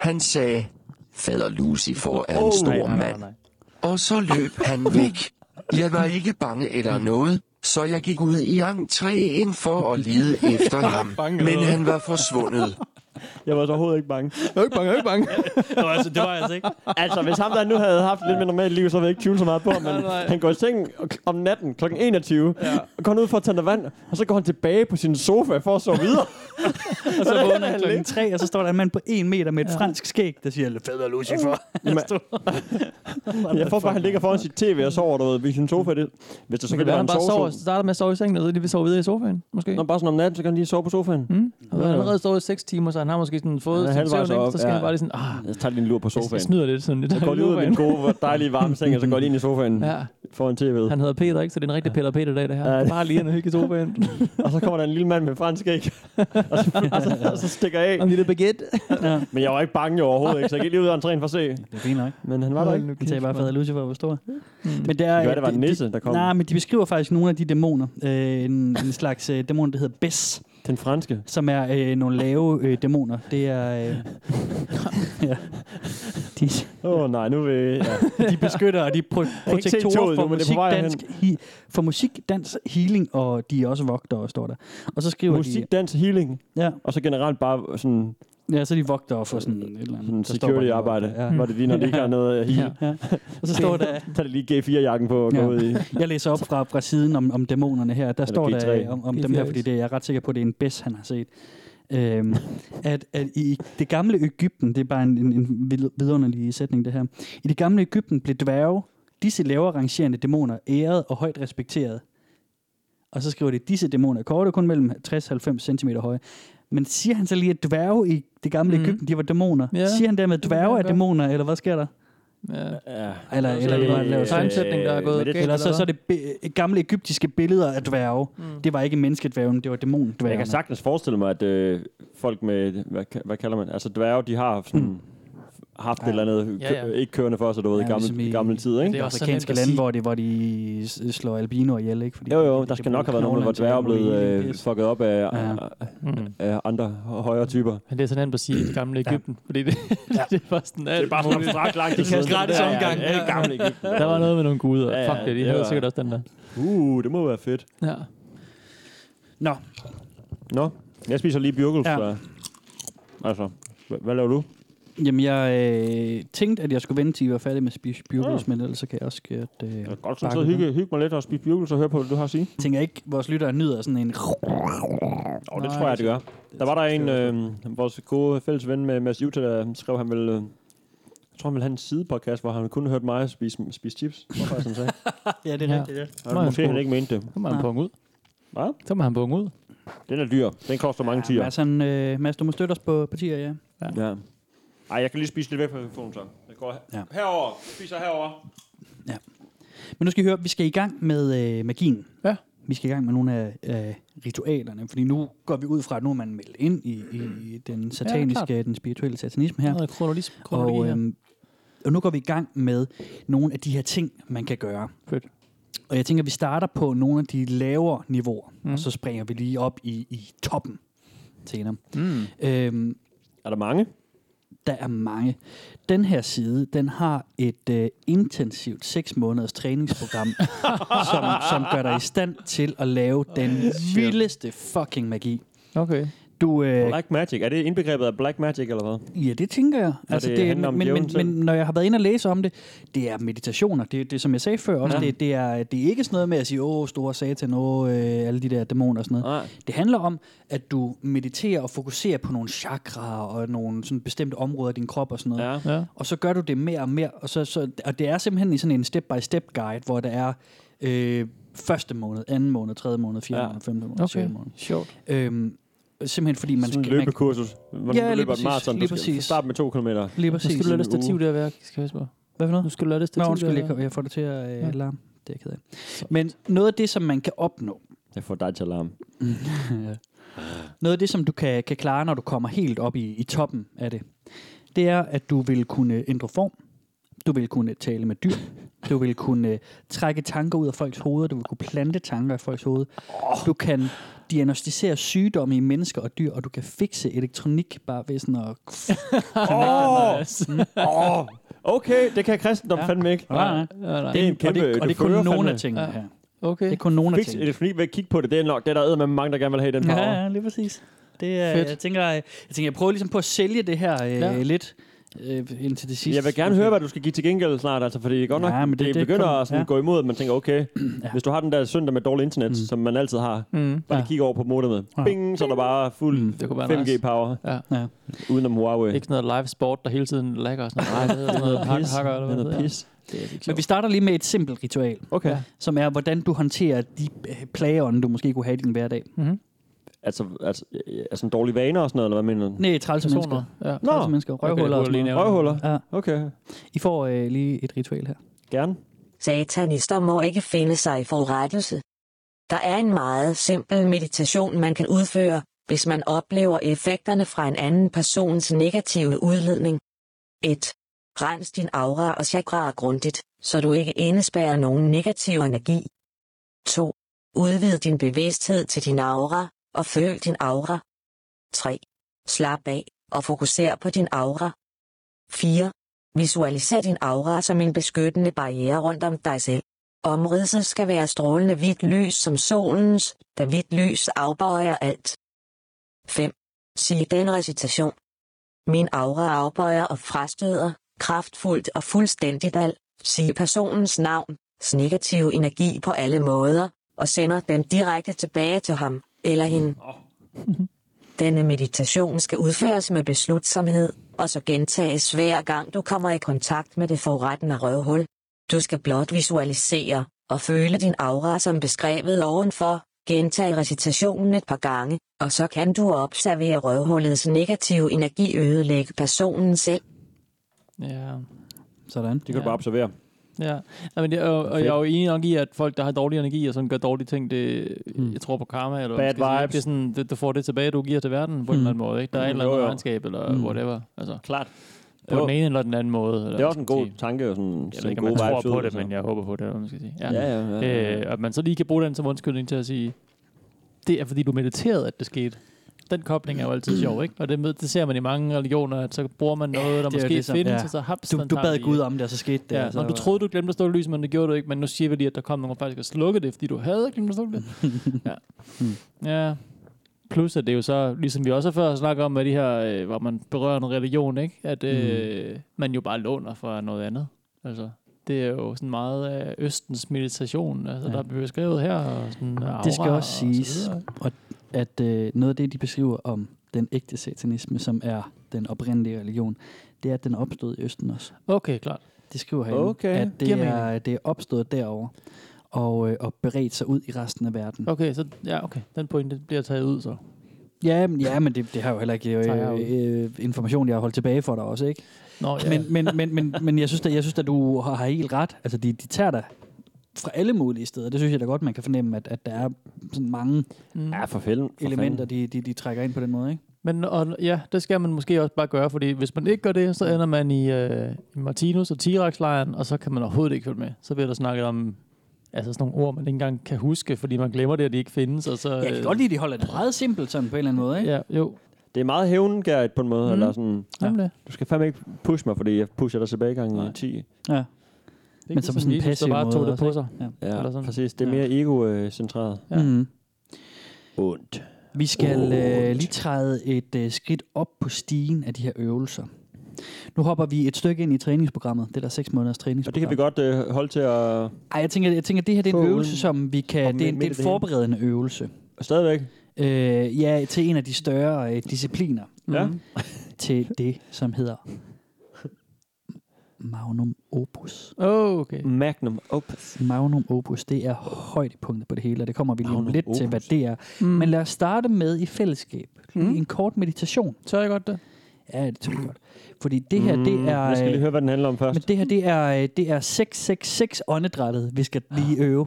Han sagde, Fader Lucifer er en stor mand. Og så løb han væk. Jeg var ikke bange eller noget, så jeg gik ud i entréen for at lede efter ham. Men han var forsvundet.
Jeg var så overhovedet ikke bange.
Jeg er ikke bange, jeg er ikke bange.
altså, det var altså ikke.
Altså, hvis ham der nu havde haft lidt mere normalt liv, så ville jeg ikke tvivle så meget på ham. Men han går i seng om natten kl. 21, ja. og går han ud for at tage noget vand, og så går han tilbage på sin sofa for at sove videre.
Og så vågner han klokken tre, og så står der en mand på en meter med et ja. fransk skæg, der siger, fader Lucifer.
Jamen, jeg får bare, at han ligger foran sit tv og sover, du ved, ved sin sofa. Det, hvis det
Så kan
selvfølgelig
være,
var
han
en
bare sover,
sovesone.
starter med at sove i sengen, og så lige vil sove videre i sofaen, måske. Hmm?
Nå, bare sådan om natten, så kan han lige sove på sofaen. Mm.
Han har allerede sovet i 6 timer, så han har måske sådan fået
Han er
sin søvn,
halvvejs
ikke?
op,
så skal
ja.
han bare lige sådan, ah,
Jeg tager lige en lur på
jeg
sofaen.
snyder lidt sådan lidt.
Jeg går lige ud af min gode, dejlige varme seng, og så går jeg lige ind i sofaen
Ja,
foran tv'et.
han hedder Peter, ikke? Så det er en rigtig Peter Peter dag, det her.
Ja, det-
Bare lige en hygge i
<laughs>
sofaen.
Og så kommer der en lille mand med fransk æg, og, så, og, så, og så stikker jeg
Og
af.
en lille baguette.
Men jeg var ikke bange jo overhovedet, ikke? så jeg gik lige ud af entréen for at se.
Det er fint nok.
Men han var der ikke.
Han sagde bare, fader Lucifer var stor. Mm. Men det
Det
er, øh,
kan være, det var en
de-
nisse, der kom.
Nej, men de beskriver faktisk nogle af de dæmoner. Øh, en, en slags øh, dæmon, der hedder Bess,
Den franske.
som er øh, nogle lave øh, dæmoner. Det er... Øh, ja. De,
Åh oh, nej, nu vil ja.
de beskytter og de er pro-
ikke set
protektorer
toget
for
nu, men det er
musik,
på vej
dansk, he, for musik, dans, healing, og de er også vogtere, står der. Og så skriver
musik, dans, healing,
de... Ja,
og så generelt bare sådan,
ja, så er de vogtere for sådan et eller andet.
sådan
der står bare,
security arbejde,
Ja,
hvor det lige, når det ikke har noget at heal.
ja. Og så står der...
Så er det lige G4-jakken på og gå
Ja.
ud i.
Jeg læser op fra, fra siden om, om dæmonerne her. Der
Eller
står der
G3.
øh, om, om dem her, fordi det, jeg er ret sikker på, at det er en bes, han har set. Øhm, at, at i det gamle Ægypten, det er bare en, en, en vild- vidunderlig sætning det her. I det gamle Ægypten blev dværge, disse lavere rangerende dæmoner, æret og højt respekteret. Og så skriver det, disse dæmoner er korte, kun mellem 60-90 cm høje. Men siger han så lige, at dværge i det gamle
Mhm.
mm. Ægypten, de var dæmoner?
Ja,
Ja, siger han dermed, at
det kan
dværge
han
er
gøre.
dæmoner, eller hvad sker der?
Ja.
Ja.
Eller, eller det var en
Øh,
lav
tegnsætning, der er gået galt.
eller så,
Eller
så er det be- øh, gamle egyptiske billeder af dværge. Mm. Det var ikke menneskedværgen, det var dæmondværgen.
Jeg kan sagtens forestille mig, at øh, folk med, hvad, ka- hvad kalder man, altså dværge, de har sådan, haft et eller andet
Ja, ja.
kø- ikke kørende for sig, du ved, i
Ja,
gamle,
ligesom i-
i gamle tider,
Det
ikke?
er
det
også så nemt
afrikanske
at
lande,
sige.
hvor de, hvor de s- øh, slår albinoer ihjel, ikke? Fordi
Jo, jo,
de
der
kan
skal
bruge
nok have været nogen, hvor
knoglerne til
dværge er
alt muligt
blevet
andet
øh,
pis.
fucket op af,
Ja.
Mm.
af andre højere typer.
Men det er så nemt at sige det gamle Ægypten, ja. fordi det, ja. <laughs> det var sådan alt. Det
bare sådan abstrakt langt. Det
siden. gratis Ja, ja, omgang. ja, ja,
gamle Ægypten.
Der var noget med nogle guder.
Ja, ja,
Fuck det, de
det
havde
var-
sikkert også den der.
Uh, det må være fedt.
Ja.
Nå,
Nå, jeg spiser lige bjørkels.
Ja.
Ja. Altså, hva- hvad laver du?
jamen jeg øh, tænkte, at jeg skulle vente til, I var færdige med at spise byrkels, men ellers så kan jeg også gøre det. Øh,
Jeg kan godt sådan sidde og hygge, hygge mig lidt og spise bjørkels og høre på, hvad du har at sige.
tænker jeg ikke, vores lyttere nyder sådan en...
Og det tror jeg, altså, det gør. Der var der en, øh, vores gode fælles ven med Mads Jutta, der skrev, han ville... Øh, jeg tror, han ville have en sidepodcast, hvor han kun hørte mig spise, spise chips. Hvorfor faktisk, han sagde. <laughs>
Ja, det
Ja.
er rigtigt, ja.
Og måske han ikke mente det.
Så må han punge ud.
Hvad?
Så må han punge ud.
Den er dyr. Den koster mange tiger.
Ja, Mads, han, øh, Mads, du må støtte os på partier, ja.
Ja. Ej, jeg kan lige spise lidt væk fra telefonen, så. Jeg går her-
Ja.
herover. Jeg spiser herover.
Men nu skal I høre, vi skal i gang med øh, magien.
Ja.
Vi skal i gang med nogle af øh, ritualerne, fordi nu går vi ud fra, at nu er man meldt ind i, i, i den sataniske, ja, den spirituelle satanisme her.
Noget kronolis- kronologi
Og,
her.
øhm, og nu går vi i gang med nogle af de her ting, man kan gøre.
Fedt.
Og jeg tænker, at vi starter på nogle af de lavere niveauer, mm. og så springer vi lige op i, i toppen senere.
Mm.
Øhm,
Er der mange?
der er mange. Den her side, den har et øh, intensivt 6 måneders
<laughs>
træningsprogram, som, som gør dig i stand til at lave den vildeste fucking magi.
Okay.
Du, øh,
Black Magic. Er det indbegrebet af Black Magic, eller hvad?
ja, det tænker jeg.
det handler om
men, men,
djævlen
men
selv.
når jeg har været inde og læse om det, det er meditationer. Det, det er, som jeg sagde før også,
Ja.
det, det, er, det er ikke sådan noget med at sige, åh, store satan, åh, øh, alle de der dæmoner og sådan noget.
Nej.
Det handler om, at du mediterer og fokuserer på nogle chakraer og nogle sådan bestemte områder af din krop og sådan noget.
Ja.
Ja.
Og så gør du det mere og mere. Og, så, så, og det er simpelthen i sådan en step-by-step guide, hvor der er øh, første måned, anden måned, tredje måned, fjerde ja.
Ja.
måned, femte måned, okay.
Okay.
sjette måned.
Sjovt.
Øhm, simpelthen fordi man
Sådan en
skal... man-
løbekursus. Hvordan
Ja,
ja, du
lige
løber et
præcis,
maraton.
lige
Du skal
præcis.
starte med to kilometer.
Lige
Nu
præcis.
skal du lade det
Sådan en
stativ der værk, skal jeg spørge.
Hvad for noget?
Nu skal du lade det stativ
Nå, undskyld,
der
jeg,
være.
jeg får det til at øh,
Ja.
larme. Det er jeg ked af. Men noget af det, som man kan opnå,
Jeg får dig til alarm.
noget af det, som du kan, kan klare, når du kommer helt op i, i toppen af det, det er, at du vil kunne ændre form. Du vil kunne tale med dyr. Du vil kunne øh, trække tanker ud af folks hoveder. Du vil kunne plante tanker i folks hoveder. Du kan diagnostisere sygdomme i mennesker og dyr, og du kan fikse elektronik bare ved
<laughs>
sådan at... Ah.
Åh! Åh! Okay, det kan kristendom
Ja.
fandme ikke.
Nej, nej.
Ja, nej.
Det er en
og
kæmpe-
det, og det er
det
kun
fører
nogle
fandme.
af tingene her.
Okay.
Det er kun nogle af
Fix
tingene.
elektronik ved at kigge på det. Det er nok det, er der er med mange, der gerne vil have den power.
Ja, ja, lige præcis. Det er,
Fedt.
jeg, tænker, jeg, jeg tænker, jeg prøver ligesom på at sælge det her øh,
Ja.
ja. lidt øh, indtil det sidste.
Jeg vil gerne høre, hvad du skal give til gengæld snart, altså, fordi det er godt nok,
Ja,
ja,
men
det,
det-
det
det
begynder
kommer-
at sådan
ja.
gå imod, at man tænker, okay, ja. hvis du har den der søndag med dårligt internet, mm. som man altid har,
Mm.
bare
Ja.
ja. kigge over på modemet.
Ja.
Ja. Bing, så er der bare fuld
Mm,
mm,
det kunne være nice.
5G-power,
Ja.
udenom Huawei.
Ikke sådan noget live sport, der hele tiden lagger og sådan noget. Nej, det er noget hak- hakker eller
Det er
hvad
noget
det
pis.
er.
Men vi starter lige med et simpelt ritual,
Okay.
Ja.
Ja.
som er, hvordan du håndterer de øh, plageånde, du måske kunne have i din hverdag.
Mm.
Altså, altså, øh, altså en dårlig vaner og sådan noget, eller hvad mener du?
Nej, trælse mennesker.
Ja.
Nå,
Trælse Altså, mennesker, røvhuller og sådan noget.
Røvhuller?
Ja.
Okay,
I får øh, lige et ritual her.
gerne.
Satanister må ikke finde sig i forrettelse. Der er en meget simpel meditation, man kan udføre, hvis man oplever effekterne fra en anden persons negative udledning. 1. Rens din aura og chakra grundigt, så du ikke indespærrer nogen negativ energi. 2. Udvid din bevidsthed til din aura, og føl din aura. 3. Slap af og fokuser på din aura. 4. Visualiser din aura som en beskyttende barriere rundt om dig selv. Omridset skal være strålende hvidt lys som solens, da hvidt lys afbøjer alt. 5. Sig den recitation. Min aura afbøjer og frastøder, kraftfuldt og fuldstændigt al, sig personens navn, negativ energi på alle måder, og sender den direkte tilbage til ham eller hende. Denne meditation skal udføres med beslutsomhed, og så gentages hver gang du kommer i kontakt med det forurettende røvhul. Du skal blot visualisere og føle din aura som beskrevet ovenfor. Gentag recitationen et par gange, og så kan du observere røvhullets negative energi ødelægge personen selv.
Ja.
Sådan.
Det kan du bare observere.
Ja, ja men det, og, og jeg er jo enig nok i, at folk, der har dårlig energi og sådan gør dårlige ting, det,
Mm.
jeg tror på karma. Eller hvad
Bad
man skal sige.
vibes.
Det er sådan, det, du får det tilbage, du giver til verden på mm. en eller anden måde. Ikke? Der er mm,
Mm,
et eller andet
jo, jo.
regnskab eller
Mm.
mm. whatever. Altså,
Klart.
på den ene eller den anden måde. Eller,
Det er
hvad
også en
man skal
god
sige.
tanke, og sådan,
Jeg ved
sådan
ikke, om
gode
man tror
vibes
på
ud,
det,
altså.
men jeg håber på det, eller hvad man skal sige. Ja.
Ja, ja, ja, ja.
Øh, at man så lige kan bruge den som undskyldning til at sige, det er fordi, du mediterede, at det skete. Den kobling er jo altid sjov, ikke? Og det, med- det ser man i mange religioner, at så bruger man noget, der
det er jo
måske
det, som-
findes,
ja.
og så haps,
Du,
den
du
tager
bad
lige.
Gud om det, og så skete det.
Ja,
altså.
når du troede, du glemte at slukke lyset, men det gjorde du ikke. Men nu siger vi lige, at der kom nogen faktisk og slukke det, fordi du havde glemt at slukke det.
<laughs>
ja. ja. Plus at det er jo så, ligesom vi også har før snakket om med de her, øh, hvor man berører en religion, ikke? at øh,
Mm.
man jo bare låner fra noget andet. Altså, det er jo sådan meget øh, østens meditation, altså,
Ja.
ja. der bliver beskrevet her. Og sådan,
Det skal
aura
også
og så
siges,
videre.
og at øh, noget af det, de beskriver om den ægte satanisme, som er den oprindelige religion, det er, at den er opstået i Østen også.
Okay, klart.
De skriver herinde,
Okay,
at det
giver
er, det er opstået derovre og, øh, og beredt sig ud i resten af verden.
Okay, så ja, okay. Den pointe bliver taget ud så.
Ja, men, ja, men det, det har jo heller ikke
Tager jeg
øh, øh, information, jeg har holdt tilbage for dig også, ikke?
Nå, ja.
Men, men, men, men, men jeg, synes, at, jeg synes, at du har, har helt ret. Altså, de, de tager dig fra alle mulige steder. Det synes jeg da godt, man kan fornemme, at, at der er sådan mange
mm.
Ja, for fælden. For
elementer,
fanden.
de, de, de trækker ind på den måde, ikke?
Men og, ja, det skal man måske også bare gøre, fordi hvis man ikke gør det,
Mm.
så ender man i, øh, i Martinus og T-Rex-lejren, og så kan man overhovedet ikke følge med. Så bliver der snakket om altså sådan nogle ord, man ikke engang kan huske, fordi man glemmer det, at de ikke findes. Og så, øh,
Jeg kan godt lide, at de holder det meget simpelt sådan på en eller anden måde, ikke?
Ja, jo.
Det er meget hævn, Gerrit, på en måde.
Mm.
Mm. Eller sådan,
Ja. Jamen, det.
du skal fandme ikke pushe mig, fordi jeg pusher dig tilbage i gangen
Nej.
i 10.
Ja.
det er ikke
som
ligesom
sådan en
Jesus, der
passiv
bare
måde
tog det
også,
på
ikke?
sig.
Ja,
Eller sådan.
præcis. Det er mere ego-centreret.
ja.
Ja.
Mm.
Ondt.
Vi skal øh, lige træde et øh, skridt op på stigen af de her øvelser. Nu hopper vi et stykke ind i træningsprogrammet. Det er der seks måneders
Og
træningsprogram.
det kan vi godt øh, holde til at...
Ej, jeg tænker, jeg tænker, at det her det er en
Få
øvelse,
uden-
som vi
og
kan... Det er, en- det
midt i
er en
det hele.
forberedende øvelse.
Stadigvæk.
Øh, ja, til en af de større øh, discipliner.
Mm.
Ja.
Til det, som hedder <laughs> Magnum Opus.
Oh, okay.
Mm.
Magnum opus.
Magnum Opus, det er højdepunktet på det hele, og det kommer vi lige om
Magnum
lidt til,
opus.
hvad det er.
Mm.
Men
Men
lad os starte med i fællesskab. Mm.
Mm.
En kort meditation.
tør jeg godt det?
Ja, det tror jeg godt. Fordi det her, det er...
Mm, Jeg skal lige høre, hvad den handler om først.
men det her, det er, øh, det er 666 åndedrættet, vi skal
Ah.
lige øve.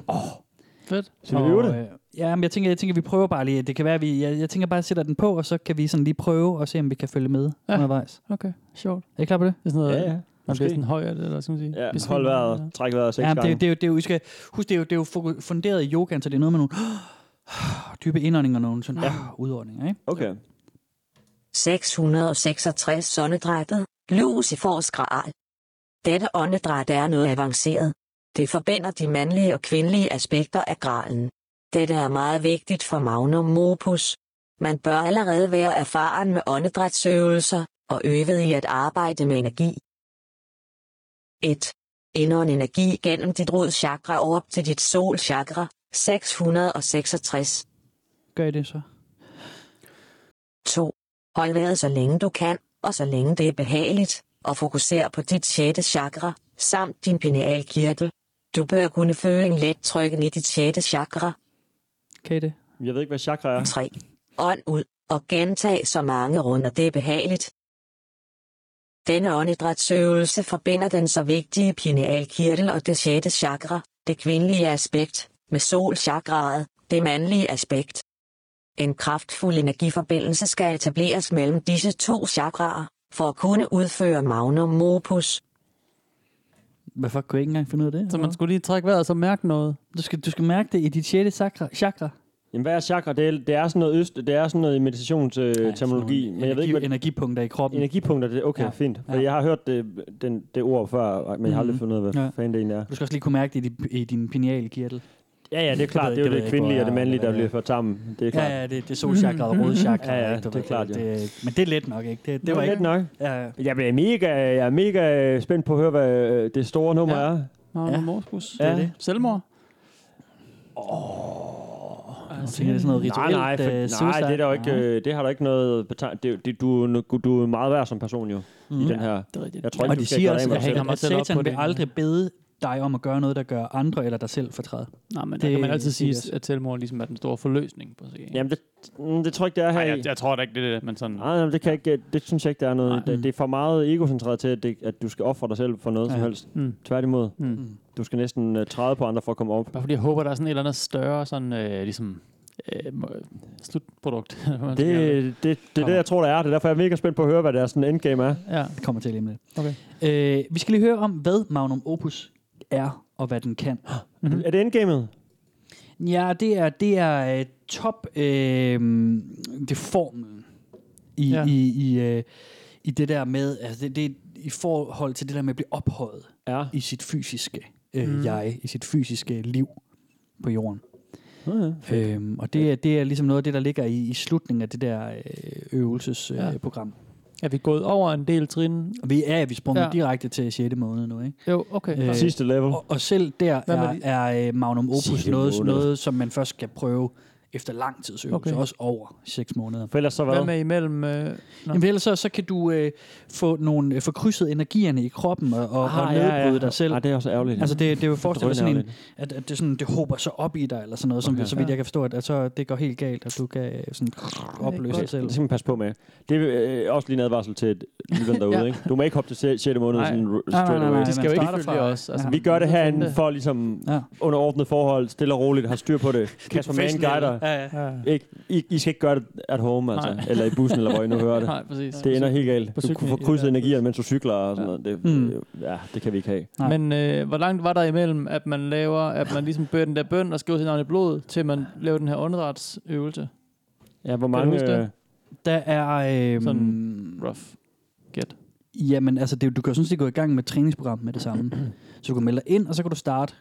Fedt.
Skal vi øve det?
øh, Ja, men jeg tænker, jeg tænker, vi prøver bare lige. Det kan være, vi, jeg, jeg tænker bare, at jeg sætter den på, og så kan vi sådan lige prøve og se, om vi kan følge med ja.
Ja.
undervejs.
Okay, sjovt.
Er I klar på det?
Det er sådan noget,
Ja, ja.
man
Måske.
bliver sådan høj af det, eller hvad skal man sige.
Ja,
Besvimer,
hold vejret.
eller-
Træk vejret seks
Ja, men
gange.
det, det, det, er jo- det, er jo- I skal huske, det, er jo- det er jo foku- funderet i yogaen, så det er noget med nogle <gasps> dybe indåndinger og nogle sådan ja. udåndinger, ikke?
Okay.
666 åndedrættet, Lucifers gral. Dette åndedræt er noget avanceret. Det forbinder de mandlige og kvindelige aspekter af gralen. Dette er meget vigtigt for magnum opus. Man bør allerede være erfaren med åndedrætsøvelser og øvet i at arbejde med energi. 1. Indånd energi gennem dit rodchakra over op til dit solchakra, 666.
Gør I det så?
2. Hold vejret så længe du kan, og så længe det er behageligt, og fokuser på dit sjette chakra, samt din pinealkirtel. Du bør kunne føle en let trykken i dit sjette chakra.
Kan I det?
Jeg ved ikke, hvad chakra
<laughs>
er.
3. Ånd ud, og gentag så mange runder det er behageligt. Denne åndedrætsøvelse forbinder den så vigtige pinealkirtel og det sjette chakra, det kvindelige aspekt, med solchakraet, det mandlige aspekt. En kraftfuld energiforbindelse skal etableres mellem disse to chakraer, for at kunne udføre magnum opus.
Hvorfor kunne jeg ikke engang finde ud af det?
Så man skulle lige trække vejret og så mærke noget.
Du skal, du skal mærke det i dit sjette chakra. chakra.
Jamen, hvad er chakra? Det er, det er sådan noget øst, det er sådan noget meditationsterminologi,
Sådan
øh,
nogle
men jeg ved ikke, hvad
energipunkter i kroppen.
energipunkter, det er okay,
Ja.
ja. fint. For
Ja.
ja. jeg har hørt det, den, det ord før, men jeg har aldrig
Mhm.
fundet ud af, hvad
Ja.
ja. fanden det egentlig er.
Du skal også lige kunne mærke det i, din- i din pineale kirtel.
Ja, ja, det er klart,
ved-
det, det
det ved jeg
er jo det
ikke,
kvindelige
hvor
og det
jeg-
mandlige, der
men,
bliver
øh,
ført sammen. Det er klart. Mm-hmm.
Ja, ja, det, det er solchakra og rødchakra.
Ja, ja,
ikke? Du
det
ved,
er klart,
det,
jo.
det, men det er let nok, ikke? Det, det,
Det
var
var
ikke...
lidt nok.
Ja, ja.
Jeg er mega, jeg er mega spændt på at høre, hvad øh, det store nummer
Ja.
ja. er.
Nå,
Ja.
ja. Morskus.
Ja.
Ja. Det er det. Selvmord.
Jeg tænker, det er sådan noget
Nej,
rituelt
nej, for,
øh,
nej,
suicide.
det, er der jo ikke, øh, det har der ikke noget betegnet. Det, det, du, er no- du er meget værd som person jo, mm. i den her.
Det er rigtigt.
Jeg tror
Mhm. Og
ikke,
de
du skal
siger altså,
gøre
også, at,
det af med dig
at,
mig
at
selv op på
satan vil
det.
aldrig bede dig om at gøre noget, der gør andre eller dig selv fortræd.
Nej, men det,
Det
der kan man altid sige,
siger jeg også.
at selvmord ligesom er den store forløsning. På sig.
Jamen, det, mm, det tror jeg ikke, det er her
Ej, Ah.
i.
jeg, jeg tror da ikke, det er det, men sådan...
Nej, nej, det, kan jeg ikke, øh, det synes jeg ikke, der er noget.
Nej.
Det, det er for meget egocentreret til, at, det, at du skal ofre dig selv for noget ja. som
Ja.
helst.
Mm.
Tværtimod.
Mm.
Du skal næsten uh, træde på andre for at komme op.
Bare fordi jeg håber, der er sådan et eller andet større sådan, øh, ligesom, øh, må- slutprodukt. <laughs> eller hvad man skal kalde
Det, det, det, det er det, jeg tror, der er. Det er derfor, jeg er mega spændt på at høre, hvad deres sådan endgame er.
Ja.
Det kommer til lige om lidt.
Okay.
Øh, vi skal lige høre om, hvad Magnum Opus er, og hvad den kan. Mhm.
Mm-hmm. Er det endgamet?
Ja, det er, det er øh, top, øh, det er formlen i, ja.
Ja.
i, i, øh, i det der med, altså det, det, i forhold til det der med at blive ophøjet
Ja.
i sit fysiske øh, mm. jeg, i sit fysiske liv på jorden. Øhm, og det er, det er ligesom noget af det, der ligger i, i slutningen af det der øh, øvelsesprogram. Øh,
Ja.
program.
Er vi gået over en del trin?
Og vi er, vi sprunget ja.
Ja.
direkte til 6. måned nu, ikke?
Jo, okay.
Øh,
Øh,
Sidste level.
Og, og selv der
Hvad med
er, er øh, Magnum Opus
Sjette
noget,
måned.
noget, som man først skal prøve efter lang tids øvelse, okay.
Okay.
også over 6 måneder.
For ellers så hvad?
Hvad med imellem? Øh, Nå.
Jamen, ellers så, så kan du øh, få nogle øh, få krydset energierne i kroppen og, og, ah, og nedbryde ja, ja. dig selv.
Ah, det er også ærgerligt.
Altså det, det vil forestille dig sådan en,
drønærligt.
at, at det, sådan, det håber sig op i dig, eller sådan noget, som, okay,
Okay.
så vidt jeg kan forstå, at, at så det går helt galt, at du kan øh, sådan, opløse dig
det,
selv.
det skal man passe på med. Det er øh, også lige en advarsel til lytteren derude.
Ja.
ikke? Du må ikke hoppe til 6. måned
Nej.
sådan r-
Nej,
straight
nej, nej, nej.
away.
man
de skal jo ikke
starter
følge
fra-
os. Altså,
Ja.
Vi gør det herinde
Finde-
for ligesom
Ja.
under ordnet forhold, stille og roligt, har styr
<laughs>
på det. Kasper Mann guider.
Ja, ja.
Ja.
Ikke, I, I skal ikke gøre det at home, altså.
Nej.
Eller i bussen, eller hvor I nu hører det.
<laughs> Nej, præcis.
Det ender helt galt.
På
Du kunne
cyklen
få
i-
krydset
ja.
energier, mens du cykler og sådan
Ja.
noget. Det,
Mm.
ja, det kan vi ikke have.
Nej.
Men øh, hvor langt var der imellem, at man laver, at man ligesom bøger den der bøn og skriver sit navn i blod, til man laver den her åndedrætsøvelse?
Ja, hvor
mange,
mange...
huske det? øh,
Der er... Øh,
Sådan Rough. Get.
Jamen, altså, det, du kan jo sådan set gå i gang med et træningsprogram med det samme. så du kan melde dig ind, og så kan du starte.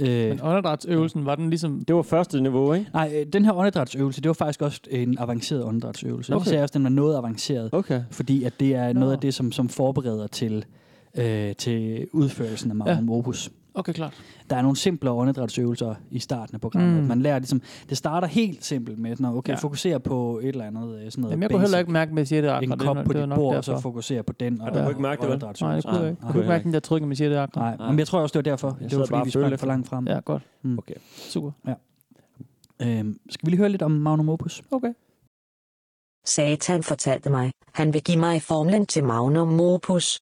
Øh,
Men åndedrætsøvelsen, var den ligesom...
det var første niveau, ikke?
nej, øh, den her åndedrætsøvelse, det var faktisk også en avanceret åndedrætsøvelse. Okay.
Okay.
Så jeg også, den var noget avanceret,
Okay.
fordi at det er
Nå.
noget af det, som, som forbereder til, øh, til udførelsen af Magnum ja. Opus.
Okay, klart.
Der er nogle simplere åndedrætsøvelser i starten af programmet. Mm.
Mm.
Man lærer ligesom, det starter helt simpelt med, sådan, noget, okay, ja.
Ja.
fokusere på et eller andet øh, sådan noget
Jamen, jeg kunne heller
basic.
ikke mærke, med sjette akra.
en
Det
kop
var-
på
det var
dit
nok
bord, og
derfor.
så fokusere på den. Og
du kunne ikke mærke det, vel?
Nej, det kunne jeg ikke.
Nej.
Jeg kunne ikke mærke den der trykken med sjette akra.
Nej, men jeg tror også, det var derfor.
Jeg
det
sad
var
bare
fordi, vi
og følte
sprang
efter.
for langt frem.
Ja, godt.
Mm.
Okay.
Super.
Øhm, skal vi lige høre lidt om Magnum Opus?
Okay.
Satan fortalte mig, han vil give mig formlen til Magnum Opus.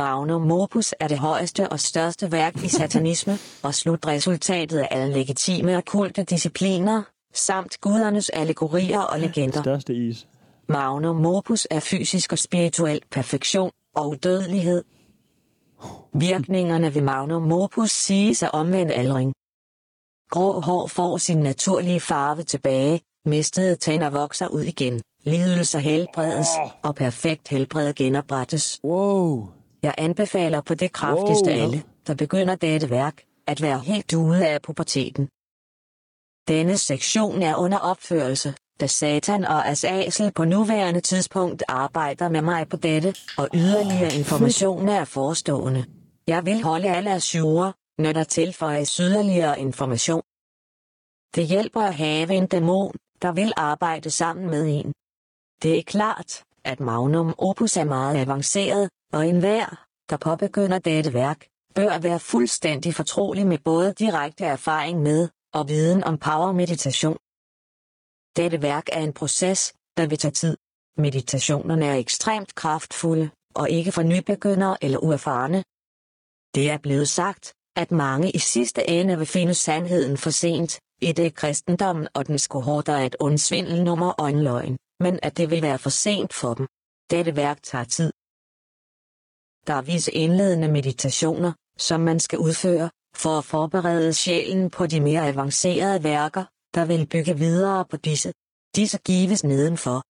Magnum Opus er det højeste og største værk i satanisme, og slutresultatet af alle legitime og kulte discipliner, samt gudernes allegorier og legender.
Største is.
Magnum opus er fysisk og spirituel perfektion og udødelighed. Virkningerne ved magnum opus siges at omvende aldring. Grå hår får sin naturlige farve tilbage, mistede tænder vokser ud igen, lidelser helbredes, og perfekt helbred genoprettes.
Wow.
Jeg anbefaler på det kraftigste
Wow.
alle, der begynder dette værk, at være helt ude af puberteten. Denne sektion er under opførelse, da Satan og Asasel på nuværende tidspunkt arbejder med mig på dette, og yderligere information er forestående. Jeg vil holde alle asure, når der tilføjes yderligere information. Det hjælper at have en dæmon, der vil arbejde sammen med en. Det er klart, at Magnum Opus er meget avanceret, og enhver, der påbegynder dette værk, bør være fuldstændig fortrolig med både direkte erfaring med og viden om power meditation. Dette værk er en proces, der vil tage tid. Meditationerne er ekstremt kraftfulde og ikke for nybegyndere eller uerfarne. Det er blevet sagt, at mange i sidste ende vil finde sandheden for sent, i det kristendommen og dens kohorter er et undsvindelnummer og en løgn, men at det vil være for sent for dem. Dette værk tager tid. Der er visse indledende meditationer, som man skal udføre, for at forberede sjælen på de mere avancerede værker, der vil bygge videre på disse. Disse gives nedenfor.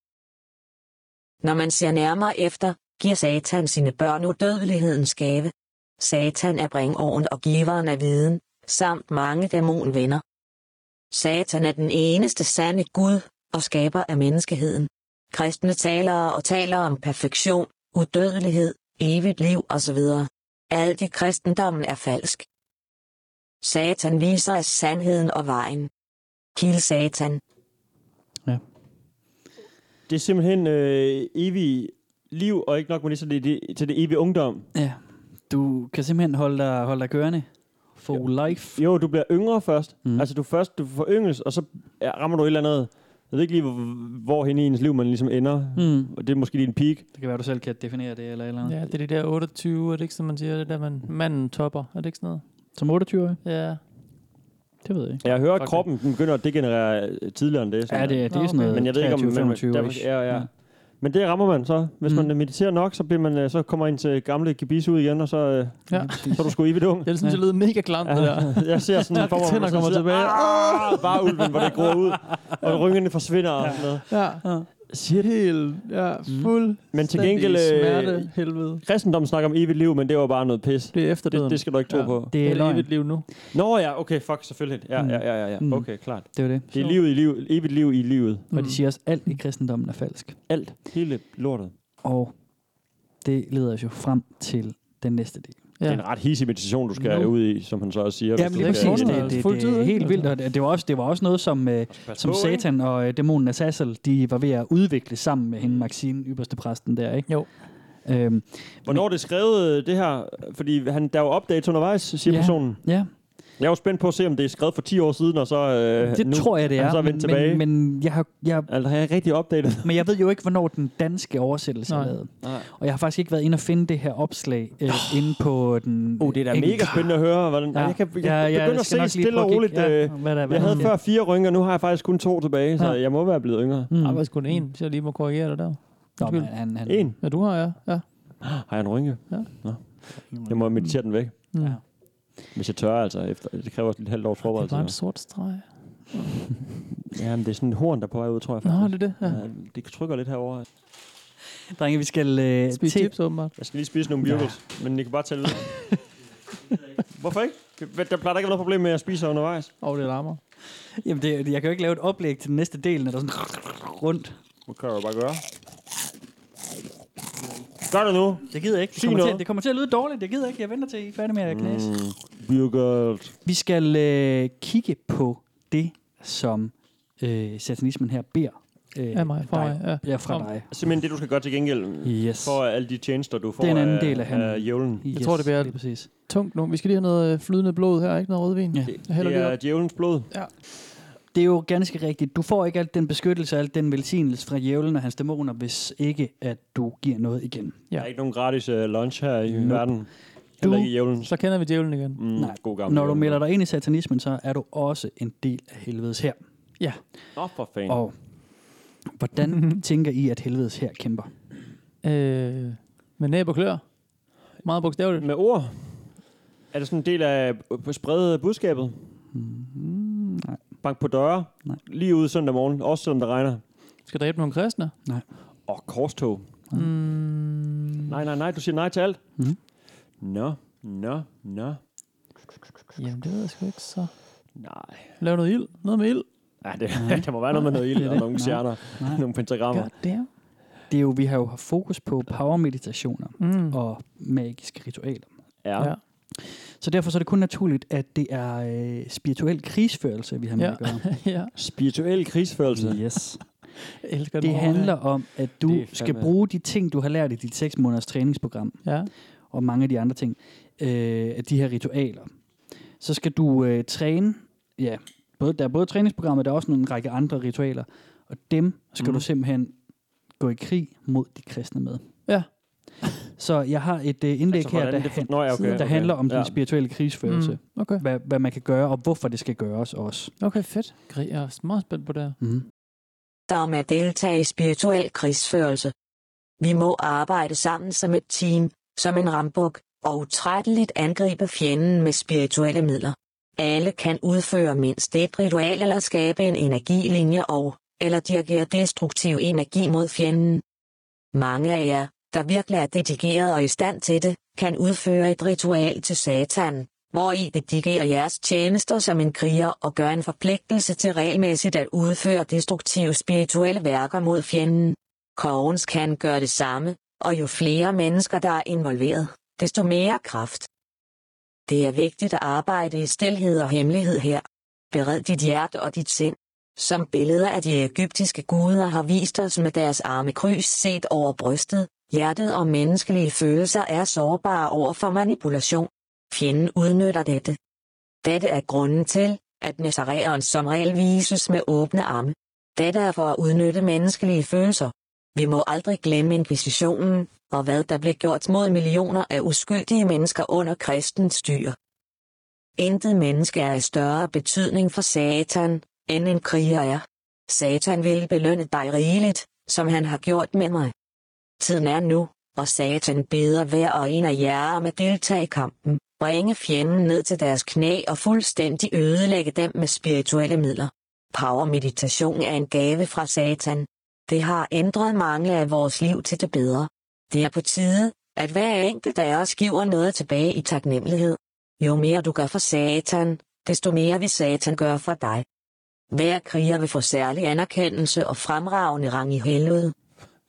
Når man ser nærmere efter, giver Satan sine børn udødelighedens gave. Satan er bringoven og giveren af viden, samt mange dæmonvenner. Satan er den eneste sande Gud og skaber af menneskeheden. Kristne talere og taler om perfektion, udødelighed, evigt liv osv. Alt i kristendommen er falsk. Satan viser os sandheden og vejen. Kill Satan.
Det er simpelthen øh, evig liv, og ikke nok med det, så det, det, til det evige ungdom.
Ja. Du kan simpelthen holde dig, holde dig kørende. For life.
Jo, du bliver yngre først. Mm. Altså, du først du får yngles, og så ja, rammer du et eller andet. Jeg ved ikke lige, hvor, hvor hen i ens liv man ligesom ender.
Mm.
Og det er måske din peak.
Det kan være, du selv kan definere det eller et eller andet.
Ja, det er det der 28, er det ikke sådan, man siger? Det er der, man, manden topper, er det ikke sådan noget?
Som 28-årig?
Ja.
Det ved jeg ikke.
Jeg hører, at
Fuck
kroppen den begynder at degenerere øh, tidligere end det.
Ja, det, er- det
Nå,
er sådan noget
Men jeg ved ikke, om man,
23-25
derfor, ja, ja.
Ja.
Men det rammer man så. Hvis
Mm.
mm. man mediterer nok, så, bliver man, øh, så kommer man til gamle gebis ud igen, og så, øh,
Ja.
så er du sgu evigt ung.
Jeg synes, det lyder mega klamt, det der.
Ja, jeg ser sådan en form, hvor
Tænder
man sådan
kommer
sidder,
tilbage.
"Ah!" bare ulven, hvor det gror ud, og rynkerne forsvinder og sådan noget.
Ja. Shit. Helt, ja,
Mm.
fuld.
Men til gengæld, øh,
smerte, helvede.
Kristendommen snakker om evigt liv, men det var bare noget pis.
Det er efterdøden.
Det, det skal du ikke tro
Ja.
på.
Det er
det er
løgn.
evigt liv nu.
Nå ja, okay, fuck, selvfølgelig. Ja,
Mm.
ja, ja, ja,
Mm.
ja. Okay, klart.
Det er jo det.
Det er livet i livet. Evigt liv i livet.
Mm. Og de siger også, at alt i kristendommen er falsk.
Alt. Hele lortet.
Og det leder os jo frem til den næste del.
Ja. Det er en ret hissig meditation, du skal
No.
no. ud i, som han så også siger. hvis
Jamen
du
lige
skal-
præcis, det,
forestille
det,
os
det,
fuldtid,
det er
ikke?
helt vildt,
Altså.
og det det var også, det var også noget, som, øh,
pas
som
på,
Satan og øh, dæmonen Azazel, de var ved at udvikle sammen med hende, Maxine, ypperste præsten der, ikke?
Jo.
Øhm,
Hvornår er det skrevet, øh, det her? Fordi han, der er jo updates undervejs, siger
Ja.
ja. personen.
ja,
Jeg er jo spændt på at se, om det er skrevet for 10 år siden, og så øh,
det
nu,
tror jeg, det
han
er,
så er vendt
men,
tilbage.
men, men, jeg har, jeg,
Altså, har jeg rigtig opdateret?
men jeg ved jo ikke, hvornår den danske oversættelse er
Nej.
lavet.
Nej.
Og jeg har faktisk ikke været inde og finde det her opslag øh, inde på den...
Oh, det er da
engelske-
mega spændende at høre. Hvordan, ja. Jeg, kan, jeg ja, begynder
skal
at se
nok lige
stille
prøve
og
at
roligt. øh.
kigge,
Ja.
hvad der, hvad
Jeg
der
havde
sker.
før fire rynker, nu har jeg faktisk kun to tilbage, så
Ja.
jeg må være blevet yngre.
Mm.
Der er faktisk kun én, så jeg lige må korrigere dig der.
Nå, men
Undskyld.
han, han,
En.
Ja, du har, ja. ja.
Har jeg en rynke?
Ja.
Nå. Jeg må meditere den væk.
Mm.
Ja.
Hvis jeg tør, altså. Efter, det kræver et halvt års
Det er
forberedelse.
bare en sort streg.
Ja, men det er sådan en horn, der er på vej ud, tror jeg
Nå,
faktisk.
det er det. Ja.
Ja, det trykker lidt herover.
Drenge, vi skal øh,
Spis
til...
chips, åbenbart.
Jeg skal lige spise nogle virkels, ja. men I kan bare
<laughs>
tælle ud. Hvorfor ikke? Hvad- Der plejer da ikke at være noget problem med at spise undervejs.
Og det larmer.
Jamen, det, jeg kan jo ikke lave et oplæg til den næste del, når der er sådan rundt.
Det kan jeg jo bare gøre. Gør det nu.
Jeg gider ikke. Det
Sig
kommer, til,
noget.
det kommer til at lyde dårligt. Jeg gider ikke. Jeg venter til, I er færdige med at knæse. Mm.
Virkels.
Vi skal øh, kigge på det, som øh, satanismen her beder. Øh,
Af mig, fra
dig.
mig, ja.
ja, fra
Om-
dig.
Simpelthen det, du skal gøre til gengæld
Yes.
for alle de tjenester, du får
Det er en anden
af,
del af handlen.
af djævlen.
yes,
tror, det bliver-
lige præcis.
Tungt nu. Vi skal lige have noget øh, flydende blod her, ikke? Noget rødvin.
Ja.
Jeg hælder
Det
lige
er
op.
djævelens blod.
Det er jo ganske rigtigt. Du får ikke alt den beskyttelse og alt den velsignelse fra djævlen og hans dæmoner, hvis ikke at du giver noget igen.
Ja. Der er ikke nogen gratis uh, lunch her i
Nope.
verden. Heller
Du-
ikke i djævlen.
Så kender vi djævlen igen.
Mm,
Nej.
God gammel
Når du
djævlen.
melder dig ind i satanismen, så er du også en del af helvedes her.
Ja.
Nå, for fanden.
Og
<laughs>
hvordan tænker I, at helvedes her kæmper?
Øh, med næb og klør. Meget bogstaveligt.
Med ord? Er det sådan en del af at sprede budskabet?
Mm-hmm. nej.
Bank på døre?
Nej.
Lige ude søndag morgen, også selvom det regner?
Skal dræbe nogle kristne.
Og korstog?
Mm,
Nej, nej, nej, du siger nej til alt?
Mhm.
Nå, nå, nå.
jamen, det ved jeg sgu ikke så.
Nej.
Lave noget ild. Noget med ild.
Ja, det, <laughs> der må være noget med noget
det
ild
er
og
det.
nogle
Nej.
stjerner,
Nej.
nogle pentagrammer.
God damn.
Det er jo, vi har jo haft fokus på powermeditationer
Mm.
og magiske ritualer.
Ja.
Ja.
ja.
Så derfor så er det kun naturligt, at det er øh, spirituel krigsførelse, vi har med
Ja.
at gøre.
<laughs>
<laughs>
ja.
Spirituel krigsførelse.
Yes.
Jeg elsker den
Det
ord.
handler om, at
Det er
du
fandme-
skal bruge de ting, du har lært i dit 6 måneders træningsprogram,
Ja.
og mange af de andre ting, øh, af de her ritualer. Så skal du øh, træne, ja, både, der er både træningsprogrammet, der er også en række andre ritualer, og dem skal mm. du simpelthen gå i krig mod de kristne med.
Ja.
Så jeg har et øh, indlæg
Altså,
altså, her,
hvordan
der,
det for-
han,
Nå, ja, okay,
der
okay.
handler om ja.
Ja.
den spirituelle krigsførelse. Mm.
Okay.
Hvad, hvad man kan gøre, og hvorfor det skal gøres også.
Okay, fedt. Gre- Jeg er meget spændt på det her.
Mm-hmm.
Mm.
der om at deltage i spirituel krigsførelse. Vi må arbejde sammen som et team, som en rambuk, og utrætteligt angribe fjenden med spirituelle midler. Alle kan udføre mindst et ritual eller skabe en energilinje og, eller dirigere destruktiv energi mod fjenden. Mange af jer, der virkelig er dedikeret og i stand til det, kan udføre et ritual til satan, hvor I dedikerer jeres tjenester som en kriger og gør en forpligtelse til regelmæssigt at udføre destruktive spirituelle værker mod fjenden. Kogens kan gøre det samme, og jo flere mennesker, der er involveret, desto mere kraft. Det er vigtigt at arbejde i stilhed og hemmelighed her. Bered dit hjerte og dit sind. Som billeder af de egyptiske guder har vist os med deres arme kryds set over brystet, hjertet og menneskelige følelser er sårbare over for manipulation. Fjenden udnytter dette. Dette er grunden til, at Nazareeren som regel vises med åbne arme. Dette er for at udnytte menneskelige følelser. Vi må aldrig glemme inkvisitionen, og hvad der blev gjort mod millioner af uskyldige mennesker under kristens styre. Intet menneske er af større betydning for Satan, end en kriger er. Satan vil belønne dig rigeligt, som han har gjort med mig. Tiden er nu, og Satan beder hver og en af jer om at deltage i kampen, bringe fjenden ned til deres knæ og fuldstændig ødelægge dem med spirituelle midler. Power meditation er en gave fra Satan. Det har ændret mange af vores liv til det bedre. Det er på tide, at hver enkelt af os giver noget tilbage i taknemmelighed. Jo mere du gør for Satan, desto mere vil Satan gøre for dig. Hver kriger vil få særlig anerkendelse og fremragende rang i helvede.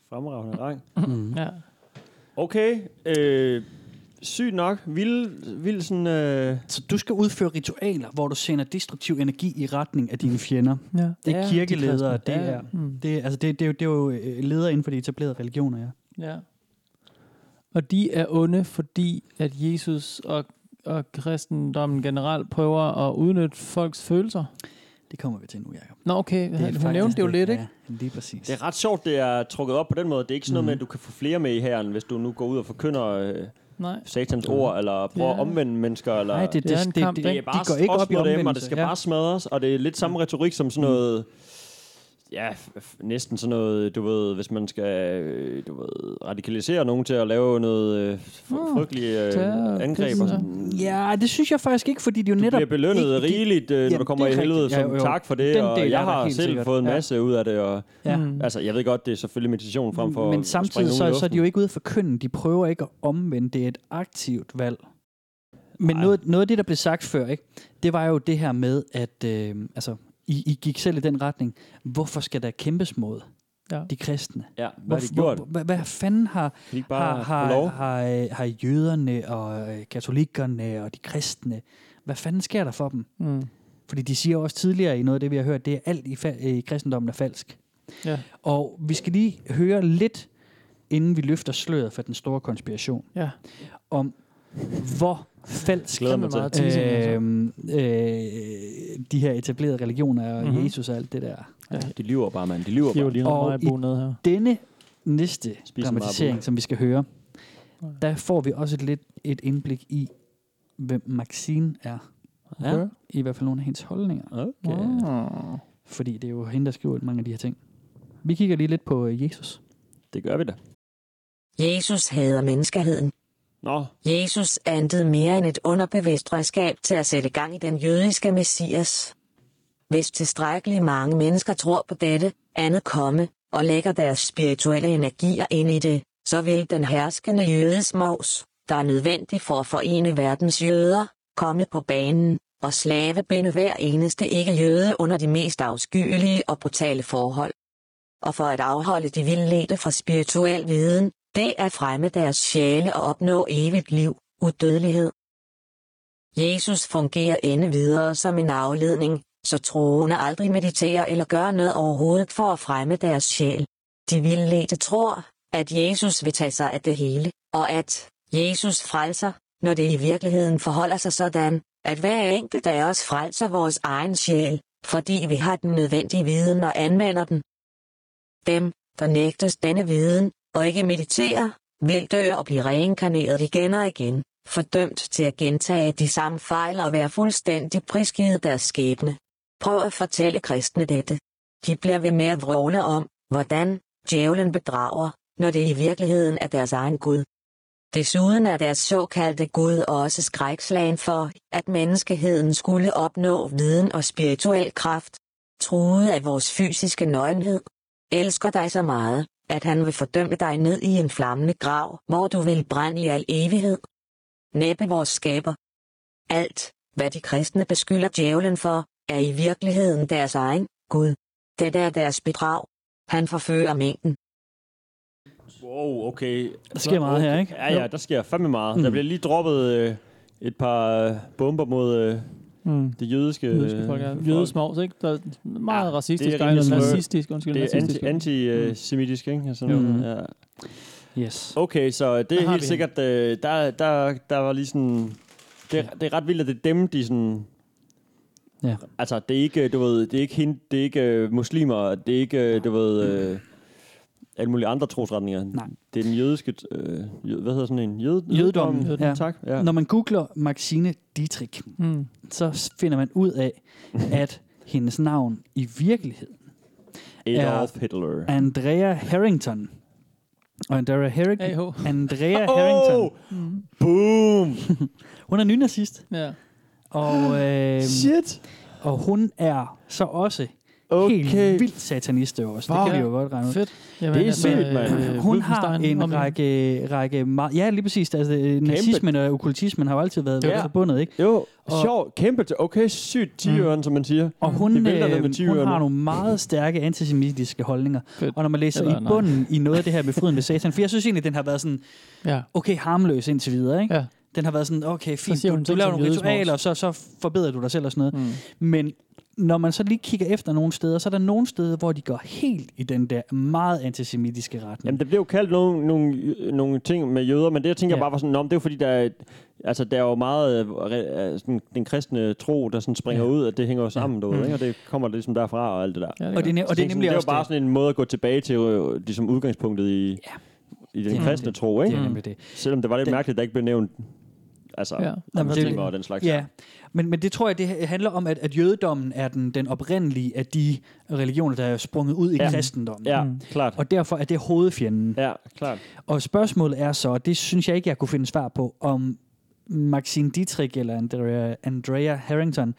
Fremragende rang.
Mm-hmm.
Ja.
Okay, øh, sygt nok. Vild, vild sådan... Øh,
Så du skal udføre ritualer, hvor du sender destruktiv energi i retning af dine fjender.
Ja.
Det er
Ja,
kirkeledere,
de
det
kristne. Ja. Mm.
er, det, er- altså det, det, er jo, det er jo øh, ledere inden for de etablerede religioner, ja.
Ja. Og de er onde, fordi at Jesus og, og kristendommen generelt prøver at udnytte folks følelser.
Det kommer vi til nu, Jacob.
Nå, okay.
Det er
Hun
faktisk
nævnte det jo lidt, ikke?
Ja, lige præcis.
det er ret sjovt, det er trukket op på den måde. Det er ikke sådan
Mhm.
noget med, at du kan få flere med i herren, hvis du nu går ud og forkynder øh,
Nej.
satans ord, eller prøver
Ja.
at omvende mennesker. Eller,
Nej, det, det,
Det er en
det,
kamp,
det,
det er
ikke?
bare
de går ikke op i
mod dem, og det
omvendelse.
skal
ja. Mm.
bare smadres, og det er lidt samme retorik som sådan noget... Ja, f- f- næsten sådan noget, du ved, hvis man skal øh, du ved, radikalisere nogen til at lave noget øh, fr- frygtelige
terror,
øh, angreb. Og
det er
sådan.
Mm. Ja, det synes jeg faktisk ikke, fordi de jo
Du
netop...
bliver belønnet
ikke,
rigeligt, øh,
Jamen,
når du kommer
det
i
er
helvede,
rigtigt. Ja,
som
jo, jo.
tak for det,
Den
og
del er
jeg
der
har
helt
selv
sikkert.
fået en
Ja.
masse ud af det. Og,
Ja.
Mm.
Altså, jeg ved godt, det er selvfølgelig meditation frem for
Mm. Men
at springe
samtidig
nogen i
så, så er
luften.
de jo ikke ude for kønnen. De prøver ikke at omvende. Det er et aktivt valg. Men
Ej.
noget, noget af det, der blev sagt før, ikke, det var jo det her med, at øh, altså, I, I gik selv i den retning. Hvorfor skal der kæmpes mod
Ja.
de kristne?
Ja, hvad har de
Hvor-
gjort?
hvor- Hvad, hvad fanden har,
de ikke bare
har,
få
har,
lov?
har, øh, har jøderne og øh, katolikkerne og de kristne, hvad fanden sker der for dem?
Mm.
Fordi de siger også tidligere i noget af det, vi har hørt, det er alt i, fa- i kristendommen er falsk.
Ja.
Og vi skal lige høre lidt, inden vi løfter sløret for den store konspiration,
Ja.
om hvor falsk
Glæder mig til.
meget teasing, altså.
øh, øh, de her etablerede religioner og
Mhm.
mm-hmm. Jesus og alt det der. er.
De lyver bare, mand. De lyver
Giver
bare.
lige
Og
noget meget
i-
bo ned her.
Denne næste
Spis en
dramatisering,
Marabou.
som vi skal høre, der får vi også lidt et indblik i, hvem Maxine er.
Ja.
I hvert fald nogle af hendes holdninger.
Okay.
Mm.
Fordi det er jo hende, der skriver mange af de her ting. Vi kigger lige lidt på øh, Jesus.
Det gør vi da.
Jesus hader menneskeheden.
Nå,
Jesus antede mere end et underbevidst redskab til at sætte gang i den jødiske messias. Hvis tilstrækkeligt mange mennesker tror på dette, andet komme, og lægger deres spirituelle energier ind i det, så vil den herskende jødes mors, der er nødvendig for at forene verdens jøder, komme på banen, og slavebinde hver eneste ikke-jøde under de mest afskyelige og brutale forhold og for at afholde de vildledte fra spirituel viden, det at fremme deres sjæle og opnå evigt liv, udødelighed. Jesus fungerer endvidere videre som en afledning, så troende aldrig mediterer eller gør noget overhovedet for at fremme deres sjæl. De vildledte tror, at Jesus vil tage sig af det hele, og at Jesus frelser, når det i virkeligheden forholder sig sådan, at hver enkelt af os frelser vores egen sjæl, fordi vi har den nødvendige viden og anvender den. Dem, der nægtes denne viden, og ikke mediterer, vil dø og blive reinkarneret igen og igen, fordømt til at gentage de samme fejl og være fuldstændig prisgivet deres skæbne. Prøv at fortælle kristne dette. De bliver ved med at vråle om, hvordan djævlen bedrager, når det i virkeligheden er deres egen Gud. Desuden er deres såkaldte Gud også skrækslagen for, at menneskeheden skulle opnå viden og spirituel kraft, truet af vores fysiske nøgenhed, elsker dig så meget, at han vil fordømme dig ned i en flammende grav, hvor du vil brænde i al evighed. Næppe vores skaber. Alt, hvad de kristne beskylder djævlen for, er i virkeligheden deres egen Gud. Det er deres bedrag. Han forfører mængden.
Wow, okay.
Der sker meget her, ikke?
Ja, ja,
Jo.
der sker fandme meget. Mm. Der bliver lige droppet øh, et par øh, bomber mod øh,
Mm.
det jødiske... øh,
Jødiske folk er
folk.
jødesmovs, ikke? Der er meget
Ja,
ja, racistisk,
det
det
er
er
rimelig sløret.
racistisk, undskyld,
Det er
racistisk.
anti, anti-semitisk, ikke? Altså, mm.
Mm.
ja.
Yes.
Okay, så det
Der
er
har
helt
vi
sikkert, øh, der, der, der var lige sådan... Det er, det er ret vildt, at det er dem, de sådan...
Ja.
Altså, det er ikke, øh, du ved, det er ikke, hende, det er ikke øh, muslimer, det er ikke, øh, du ved, øh, alle mulige andre trosretninger.
Nej.
Det er den jødiske, øh, jød, hvad hedder sådan en? Jød,
Jødedommen,
Ja.
ja.
Tak. Ja.
Når man googler Maxine Dietrich,
Mm.
så s- finder man ud af, at hendes navn i virkeligheden
Adolf Hitler.
er Andrea Harrington. Og Andrea, Herring-
AH.
Andrea Harrington,
Boom!
hun er nynazist,
Mm. Ja.
og, øh,
Shit!
og hun er så også okay.
Okay.
helt vildt satanist det er jo også. Det
Wow.
kan vi jo godt regne ud. Øh,
Fedt. Jamen,
Det er sindssygt, mand.
Hun har
Wittgenstein
en
om-
række, række meget, ja lige præcis, altså øh, nazismen og okkultismen har jo altid været
Ja.
ja. forbundet, ikke?
Jo,
Og-
sjovt, kæmpe. T- okay, sygt 10 mm. som man siger.
Og hun,
Det vælter ned med
øh, hun
tyverne.
har nogle meget stærke antisemitiske holdninger.
Fedt.
Og når man læser
Eller
i
nej.
bunden i noget af det her med fryden ved satan, for jeg synes egentlig, den har været sådan,
Ja.
okay, harmløs indtil videre, ikke?
ja.
Den har været sådan, okay, fint,
siger
du,
hun
du
ting
laver
som
nogle
jødesmors.
ritualer, og så, så forbedrer du dig selv og sådan noget. Mm. Men når man så lige kigger efter nogle steder, så er der nogle steder, hvor de går helt i den der meget antisemitiske retning.
Jamen, det blev jo kaldt nogle, nogle, nogle ting med jøder, men det, jeg tænker
Ja.
bare var sådan, om det er jo fordi, der er, altså, der er jo meget øh, re- øh, sådan, den kristne tro, der sådan springer ja.
Ja. Mm.
ud, at det hænger jo sammen, ja. derude, ikke? og det kommer ligesom derfra og alt det der.
ja
Ja.
det
og det, er ne- og det er nemlig
sådan,
også
det er jo bare sådan en måde at gå tilbage til øh, ligesom udgangspunktet i, ja.
Ja.
i den
Det er
kristne
nemlig-
tro,
det
ikke?
er nemlig det.
Selvom det var lidt
Den-
mærkeligt, at der ikke blev nævnt altså,
Ja.
ja.
Jamen, det er
muslimer
jo-
og den slags.
Ja, men, men det tror jeg, det handler om, at, at jødedommen er den, den oprindelige af de religioner, der er sprunget ud i
Ja.
ja. kristendommen.
ja klart.
Mm. Og derfor er det hovedfjenden.
Ja, klart.
Og spørgsmålet er så, og det synes jeg ikke, jeg kunne finde svar på, om Maxine Dietrich eller Andrea, Andrea Harrington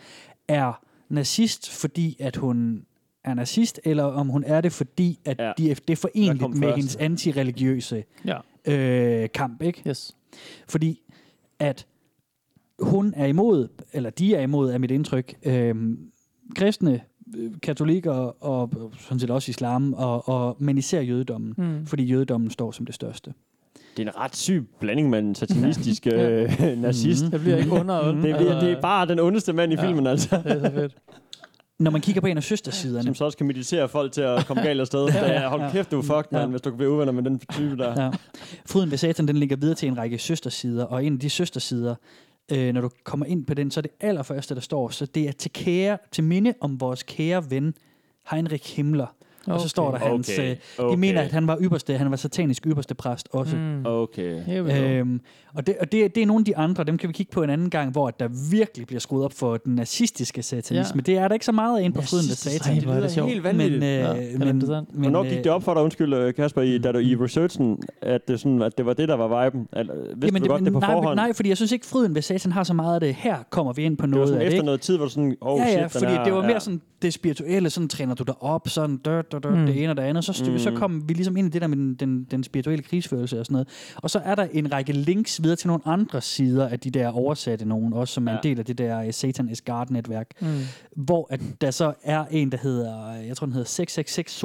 er nazist, fordi at hun er nazist, eller om hun er det, fordi at
Ja.
ja. de, det er
Hvad kom
forenligt med
først?
hendes antireligiøse
Ja.
øh, kamp. Ikke?
Yes.
Fordi at hun er imod, eller de er imod, er mit indtryk, øh, kristne, øh, katolikker og sådan set også islam, og, og, men især jødedommen, mm. fordi jødedommen står som det største.
Det er en ret syg blanding med
<laughs>
en satanistisk øh,
Mm-hmm.
nazist.
Jeg bliver ikke under og under.
Det, er, det er bare den ondeste mand i ja. filmen, altså.
Det er så fedt.
Når man kigger på en af søstersiderne,
Som så også kan meditere folk til at komme
<laughs>
galt afsted. ja, ja, hold kæft, du er fucked, mand,
Ja.
hvis du kan blive uvenner med den type der.
ja, fryden ved satan, den ligger videre til en række søstersider, og en af de søstersider, øh, når du kommer ind på den, så er det allerførste, der står, så det er til, kære, til minde om vores kære ven, Heinrich Himmler. Okay. Og så står der
Okay.
hans... Okay. Øh, de
Okay.
okay. mener, at han var ypperste, han var satanisk ypperste præst også. Mm.
Okay.
Here we go.
Øhm, og det, og det, det er nogle af de andre, dem kan vi kigge på en anden gang, hvor at der virkelig bliver skruet op for den nazistiske satanisme.
Ja.
Ja. Det er der ikke så meget af inde på fryden ved satan.
hvor er det sjovt.
helt
Men,
vanvittigt.
øh,
Men,
Ja, det er interessant.
men, Mm.
Hvornår gik det op for dig, undskyld øh, Kasper, i, da du, i researchen, at det, sådan, at det var det, der var viben? Eller, øh, vidste du godt det, på
nej,
forhånd?
Nej, fordi jeg synes ikke, fryden ved satan har så meget af det. Her kommer vi ind på
det var
noget
sådan
af det.
efter
ikke?
noget tid, hvor du sådan, oh
ja,
shit,
ja,
den
fordi
her,
det var mere
ja.
sådan det spirituelle, sådan træner du dig op, sådan dør, dør, dør, mm. det ene og det andet. Så, styr, mm. så kom vi ligesom ind i det der med den, den, den spirituelle krigsførelse og sådan noget. Og så er der en række links videre til nogle andre sider af de der oversatte nogen, også som er en
Ja.
del af det der øh, Satan is God-netværk, mm. hvor at der så er en, der hedder, øh, jeg tror den hedder 666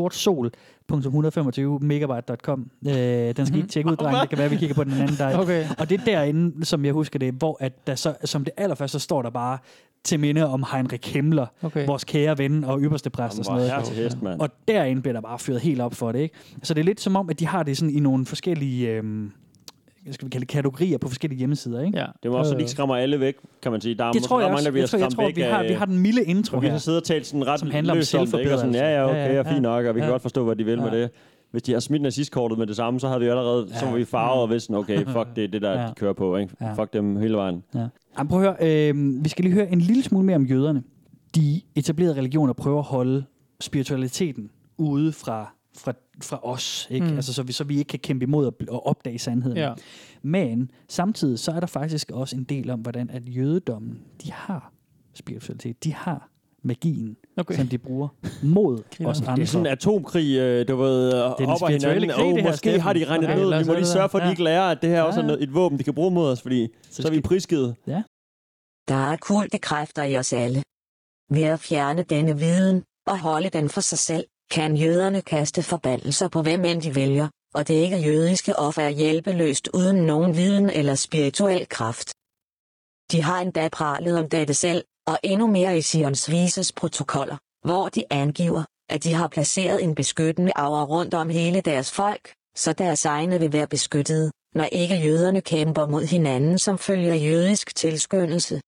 sortsol.125megabyte.com. Øh, den skal I ikke tjekke ud, drenge. Det kan være, vi kigger på den en anden dag.
Okay.
Og det er derinde, som jeg husker det, hvor at der så, som det allerførste, så står der bare til minde om Heinrich Himmler,
Okay.
vores kære ven og ypperste præst og sådan
Hvor
noget.
her til hest, mand.
Og derinde bliver der bare fyret helt op for det, ikke? Så det er lidt som om, at de har det sådan i nogle forskellige, øhm, hvad skal vi kalde det, kategorier på forskellige hjemmesider, ikke?
Ja. Øh,
Det var også, at de ikke skræmmer alle væk, kan man sige. Der er
Det
måske
tror jeg
ret mange,
også.
der bliver
Jeg tror, jeg
skræmt
tror
væk
vi, har,
af-
vi har den milde intro
Og vi
her.
så sidder og talt sådan ret
Som handler om
løst det, ikke? Og sådan, ja, ja, okay, ja,
selvforbedrelse.
ja, fint nok, og vi ja. kan
Ja.
godt forstå, hvad de vil ja. med
Ja.
det. Hvis de har smidt nazistkortet med det samme, så har de jo allerede, ja. så var vi farvet og vidste, okay, fuck, det er det, der ja.
Ja.
de kører på, ikke? Ja.
Ja.
Fuck dem hele vejen.
Ja. Jamen, prøv at høre, øh, vi skal lige høre en lille smule mere om jøderne. De etablerede religioner prøver at holde spiritualiteten ude fra fra, fra os, ikke? Mm. Altså, så, vi, så vi ikke kan kæmpe imod at, bl- at opdage sandheden.
Ja.
Men samtidig så er der faktisk også en del om, hvordan at jødedommen, de har spiritualitet, de har magien,
Okay.
okay. som de bruger mod os
Det er
andre.
sådan en atomkrig, øh, du ved,
den
op ad
spirituelle
hinanden.
krig,
Åh,
det her,
måske har de
Steffen.
regnet
Okay,
det ud.
lad
Vi
os
må
høre
lige
det
sørge
der.
for, at de
Ja.
ikke lærer, at det her også er
Ja, ja.
noget- et våben, de kan bruge mod os, fordi så, er vi
skal-
prisgivet.
Der er kulte kræfter i os alle. Ved at fjerne denne viden og holde den for sig selv, kan jøderne kaste forbandelser på hvem end de vælger, og det ikke jødiske offer er hjælpeløst uden nogen viden eller spirituel kraft. De har endda pralet om dette selv, og endnu mere i Sions vises protokoller, hvor de angiver, at de har placeret en beskyttende aura rundt om hele deres folk, så deres egne vil være beskyttede, når ikke jøderne kæmper mod hinanden som følger jødisk tilskyndelse.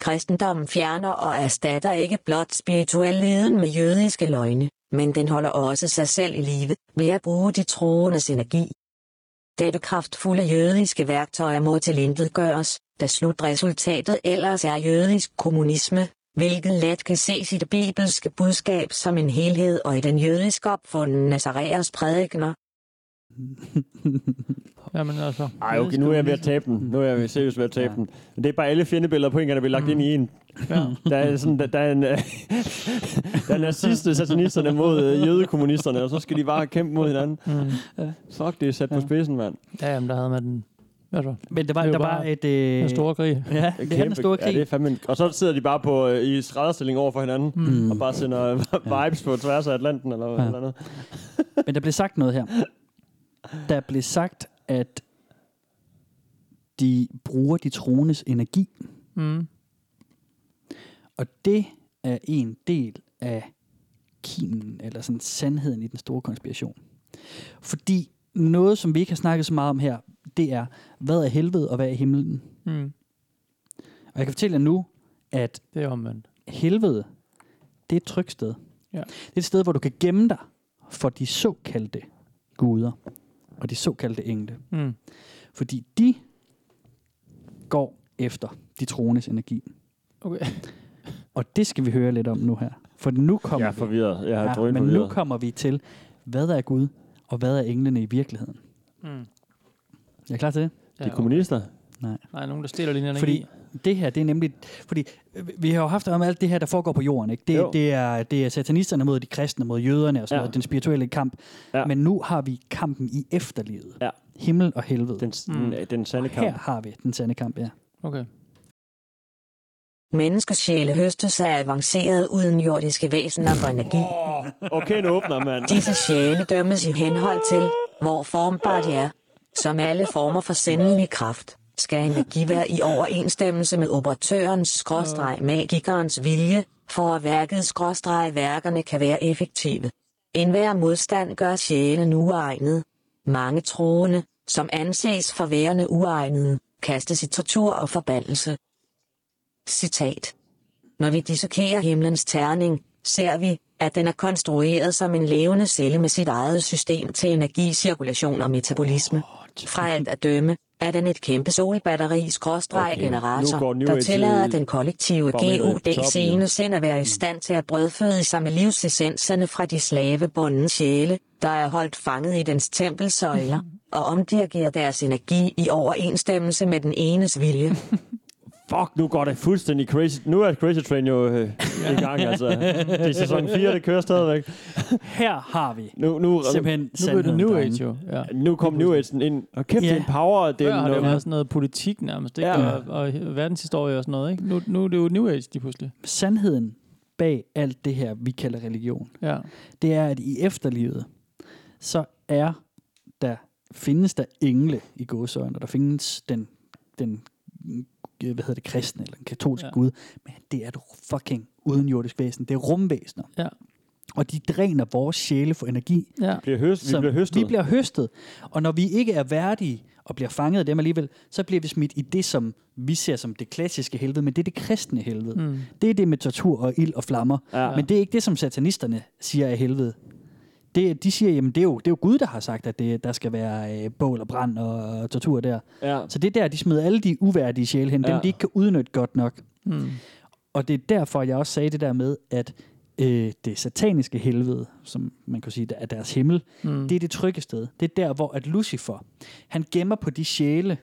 Kristendommen fjerner og erstatter ikke blot spirituel leden med jødiske løgne, men den holder også sig selv i live ved at bruge de troendes energi. Dette kraftfulde jødiske værktøj må tilintet gøres, da slutresultatet ellers er jødisk kommunisme, hvilket let kan ses i det bibelske budskab som en helhed og i den jødisk opfundne Nazareas prædikner.
Jamen altså.
Ej, okay, nu er jeg ved at tabe den. Nu er jeg seriøst ved at tabe den. Men det er bare alle fjendebilleder på en gang, der bliver lagt ind i en.
Ja.
Der er, sådan, der, der er en... <laughs> øh, der er naziste satanisterne mod øh, jødekommunisterne, og så skal de bare kæmpe mod hinanden.
Mm.
Fuck, det er sat på spidsen, mand.
Ja, jamen, der havde man den. Altså,
Men der var,
Det er
der
jo
var
bare
et... Øh,
den store krig.
Ja, det er den store krig.
Ja, det er fandme en, og så sidder de bare på, øh, i skrædderstilling over for hinanden, mm. og bare sender øh, <laughs> vibes på tværs af Atlanten, eller ja. eller andet.
Men der blev sagt noget her. Der blev sagt, at de bruger de troendes energi.
Mm.
Og det er en del af kimen, eller sådan sandheden i den store konspiration. Fordi noget, som vi ikke har snakket så meget om her, det er, hvad er helvede og hvad er himlen?
Mm.
Og jeg kan fortælle jer nu, at
Det er omvendt.
helvede, det er et trygt sted.
Ja.
Det er et sted, hvor du kan gemme dig for de såkaldte guder og de såkaldte engle.
Mm.
Fordi de går efter de troendes energi.
Okay.
Og det skal vi høre lidt om nu her. For nu kommer
Jeg er
vi,
forvirret. Jeg er ja,
ja,
drøn
men nu
forvirret.
kommer vi til, hvad er Gud, og hvad er englene i virkeligheden?
Mm.
Er I klar til det?
De er kommunister.
Nej, nogen, der stiller lige energi.
Fordi det her, det er nemlig... Fordi øh, vi har jo haft om alt det her, der foregår på jorden, ikke? Det,
Jo.
det, er, det er satanisterne mod de kristne, mod jøderne og sådan
Ja.
ja. noget, den spirituelle kamp.
Ja.
Ja. Men nu har vi kampen i efterlivet.
Ja.
Himmel og helvede.
Den,
Mm.
mm. den, den sande
her
kamp.
har vi den sande kamp, ja.
Okay.
Menneskesjæle høstes af avancerede udenjordiske væsener for energi.
Okay, nu åbner, mand.
Disse sjæle dømmes i henhold til, hvor formbare de er. Som alle former for sendelig kraft, skal energi være i overensstemmelse med operatørens skråstreg magikerens vilje, for at værkets skråstreg værkerne kan være effektive. En hver modstand gør sjælen uegnet. Mange troende, som anses for værende uegnede, kastes i tortur og forbandelse. Citat. Når vi dissekerer himlens terning, ser vi, at den er konstrueret som en levende celle med sit eget system til energicirkulation og metabolisme. Fra alt at dømme er den et kæmpe solbatteri skråstreg
nu går
generator,
New
der
Age,
tillader
øh,
den kollektive
barometeret i toppen,
GUD
jo.
scene sind at være i stand til at brødføde sig med livsessenserne fra de slavebundne sjæle, der er holdt fanget i dens tempelsøjler, og omdirigerer deres energi i overensstemmelse med den enes vilje.
Fuck, nu går det fuldstændig crazy. Nu er Crazy Train jo øh, i gang, altså. Det er sæson 4, det kører stadigvæk.
Her har vi
Nu, nu,
simpelthen
Nu blev det
sandheden,
New
drenge.
Age jo. Ja.
nu kom New Age'en ind. Og kæft,
Ja.
det er en power. Det
Før
er
har det jo
noget.
været sådan noget politik nærmest, ikke?
Ja.
Ja. Og, og verdenshistorie og sådan noget, ikke? Nu, nu er det jo New Age, de pludselig.
Sandheden bag alt det her, vi kalder religion,
Ja.
det er, at i efterlivet, så er der, findes der engle i godsøjne, og der findes den, den øh, hvad hedder det, kristne eller den katolske
Ja.
ja. Gud, men det er et fucking udenjordisk væsen. Det er rumvæsener.
Ja.
Og de dræner vores sjæle for energi,
Ja.
Bliver høst, vi
som
bliver høstet.
Vi bliver høstet. Og når vi ikke er værdige og bliver fanget af dem alligevel, så bliver vi smidt i det, som vi ser som det klassiske helvede, men det er det kristne helvede.
Mm.
Mm. Det er det med tortur og ild og flammer.
Ja.
Ja. Men det er ikke det, som satanisterne siger er helvede. Det, de siger, jamen det er, jo, det er jo Gud, der har sagt, at det, der skal være øh, bål og brand og, og tortur der.
Ja.
Så det er der, de smider alle de uværdige sjæle hen, ja.
Ja.
dem de ikke kan udnytte godt nok.
Mm.
Og det er derfor, jeg også sagde det der med, at øh, det sataniske helvede, som man kan sige der er deres himmel,
Hmm.
mm. det er det trygge sted. Det er der, hvor at Lucifer, han gemmer på de sjæle,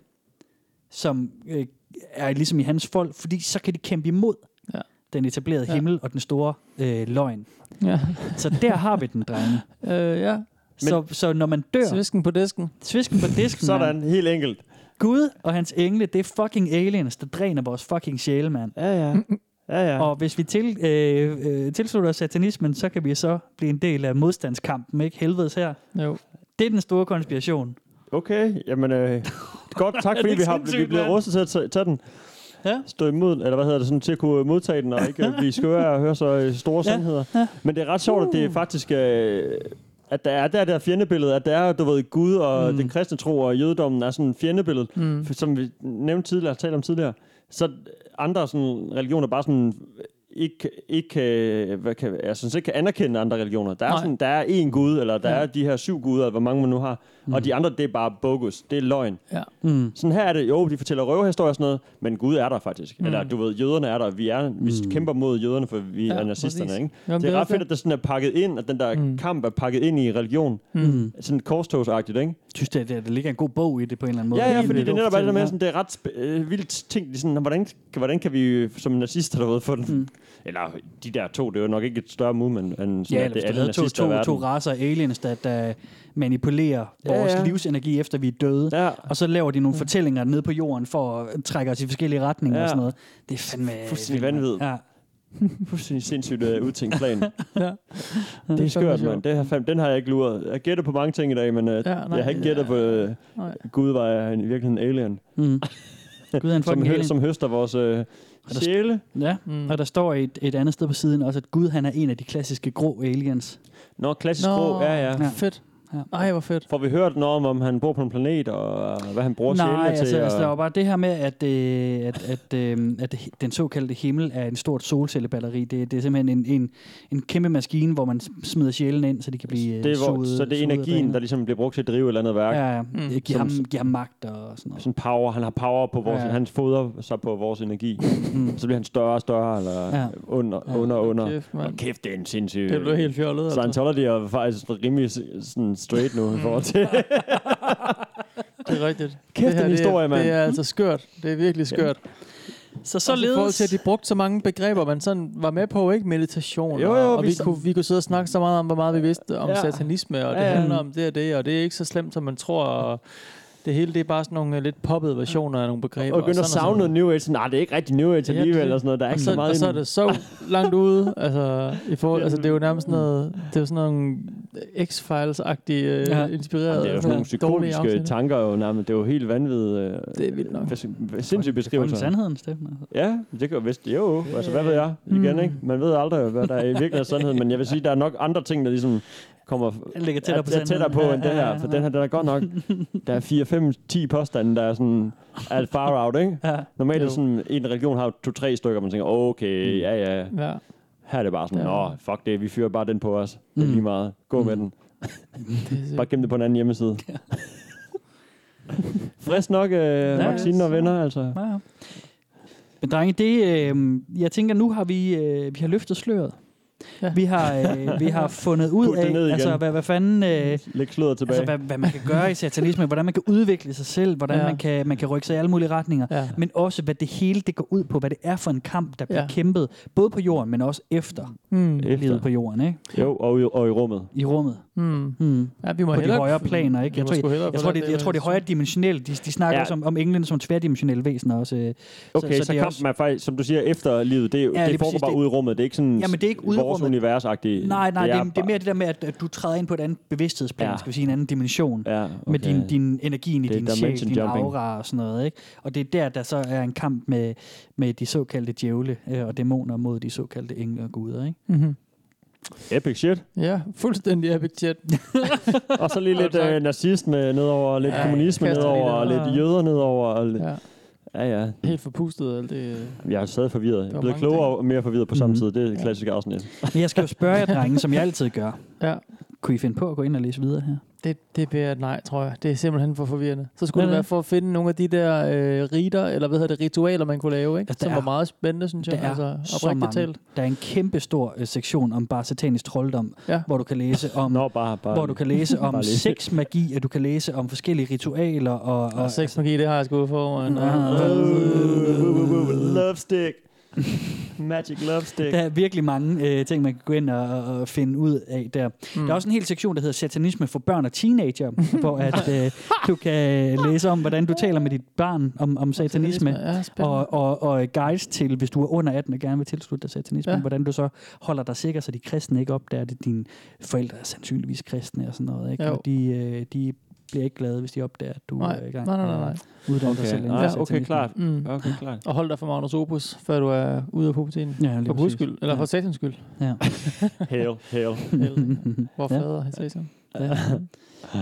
som øh, er ligesom i hans folk, fordi så kan de kæmpe imod
Ja.
den etablerede
Ja.
ja. himmel og den store øh, løgn.
Ja.
Så der har vi den, drenge.
<laughs> Øh, ja.
så, så når man dør,
Svisken på disken.
svisken på disken, mand.
Sådan, helt enkelt.
Gud og hans engle, det er fucking aliens, der dræner vores fucking sjæle, mand.
Ja, ja. Ja, ja.
Og hvis vi til, øh, øh, tilslutter os satanismen, så kan vi så blive en del af modstandskampen, ikke? Helvedes her.
Jo.
Det er den store konspiration.
Okay, jamen øh, godt,
<laughs>
tak fordi
ikke
vi har
sindssygt,
vi bliver
mand?
rustet til at tage- tage den.
Ja.
Stå imod, eller hvad hedder det, sådan, til at kunne modtage den, og ikke øh, blive skøre og høre så øh, store
Ja,
sandheder. Men det er ret sjovt, at det er faktisk... Øh, at der er der, der fjendebillede, at der er, du ved, Gud og mm. den kristne tro og jødedommen er sådan en fjendebillede, mm. som vi nævnte tidligere, talte om tidligere. Så andre sådan, religioner bare sådan ikke, ikke kan, hvad kan, jeg synes ikke kan anerkende andre religioner. Der er,
Nej.
sådan, der er én gud, eller der er de her syv guder, hvor mange man nu har, mm. og de andre, det er bare bogus, det er løgn.
Ja.
Mm.
Sådan her er det, jo, de fortæller røverhistorier og sådan noget, men Gud er der faktisk. Mm. Eller du ved, jøderne er der, vi, er, vi kæmper mod jøderne, for vi
Ja,
ja, er nazisterne.
præcis.
Ikke?
Jamen,
det
det
er
er
ret
også
fedt,
det.
at det sådan er pakket ind, at den der mm. kamp er pakket ind i religion. Mm. Sådan korstog's agtigt ikke?
synes, det, det, det ligger en god bog i det på en eller anden måde.
Ja, ja,
Helt
fordi det
vildt
er netop alt det med,
fortælling,
sådan, det er ret sp- øh, vildt ting. De sådan, hvordan, hvordan kan vi øh, som nazister der ved, få den? Mm. Eller de der to, det er jo nok ikke et større movement, end sådan,
Ja,
ja, at
eller
det er
hvis du
alle
havde to,
nazister i
to,
verden.
to raser af aliens, der, der manipulerer
Ja,
vores
ja.
livsenergi, efter vi er døde.
Ja. Mm.
Og så laver de nogle fortællinger nede på jorden, for at trække os i forskellige retninger
Ja.
og sådan noget. Det er fandme...
Fuldstændig
vildt, mand.
vanvid.
Ja.
Fuldstændig sindssygt uh, udtænkt plan.
Ja.
Det er
fandme
skørt, mand.
sjovt.
Det her, fandme- den har jeg ikke luret. Jeg gætter på mange ting i dag, men uh, ja,
Ja,
nej,
nej,
jeg har ikke gættet på, uh,
Nej.
Gud var jeg i virkeligheden alien, <laughs>
Gud er en
som,
fucking
hø-
alien.
som høster vores uh, sjæle.
Ja, mm. og der står et, et andet sted på siden også, at Gud han er en af de klassiske grå aliens.
Nå, klassisk grå, ja, ja.
Ja.
Fedt.
Ja.
Ej, hvor fedt.
Får vi hørt noget om, om han bor på en planet, og hvad han bruger sjælene
Nej,
til?
altså,
og...
altså, der var bare det her med, at, øh, at, at, øh, at den såkaldte himmel er en stort solcellebatteri. Det, det er simpelthen en, en, en kæmpe maskine, hvor man smider sjælen ind, så de kan blive øh,
det er, hvor,
suget,
så det er
suget af
energien,
banen.
der ligesom bliver brugt til at drive et eller andet værk. Ja.
Ja, ja. Mm. Giver, ham, giver ham magt og sådan noget.
Sådan power, han har power på vores, ja.
Ja.
han fodrer sig på vores energi. Mm. Så bliver han større og større, eller ja.
Ja.
under, ja. under, under.
Kæft,
Og
mand.
kæft, det er en sindssyg...
Det blev helt fjollet.
Øh,
altså.
Så han tåler de er faktisk rimelig s- sådan straight
Mm.
nu i forhold
<laughs>
til...
Det er rigtigt.
Kæft,
det her,
en historie,
det er,
mand.
Det er altså skørt. Det er virkelig skørt. Ja.
Så
I forhold til, at
således...
de brugte så mange begreber, man sådan var med på, ikke? Meditation.
Jo, jo,
og- og
vi
vi,
så-
kunne, vi kunne sidde og snakke så meget om, hvor meget vi vidste om
Ja.
ja. satanisme, og
Ja,
det
ja.
handler om det og det, og det er ikke så slemt, som man tror. Og det hele, det er bare sådan nogle øh, lidt poppede versioner af nogle begreber.
og begynder at
sådan
savne
sådan.
noget New Age. Sådan, Nej, det er ikke rigtig New Age
Ja,
alligevel,
det-
eller sådan noget. Der er
og
ikke
så,
så meget
og
i
så er
den.
det så langt ude. Altså, i forhold, altså, det er jo nærmest
mm.
sådan noget, det er jo sådan nogle X-Files-agtige, øh,
Ja.
ja. inspireret.
Det er jo sådan nogle psykotiske tanker, jo, nærmest. det er jo helt vanvittigt. øh,
Det er vildt nok.
bes- Sindssyge
Det er jo
beskrivelser.
sandheden, Steffen. altså.
Ja, det kan jo vist. Jo, altså hvad ved jeg?
Mm.
Igen, ikke? Man ved aldrig, hvad der er i virkeligheden er sandheden, men jeg vil sige, der er nok andre ting, der ligesom kommer
Den ligger tættere
er-
på
er tættere
sandheden.
på
Ja,
end det
ja,
her,
ja,
for
ja.
den her, den er godt
<laughs>
nok, der er 4, 5, 10 påstande, der er sådan, er far out, ikke?
Ja.
Normalt er
Jo.
det sådan, en religion har jo to-tre stykker, man tænker,
Mm.
okay, ja, ja,
Ja.
her er det bare sådan,
Ja.
nå, fuck det, vi fyrer bare den på os, det er
Mm.
lige meget, gå med den. Bare gem det på en anden
<laughs>
hjemmeside. Frisk nok, øh, vaccinen og venner, altså.
Ja, ja. Men drenge, det, øh, jeg tænker, nu har vi, øh, vi har løftet sløret.
Ja.
Ja. Vi, har, øh, vi
<laughs>
har fundet ud
Put det
af,
ned igen.
altså, hvad, hvad fanden... Øh,
Læg sløret tilbage.
altså, hvad, hvad man kan gøre i satanisme, hvordan man kan udvikle sig selv, hvordan
Ja.
ja. man, kan, man kan rykke sig i alle mulige retninger,
Ja.
ja. men også hvad det hele det går ud på, hvad det er for en kamp, der bliver
Ja.
ja. kæmpet, både på jorden, men også efter,
Mm.
Efter.
efter. livet på jorden, ikke?
Jo, og i, og i rummet.
i rummet,
Mm.
mm.
Ja, vi må
på de
hellere-
højere planer. Ikke?
vi
Jeg,
må
tror,
sgu
jeg,
hellere
jeg,
få
tror,
den
det, jeg
del
tror, det
af
er højere dimensionelle. De, de snakker
Ja.
ja. også om, om englen som tværdimensionelle væsener også. øh.
Okay, så, så,
det er
kampen
også-
er faktisk, som du siger, efterlivet, det, ja, det
lige
foregår
præcis,
bare
det-
ude i rummet. Det er ikke sådan
Jamen, det er ikke ude i
vores
rummet.
univers-agtigt.
Nej, nej, det er, det er
bare-
mere det der med, at, at du træder ind på et andet bevidsthedsplan,
Ja.
ja. skal vi sige, en anden dimension.
Ja, okay.
Med din, din energi i
Det er
din sjæl,
dimension
din
jumping.
aura og sådan noget. Ikke? Og det er der, der så er en kamp med, med de såkaldte djævle øh, og dæmoner mod de såkaldte engle og guder.
<laughs>
Ikke?
Mm-hmm.
Epic shit.
Ja, fuldstændig epic chat.
Og
<laughs>
så lige lidt øh, nazisme nedover, lidt ja,
Ja,
kommunisme
kaster lige
nedover, og
lidt-
lidt jøder nedover. Og lidt,
Ja.
ja, ja.
Helt forpustet alt det.
Jeg er stadig forvirret. Jeg
var
er blevet
mange
klogere
ting.
og mere forvirret på samme
Mhm.
tid. Det er et klassisk afsnit.
Men jeg skal jo spørge jer, drenge, som jeg altid gør.
Ja.
Kunne I finde på at gå ind og læse videre her?
Det, det bliver et nej, tror jeg. Det er simpelthen for forvirrende. Så skulle
Hvad
det
er
være
det?
for at finde nogle af de der øh, riter, eller hvad hedder det, ritualer, man kunne lave, ikke?
Ja, Altså, der
Som
er-
var meget spændende, synes jeg.
Der er
altså,
så mange.
oprigtigt talt.
Der er en kæmpe stor øh, sektion om bare satanisk trolddom,
Ja.
hvor du kan læse om
Nå, bare, bare
hvor du kan læse om
<laughs> Bare lige.
sex magi, og du kan læse om forskellige ritualer og, og,
Og sex magi, det har jeg sgu for.
Nå.
Øh, Love
<laughs>
stick. Magic love stick.
Der er virkelig mange øh, ting, man kan gå ind og, og- og finde ud af der. Mm. Der er også en hel sektion, der hedder satanisme for børn og teenager,
<laughs>
hvor at, øh, du kan læse om, hvordan du taler med dit barn om, om satanisme.
Ja, spændende.
Og, og, og guides til, hvis du er under 18 og gerne vil tilslutte dig satanismen,
Ja.
ja. hvordan du så holder dig sikker, så de kristne ikke opdager det. Dine forældre er sandsynligvis kristne og sådan noget. Ikke?
Jo.
Og de, øh, de bliver ikke glade, hvis de opdager, at du
Nej,
er i gang
nej, nej, nej,
med at
nej.
uddanne dig
Okay,
selv. inden for
ja, okay,
satanismen.
klart.
Mm.
Okay, klart.
Og hold dig for Magnus Opus, før du er ude af puberteten.
Ja, lige
For Guds
præcis.
skyld, eller for satans skyld.
Ja.
Hail, hail.
<laughs>
Hvor
Ja.
fader han satan.
Ja.
Oh,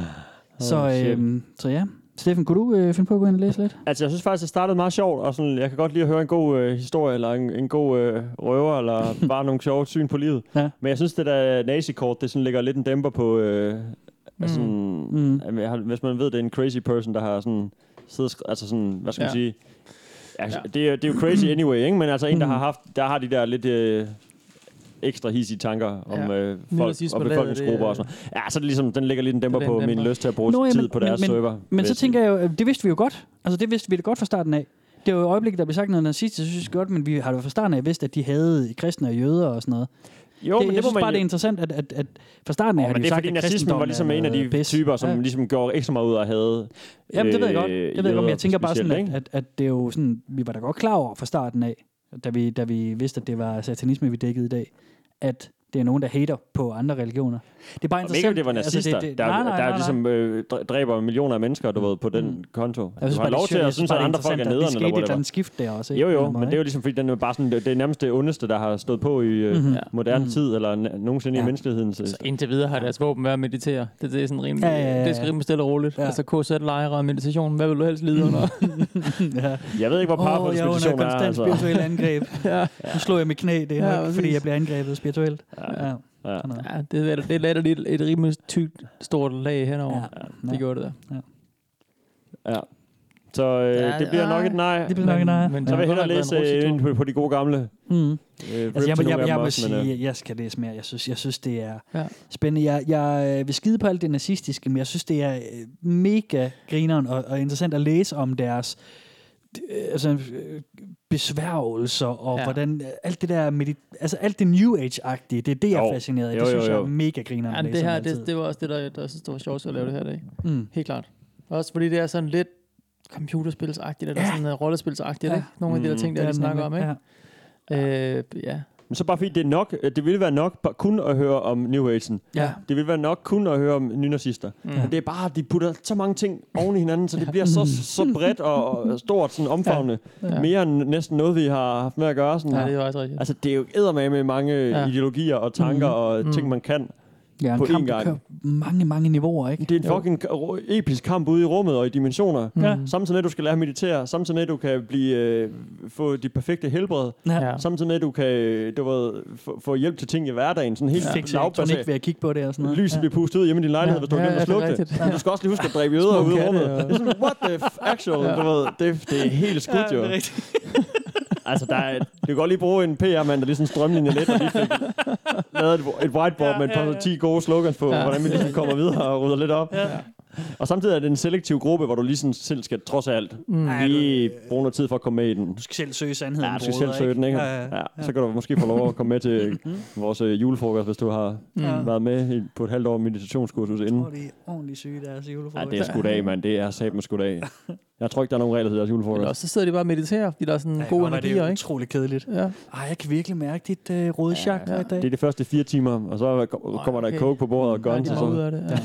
så,
shit.
øhm, så ja. Steffen, kunne du øh, finde på at gå ind og læse lidt?
Altså, jeg synes faktisk, det startede meget sjovt, og sådan, jeg kan godt lide at høre en god øh, historie, eller en, en god øh, røver,
<laughs>
eller bare nogle sjove syn på livet.
Ja.
Men jeg synes, det der nazikort, det sådan lægger lidt en dæmper på... Øh, altså, mm.
Mm.
Jamen, jeg har, hvis man ved, det er en crazy person, der har sådan... Siddet, og skre- altså sådan, hvad skal man
Ja.
sige? Altså,
Ja.
det, er, det er jo
<clears throat>
crazy anyway, ikke? Men altså, en, der
Mm.
har haft... Der har de der lidt... Øh, ekstra hissige tanker om
Ja.
ja. øh,
Nu
folk
nazismen
og
lavet, det
befolkningsgrupper
er-
og sådan noget. Ja, så er det ligesom, den lægger lidt en dæmper
Det er
på
en
min
dæmper.
lyst til at bruge
Nå, ja,
tid
men-
på deres
men-
server.
Men
vil
så
jeg sige.
tænker jeg jo, øh, det vidste vi jo godt. Altså det vidste vi da godt fra starten af. Det var jo i øjeblikket, der blev sagt noget nazistisk, det synes jeg godt, men vi har jo fra starten af vidst, at de havde kristne og jøder og sådan noget.
Jo,
det,
men
jeg
det må
synes
man
bare, det er
jo-
interessant, at, at, at fra starten af
Ja,
har
men
de
det er
sagt,
fordi
at
nazismen
kristendommen er
var ligesom en af de
noget
pis.
pis.
typer, som
Ja.
ja. ligesom går ekstra meget ud og havde...
Jamen, det ved jeg
øh,
godt. Det ved jeg godt,
jøder
men jeg tænker bare sådan,
specielt,
at,
ikke?
at, at det er jo sådan, vi var da godt klar over fra starten af, da vi, da vi vidste, at det var satanisme, vi dækkede i dag, at det er nogen, der hater på andre religioner. Det er bare
Og ikke, om
interessant.
det var nazister, altså, det, det, der, nej, nej, der
nej.
ligesom øh, dræ- dræber millioner af mennesker, du ved, på den mm. konto.
Jeg
Altså,
synes
du
bare,
har
det er
lov til
sjovt. Jeg
at synes, at
bare, det er
andre folk er
interessant,
nederen,
Det skete
eller
et eller
whatever.
andet skift der også, ikke?
Jo,
På en
jo,
eller anden
men det er jo ligesom, fordi den er bare sådan, det det er nærmest det ondeste, der har stået på i øh,
Mhm.
moderne tid, eller n- nogensinde i
Ja.
menneskehedens... øh,
Så indtil videre har deres våben været at meditere. Det, det er sådan rimelig,
Ja, ja, ja, ja.
det skal rimelig stille og roligt.
Ja.
Ja. Altså KZ-lejre og meditation, hvad vil du helst lide
<laughs>
under?
måde, ikke? Ja.
Jeg ved ikke, hvor
Åh,
powerful
jeg er under
meditation er,
konstant
altså.
spirituel
<laughs>
angreb.
ja.
Nu slog jeg mit knæ, det er
Ja,
nok, fordi
præcis.
jeg bliver angrebet spirituelt.
Ja.
Ja.
Ja.
sådan noget.
ja, det, er, det er latter lidt et rimelig tykt, stort lag henover.
Ja.
Ja. Det gjorde det der.
ja. Så øh,
Ja,
det bliver
ah,
nok et nej.
Det bliver nok en ejer.
men
Så
der
vil jeg
har
hellere
godt nok
læse
været en
øh,
russisk
ind på- på de gode gamle.
Mm.
Øh, rip
Altså, jeg,
til
må,
nogle af
jeg, jeg
dem
må
også, men, øh,
sige, at jeg skal læse mere. Jeg synes, jeg synes det er
Ja.
ja. spændende. Jeg, jeg øh, vil skide på alt det nazistiske, men jeg synes, det er øh, mega grineren og, og interessant at læse om deres øh, altså, øh, besværgelser og
Ja.
ja. hvordan øh, alt det der medit- altså alt det new age-agtige, det er det, jeg
Jo.
er fascineret af.
Jo,
Det synes
jo,
jeg er
jo.
mega grineren
Ja,
at
men
læse
det
om
her,
altid.
det, det var også det, der, der jeg synes, det var sjovt at lave det her i dag.
Mm.
Helt klart. Også fordi det er sådan lidt computerspilsagtigt, eller
Ja.
sådan uh, rollespilsagtigt,
Ja. Mm,
ja. ikke? Nogle af de der ting, der, de snakker om, ikke?
Ja.
Ja. Øh, ja.
Men så bare fordi det er nok, øh, det ville være nok bare kun at høre om New Age'en.
Ja.
Det ville være nok kun at høre om nynazister. Mm. Men det er bare, at de putter så mange ting oven i hinanden, så det bliver <laughs> så, så bredt og, og stort, sådan omfavnende. Ja. Ja. Mere end næsten noget, vi har haft med at gøre. Sådan.
Nej, det
Ja.
er jo også rigtigt.
Altså, det er jo eddermame med mange
Ja.
ja. ideologier og tanker mm. og ting, man kan.
Ja, en
På
på
én
kamp, der
gang.
kører mange, mange niveauer, ikke?
Det er en fucking ro- episk kamp ude i rummet og i dimensioner. Ja. Samtidig med, at du skal lære at meditere. Samtidig med, at du kan blive, øh, få dit perfekte helbred.
Ja.
Ja.
Samtidig med, at du kan øh, du ved, få, få hjælp til ting i hverdagen. Sådan helt
Fik
ja.
elektronik ved at kigge på det og sådan noget.
Lyset bliver pustet ud hjemme i din lejlighed,
Ja.
hvis du har
Ja,
glemt at
ja, det er
slukke det.
rigtigt.
Men du skal også lige huske at dræbe jøder ude i
katte
rummet.
og-
Det er sådan, what the f- actual, du ved. Det, det er helt skudt, jo.
det er rigtigt.
<laughs> Altså, der er, du kan godt lige bruge en PR-mand, der lige sådan strømlinjer lidt, og lige fik lavet et, et whiteboard med et par 10 gode slogans på,
Ja.
hvordan vi ligesom kommer videre og rydder lidt op. Og samtidig er det en selektiv gruppe, hvor du lige sådan selv skal, trods alt,
Mm.
lige bruge noget tid for at komme med i den.
Du skal selv søge sandheden.
Ja, du skal
broder,
selv søge den, ikke?
Ja, ja.
Ja, så kan du måske få lov at komme med til vores øh, julefrokost, hvis du har
Ja.
været med i- på et halvt år meditationskursus inden.
Hvor de er ordentligt syge, deres
Ja,
julefrokost.
det er sgu dag, mand. Det er sat med sgu dag. Jeg tror ikke, der er nogen regler til deres
Eller
julefrokost.
også, så sidder de bare og mediterer, fordi der er sådan
Ej,
gode
hvor var
energier,
det
ikke?
utroligt kedeligt.
Ja.
Ej, jeg kan virkelig mærke dit øh, røde chakra i dag.
Det er de første fire timer, og så ko- kommer der
okay. Mm.
coke på bordet og guns
ja,
og
de må ud
sådan.
af det. Ja.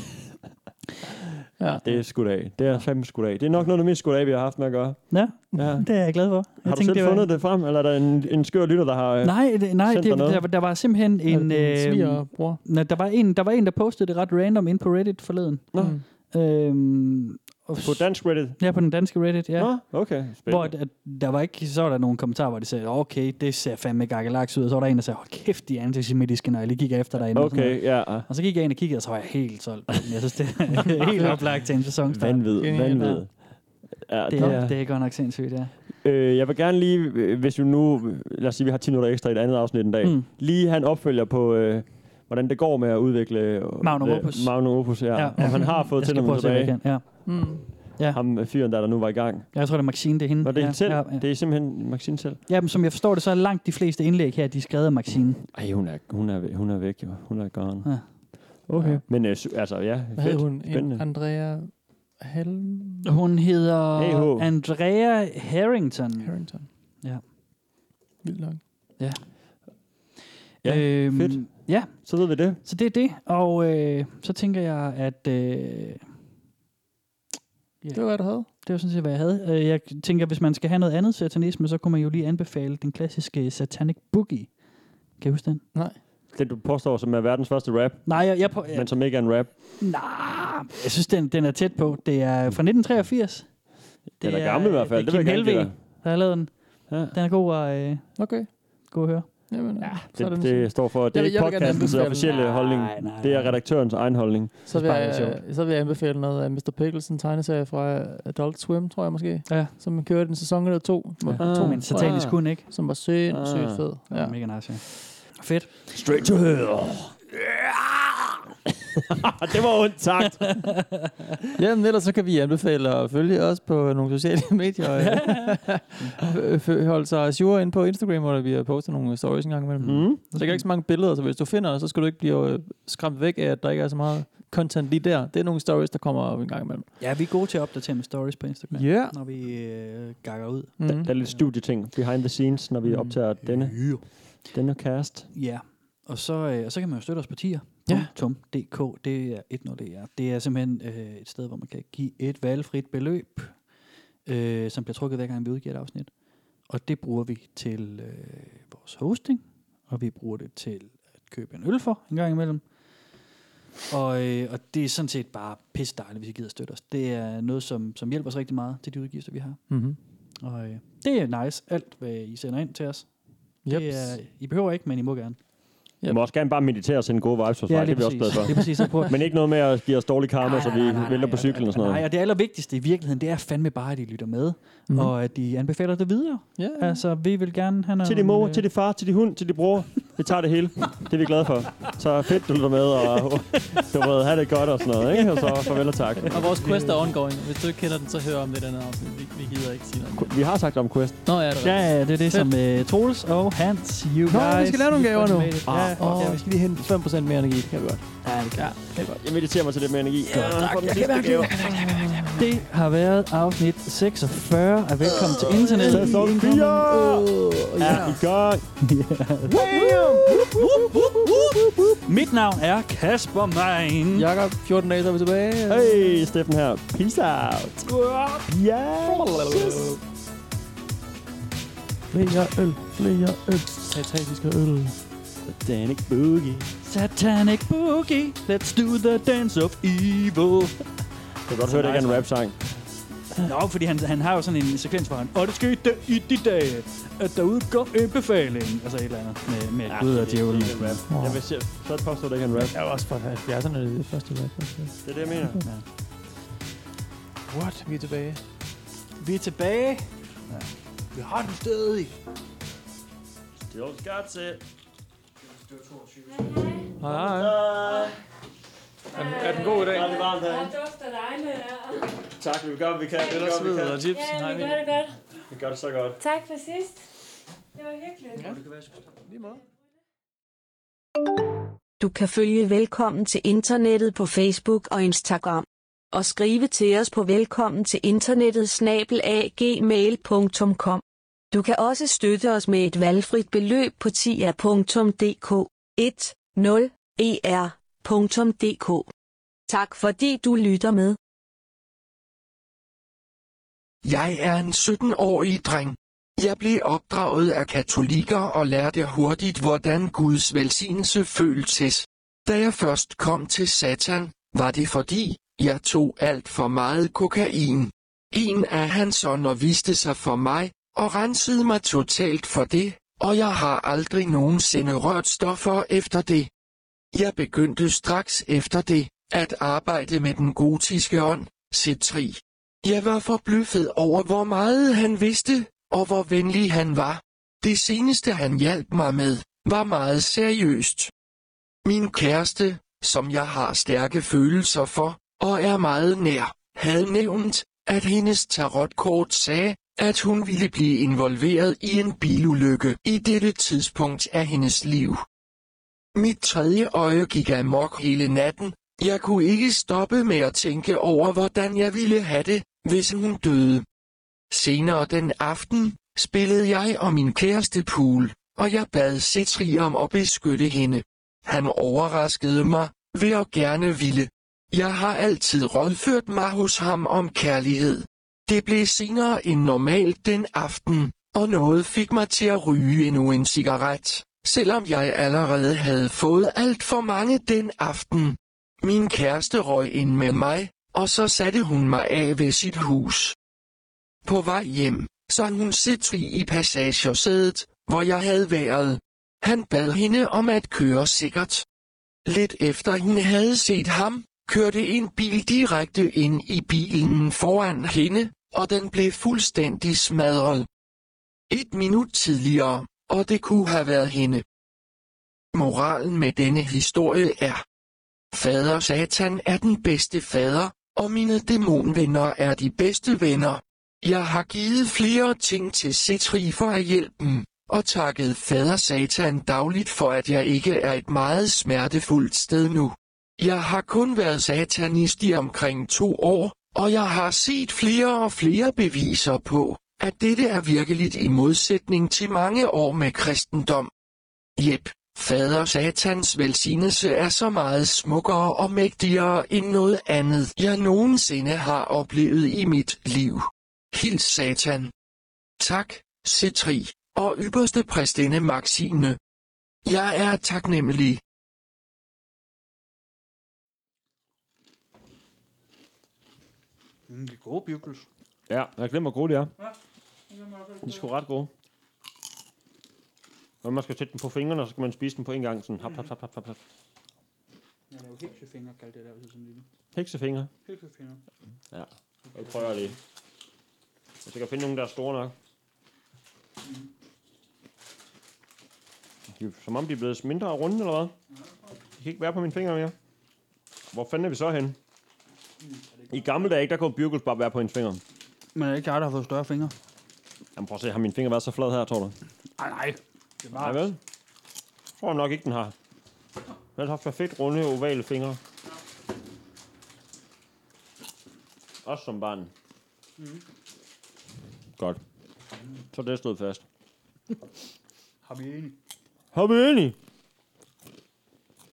ja.
Det er sgu dag. Det er fandme sgu dag. Det er nok noget af det mest sgu dag, vi har haft med at gøre.
Ja,
Ja.
det er Mm. jeg glad for. Jeg
Har du selv
det var...
fundet det frem, eller er der en, en skør lytter, der har... øh,
Nej, det, nej
Sendt
det,
dig noget?
der, var- der var simpelthen en...
En, øh,
Øh,
svigerbror.
nej, der, var en, der var en, der postede det ret random ind på Reddit forleden.
Nå,
Mm.
Øhm, Og
På dansk Reddit?
Ja, på den danske Reddit, ja.
Nå, okay. Spændende.
Hvor at, at der var ikke, så var der nogle kommentarer, hvor de sagde, okay, det ser fandme gakkelaks ud. Og så var der en, der sagde, hold kæft, de er antisemitiske, når jeg lige gik efter dig.
Okay, ja.
Og så gik jeg ind og kiggede, og så var jeg helt solgt. på den. Jeg synes, det
<laughs>
er helt oplagt til en sæsonstart.
Vanvid,
Genialt.
vanvid. Ja,
Det er, det er godt nok sindssygt, ja.
Øh, jeg vil gerne lige, øh, hvis vi nu, lad os sige, vi har 10 minutter ekstra i et andet afsnit en dag,
Mm.
mm. lige have en opfølger på, øh, hvordan det går med at udvikle øh,
Magnum
øh,
Opus.
Magnum Opus, ja. ja. Om han har fået
Jeg skal prøve
tænderne
at se, hvad jeg
tilbage.
kan. Ja.
Mm.
Ham øh, fyren der, der nu var i gang.
Jeg tror, det er Maxine, det er hende.
Var det
Mm, ja,
ja, selv?
Ja, ja.
Det er simpelthen Maxine selv.
ja, men som jeg forstår det, så er langt de fleste indlæg her, de er skrevet af Maxine.
Ej, hun er, hun er, væk- hun er væk, jo. Hun er gone.
Ja.
Okay. Ja. Men øh, sy- altså, ja,
Hvad hed
fedt.
hun?
Spændende.
En Andrea Helm
Hun hedder
A.H..
Andrea Harrington.
Harrington.
Ja.
Vildt nok.
Ja,
øhm,
fedt.
Ja,
Så ved vi det.
så det er det. Og øh, så tænker jeg, at øh,
Det var, hvad du havde.
Det var sådan set, hvad jeg havde. Øh, Jeg tænker, hvis man skal have noget andet satanisme, så kunne man jo lige anbefale den klassiske Satanic Boogie. Kan I huske den?
Det, du påstår, som er verdens første rap,
Nej, jeg, jeg, på,
ja.
jeg,
men som ikke er en rap.
nej, jeg synes, den, den er tæt på. Det er fra 1983.
Den er gammel i hvert fald,
Det er
det
Kim
vil jeg gerne give
Helvig, der har lavet den.
Ja.
Den er god at, øh,
Okay.
god at høre.
Jamen, ja, så er
Det,
det,
det står for, det
Jeg
er
vil-
ikke
jeg vil gerne
podcastens
anbefale den.
officielle holdning.
Nej, nej,
Det er
nej.
redaktørens egen holdning.
så, vil
bare lidt
jeg, så vil jeg anbefale noget af Mr. Pickles' tegneserie fra øh, Adult Swim, tror jeg måske.
Ja.
Som kørte en sæson eller to.
Ja.
to
Men
tror jeg,
satanisk kun, ikke?
Som var sindssygt
Ah.
fed.
Ja.
Ja.
Mega nice, ja. Fedt.
Straight to hell. det var ondt sagt.
Jamen ellers så kan vi anbefale at følge os på nogle sociale <laughs> medier. og, øh, f- f- Hold sig sure ind på Instagram, hvor vi har postet nogle stories en gang imellem.
<laughs> Mm.
Der ligger ikke så mange billeder, så hvis du finder os, så skal du ikke blive øh, skræmt væk af, at der ikke er så meget content lige der. Det er nogle stories, der kommer op en gang imellem.
Ja, vi er gode til at opdatere med stories på Instagram,
Ja.
når vi øh, gakker ud.
Mm.
Der er lidt studieting behind the scenes, når vi optager denne, denne cast.
Ja, og så, øh, og så kan man jo støtte os på tier.
Ja.
.dk, det er 10DR. Det er simpelthen øh, et sted, hvor man kan give et valgfrit beløb, øh, som bliver trukket hver gang, vi udgiver et afsnit. Og det bruger vi til øh, vores hosting, og vi bruger det til at købe en øl for en gang imellem. Og, øh, og det er sådan set bare pisse dejligt, hvis I gider støtte os. Det er noget, som, som hjælper os rigtig meget til de udgifter, vi har.
Mm-hmm.
Og øh, det er nice, alt hvad I sender ind til os.
Yep.
Det er, I behøver ikke, men I må gerne.
Vi må også gerne bare meditere og sende gode vibes hos ja,
Ja,
mig. Det
lige
er vi også glade
præcis.
for.
Det er præcis, så prøv.
<laughs> Men ikke noget med at give os dårlig karma, så
Nej, nej, nej,
vi vælter på
nej,
cyklen og sådan
Nej,
noget.
og det allervigtigste i virkeligheden, det er fandme bare, at de lytter med, mm.
Mhm.
og at de anbefaler det videre.
Ja.
Altså, vi vil gerne have øh, noget...
Til din mor, til din far, til din hund, til din bror. Vi tager det hele. Det er vi glade for. Så fedt, du lytter med, og du ved, have det godt og sådan noget. Ikke? Og så farvel og tak.
Og vores quest er ongoing. Hvis du ikke kender den, så hør om det i den her afsnit. Vi, vi gider ikke sige noget.
Vi har sagt om Quest.
Nå ja, det er
Ja, ja, det er det, som uh, Troels og Hans, you Nå, guys...
vi skal lave nogle
you
gaver nu. Ah,
fucking made it. Ja,
Åh, ja, vi skal lige hente 5% mere energi. Det kan vi godt.
ja, det, kan.
Jeg mediterer mig til lidt mere energi. Ja, tak. Jeg kan
det har været afsnit 46 af Velkommen til Internettet.
Sæson 4 er i gang.
Mit navn er Kasper Mein.
Jakob, 14 dage, så er vi tilbage.
Hey, Steffen her. Peace out. Yes.
Flere øl, flere øl. Sataniske øl.
Danik Boogie.
Satanic Boogie, let's do the dance of evil.
Jeg kan godt høre, det ikke er en rap-sang.
Nå, fordi han, han har jo sådan en sekvens, hvor han, og det skete i de dage, at der udkom en befaling. Altså et eller andet med, med ja, Gud og djævlen.
Jeg vil se, så påstår det ikke er en rap.
Jeg var også fra 70'erne, det første rap.
Det er det, jeg mener.
What? Vi er tilbage.
Vi er tilbage. Ja. Vi har den stadig.
Still got it.
Hej. Er den god i dag?
det varmt herinde.
dufter dejligt her.
Tak, vi gør, vi kan. Vi gør, vi kan.
chips.
Ja, vi gør det godt.
Vi gør det så godt.
Tak for sidst. Det var hyggeligt.
Du kan følge Velkommen til Internettet på Facebook og Instagram. Og skrive til os på velkommen til internettet snabelagmail.com. Du kan også støtte os med et valgfrit beløb på tia.dk E 10er.dk. Tak fordi du lytter med.
<laughs> Jeg er en 17-årig dreng. Jeg blev opdraget af katolikker og lærte hurtigt, hvordan Guds velsignelse føltes. Da jeg først kom til Satan, var det fordi, Jeg tog alt for meget kokain. En af hans ånder viste sig for mig, og rensede mig totalt for det, og jeg har aldrig nogensinde rørt stoffer efter det. Jeg begyndte straks efter det, at arbejde med den gotiske ånd, C3. Jeg var forbløffet over, hvor meget han vidste, og hvor venlig han var. Det seneste han hjalp mig med, var meget seriøst. Min kæreste, som jeg har stærke følelser for, og er meget nær, havde nævnt, at hendes tarotkort sagde, at hun ville blive involveret i en bilulykke i dette tidspunkt af hendes liv. Mit tredje øje gik amok hele natten. Jeg kunne ikke stoppe med at tænke over, hvordan jeg ville have det, hvis hun døde. Senere den aften spillede jeg og min kæreste pool, og jeg bad Cetri om at beskytte hende. Han overraskede mig ved at gerne ville. Jeg har altid rådført mig hos ham om kærlighed. Det blev senere end normalt den aften, og noget fik mig til at ryge endnu en cigaret, selvom jeg allerede havde fået alt for mange den aften. Min kæreste røg ind med mig, og så satte hun mig af ved sit hus. På vej hjem, så hun Cetri i passagersædet, hvor jeg havde været. Han bad hende om at køre sikkert. Lidt efter hun havde set ham, kørte en bil direkte ind i bilen foran hende, og den blev fuldstændig smadret. Et minut tidligere, og det kunne have været hende. Moralen med denne historie er, Fader Satan er den bedste fader, og mine dæmonvenner er de bedste venner. Jeg har givet flere ting til Cetri for at hjælpe dem, og takket fader Satan dagligt for at jeg ikke er et meget smertefuldt sted nu. Jeg har kun været satanist i omkring to år, og jeg har set flere og flere beviser på, at dette er virkeligt i modsætning til mange år med kristendom. Jep, fader satans velsignelse er så meget smukkere og mægtigere end noget andet, jeg nogensinde har oplevet i mit liv. Hils satan. Tak, Cetri, og ypperste præstinde Maxine. Jeg er taknemmelig.
Mm, de er gode bugles.
Ja, jeg glemmer, hvor gode de er. De er sgu ret gode. Og man skal sætte dem på fingrene, og så skal man spise dem på en gang. Sådan hap, hap, hap, hap, hap, hap.
Jeg laver heksefinger, kaldte det der, hvis jeg sådan lille.
Heksefingre.
Heksefinger.
Ja, jeg prøver lige. Hvis jeg kan finde nogen, der er store nok. De, er- som om de er blevet mindre og runde, eller hvad? De kan ikke være på mine fingre mere. Hvor fanden er vi så henne? I gamle dage, der kunne Bugles bare være på hendes fingre.
Men er det ikke jeg, der har fået større fingre?
Jamen prøv at se, har min finger været så flad her, tror du?
Nej, nej. Det var
Nej, vel? Jeg tror nok ikke, den har. Den har perfekt runde, ovale fingre. Også som barn. Mm. Godt. Så det stod fast.
Har vi enig?
Har vi enige?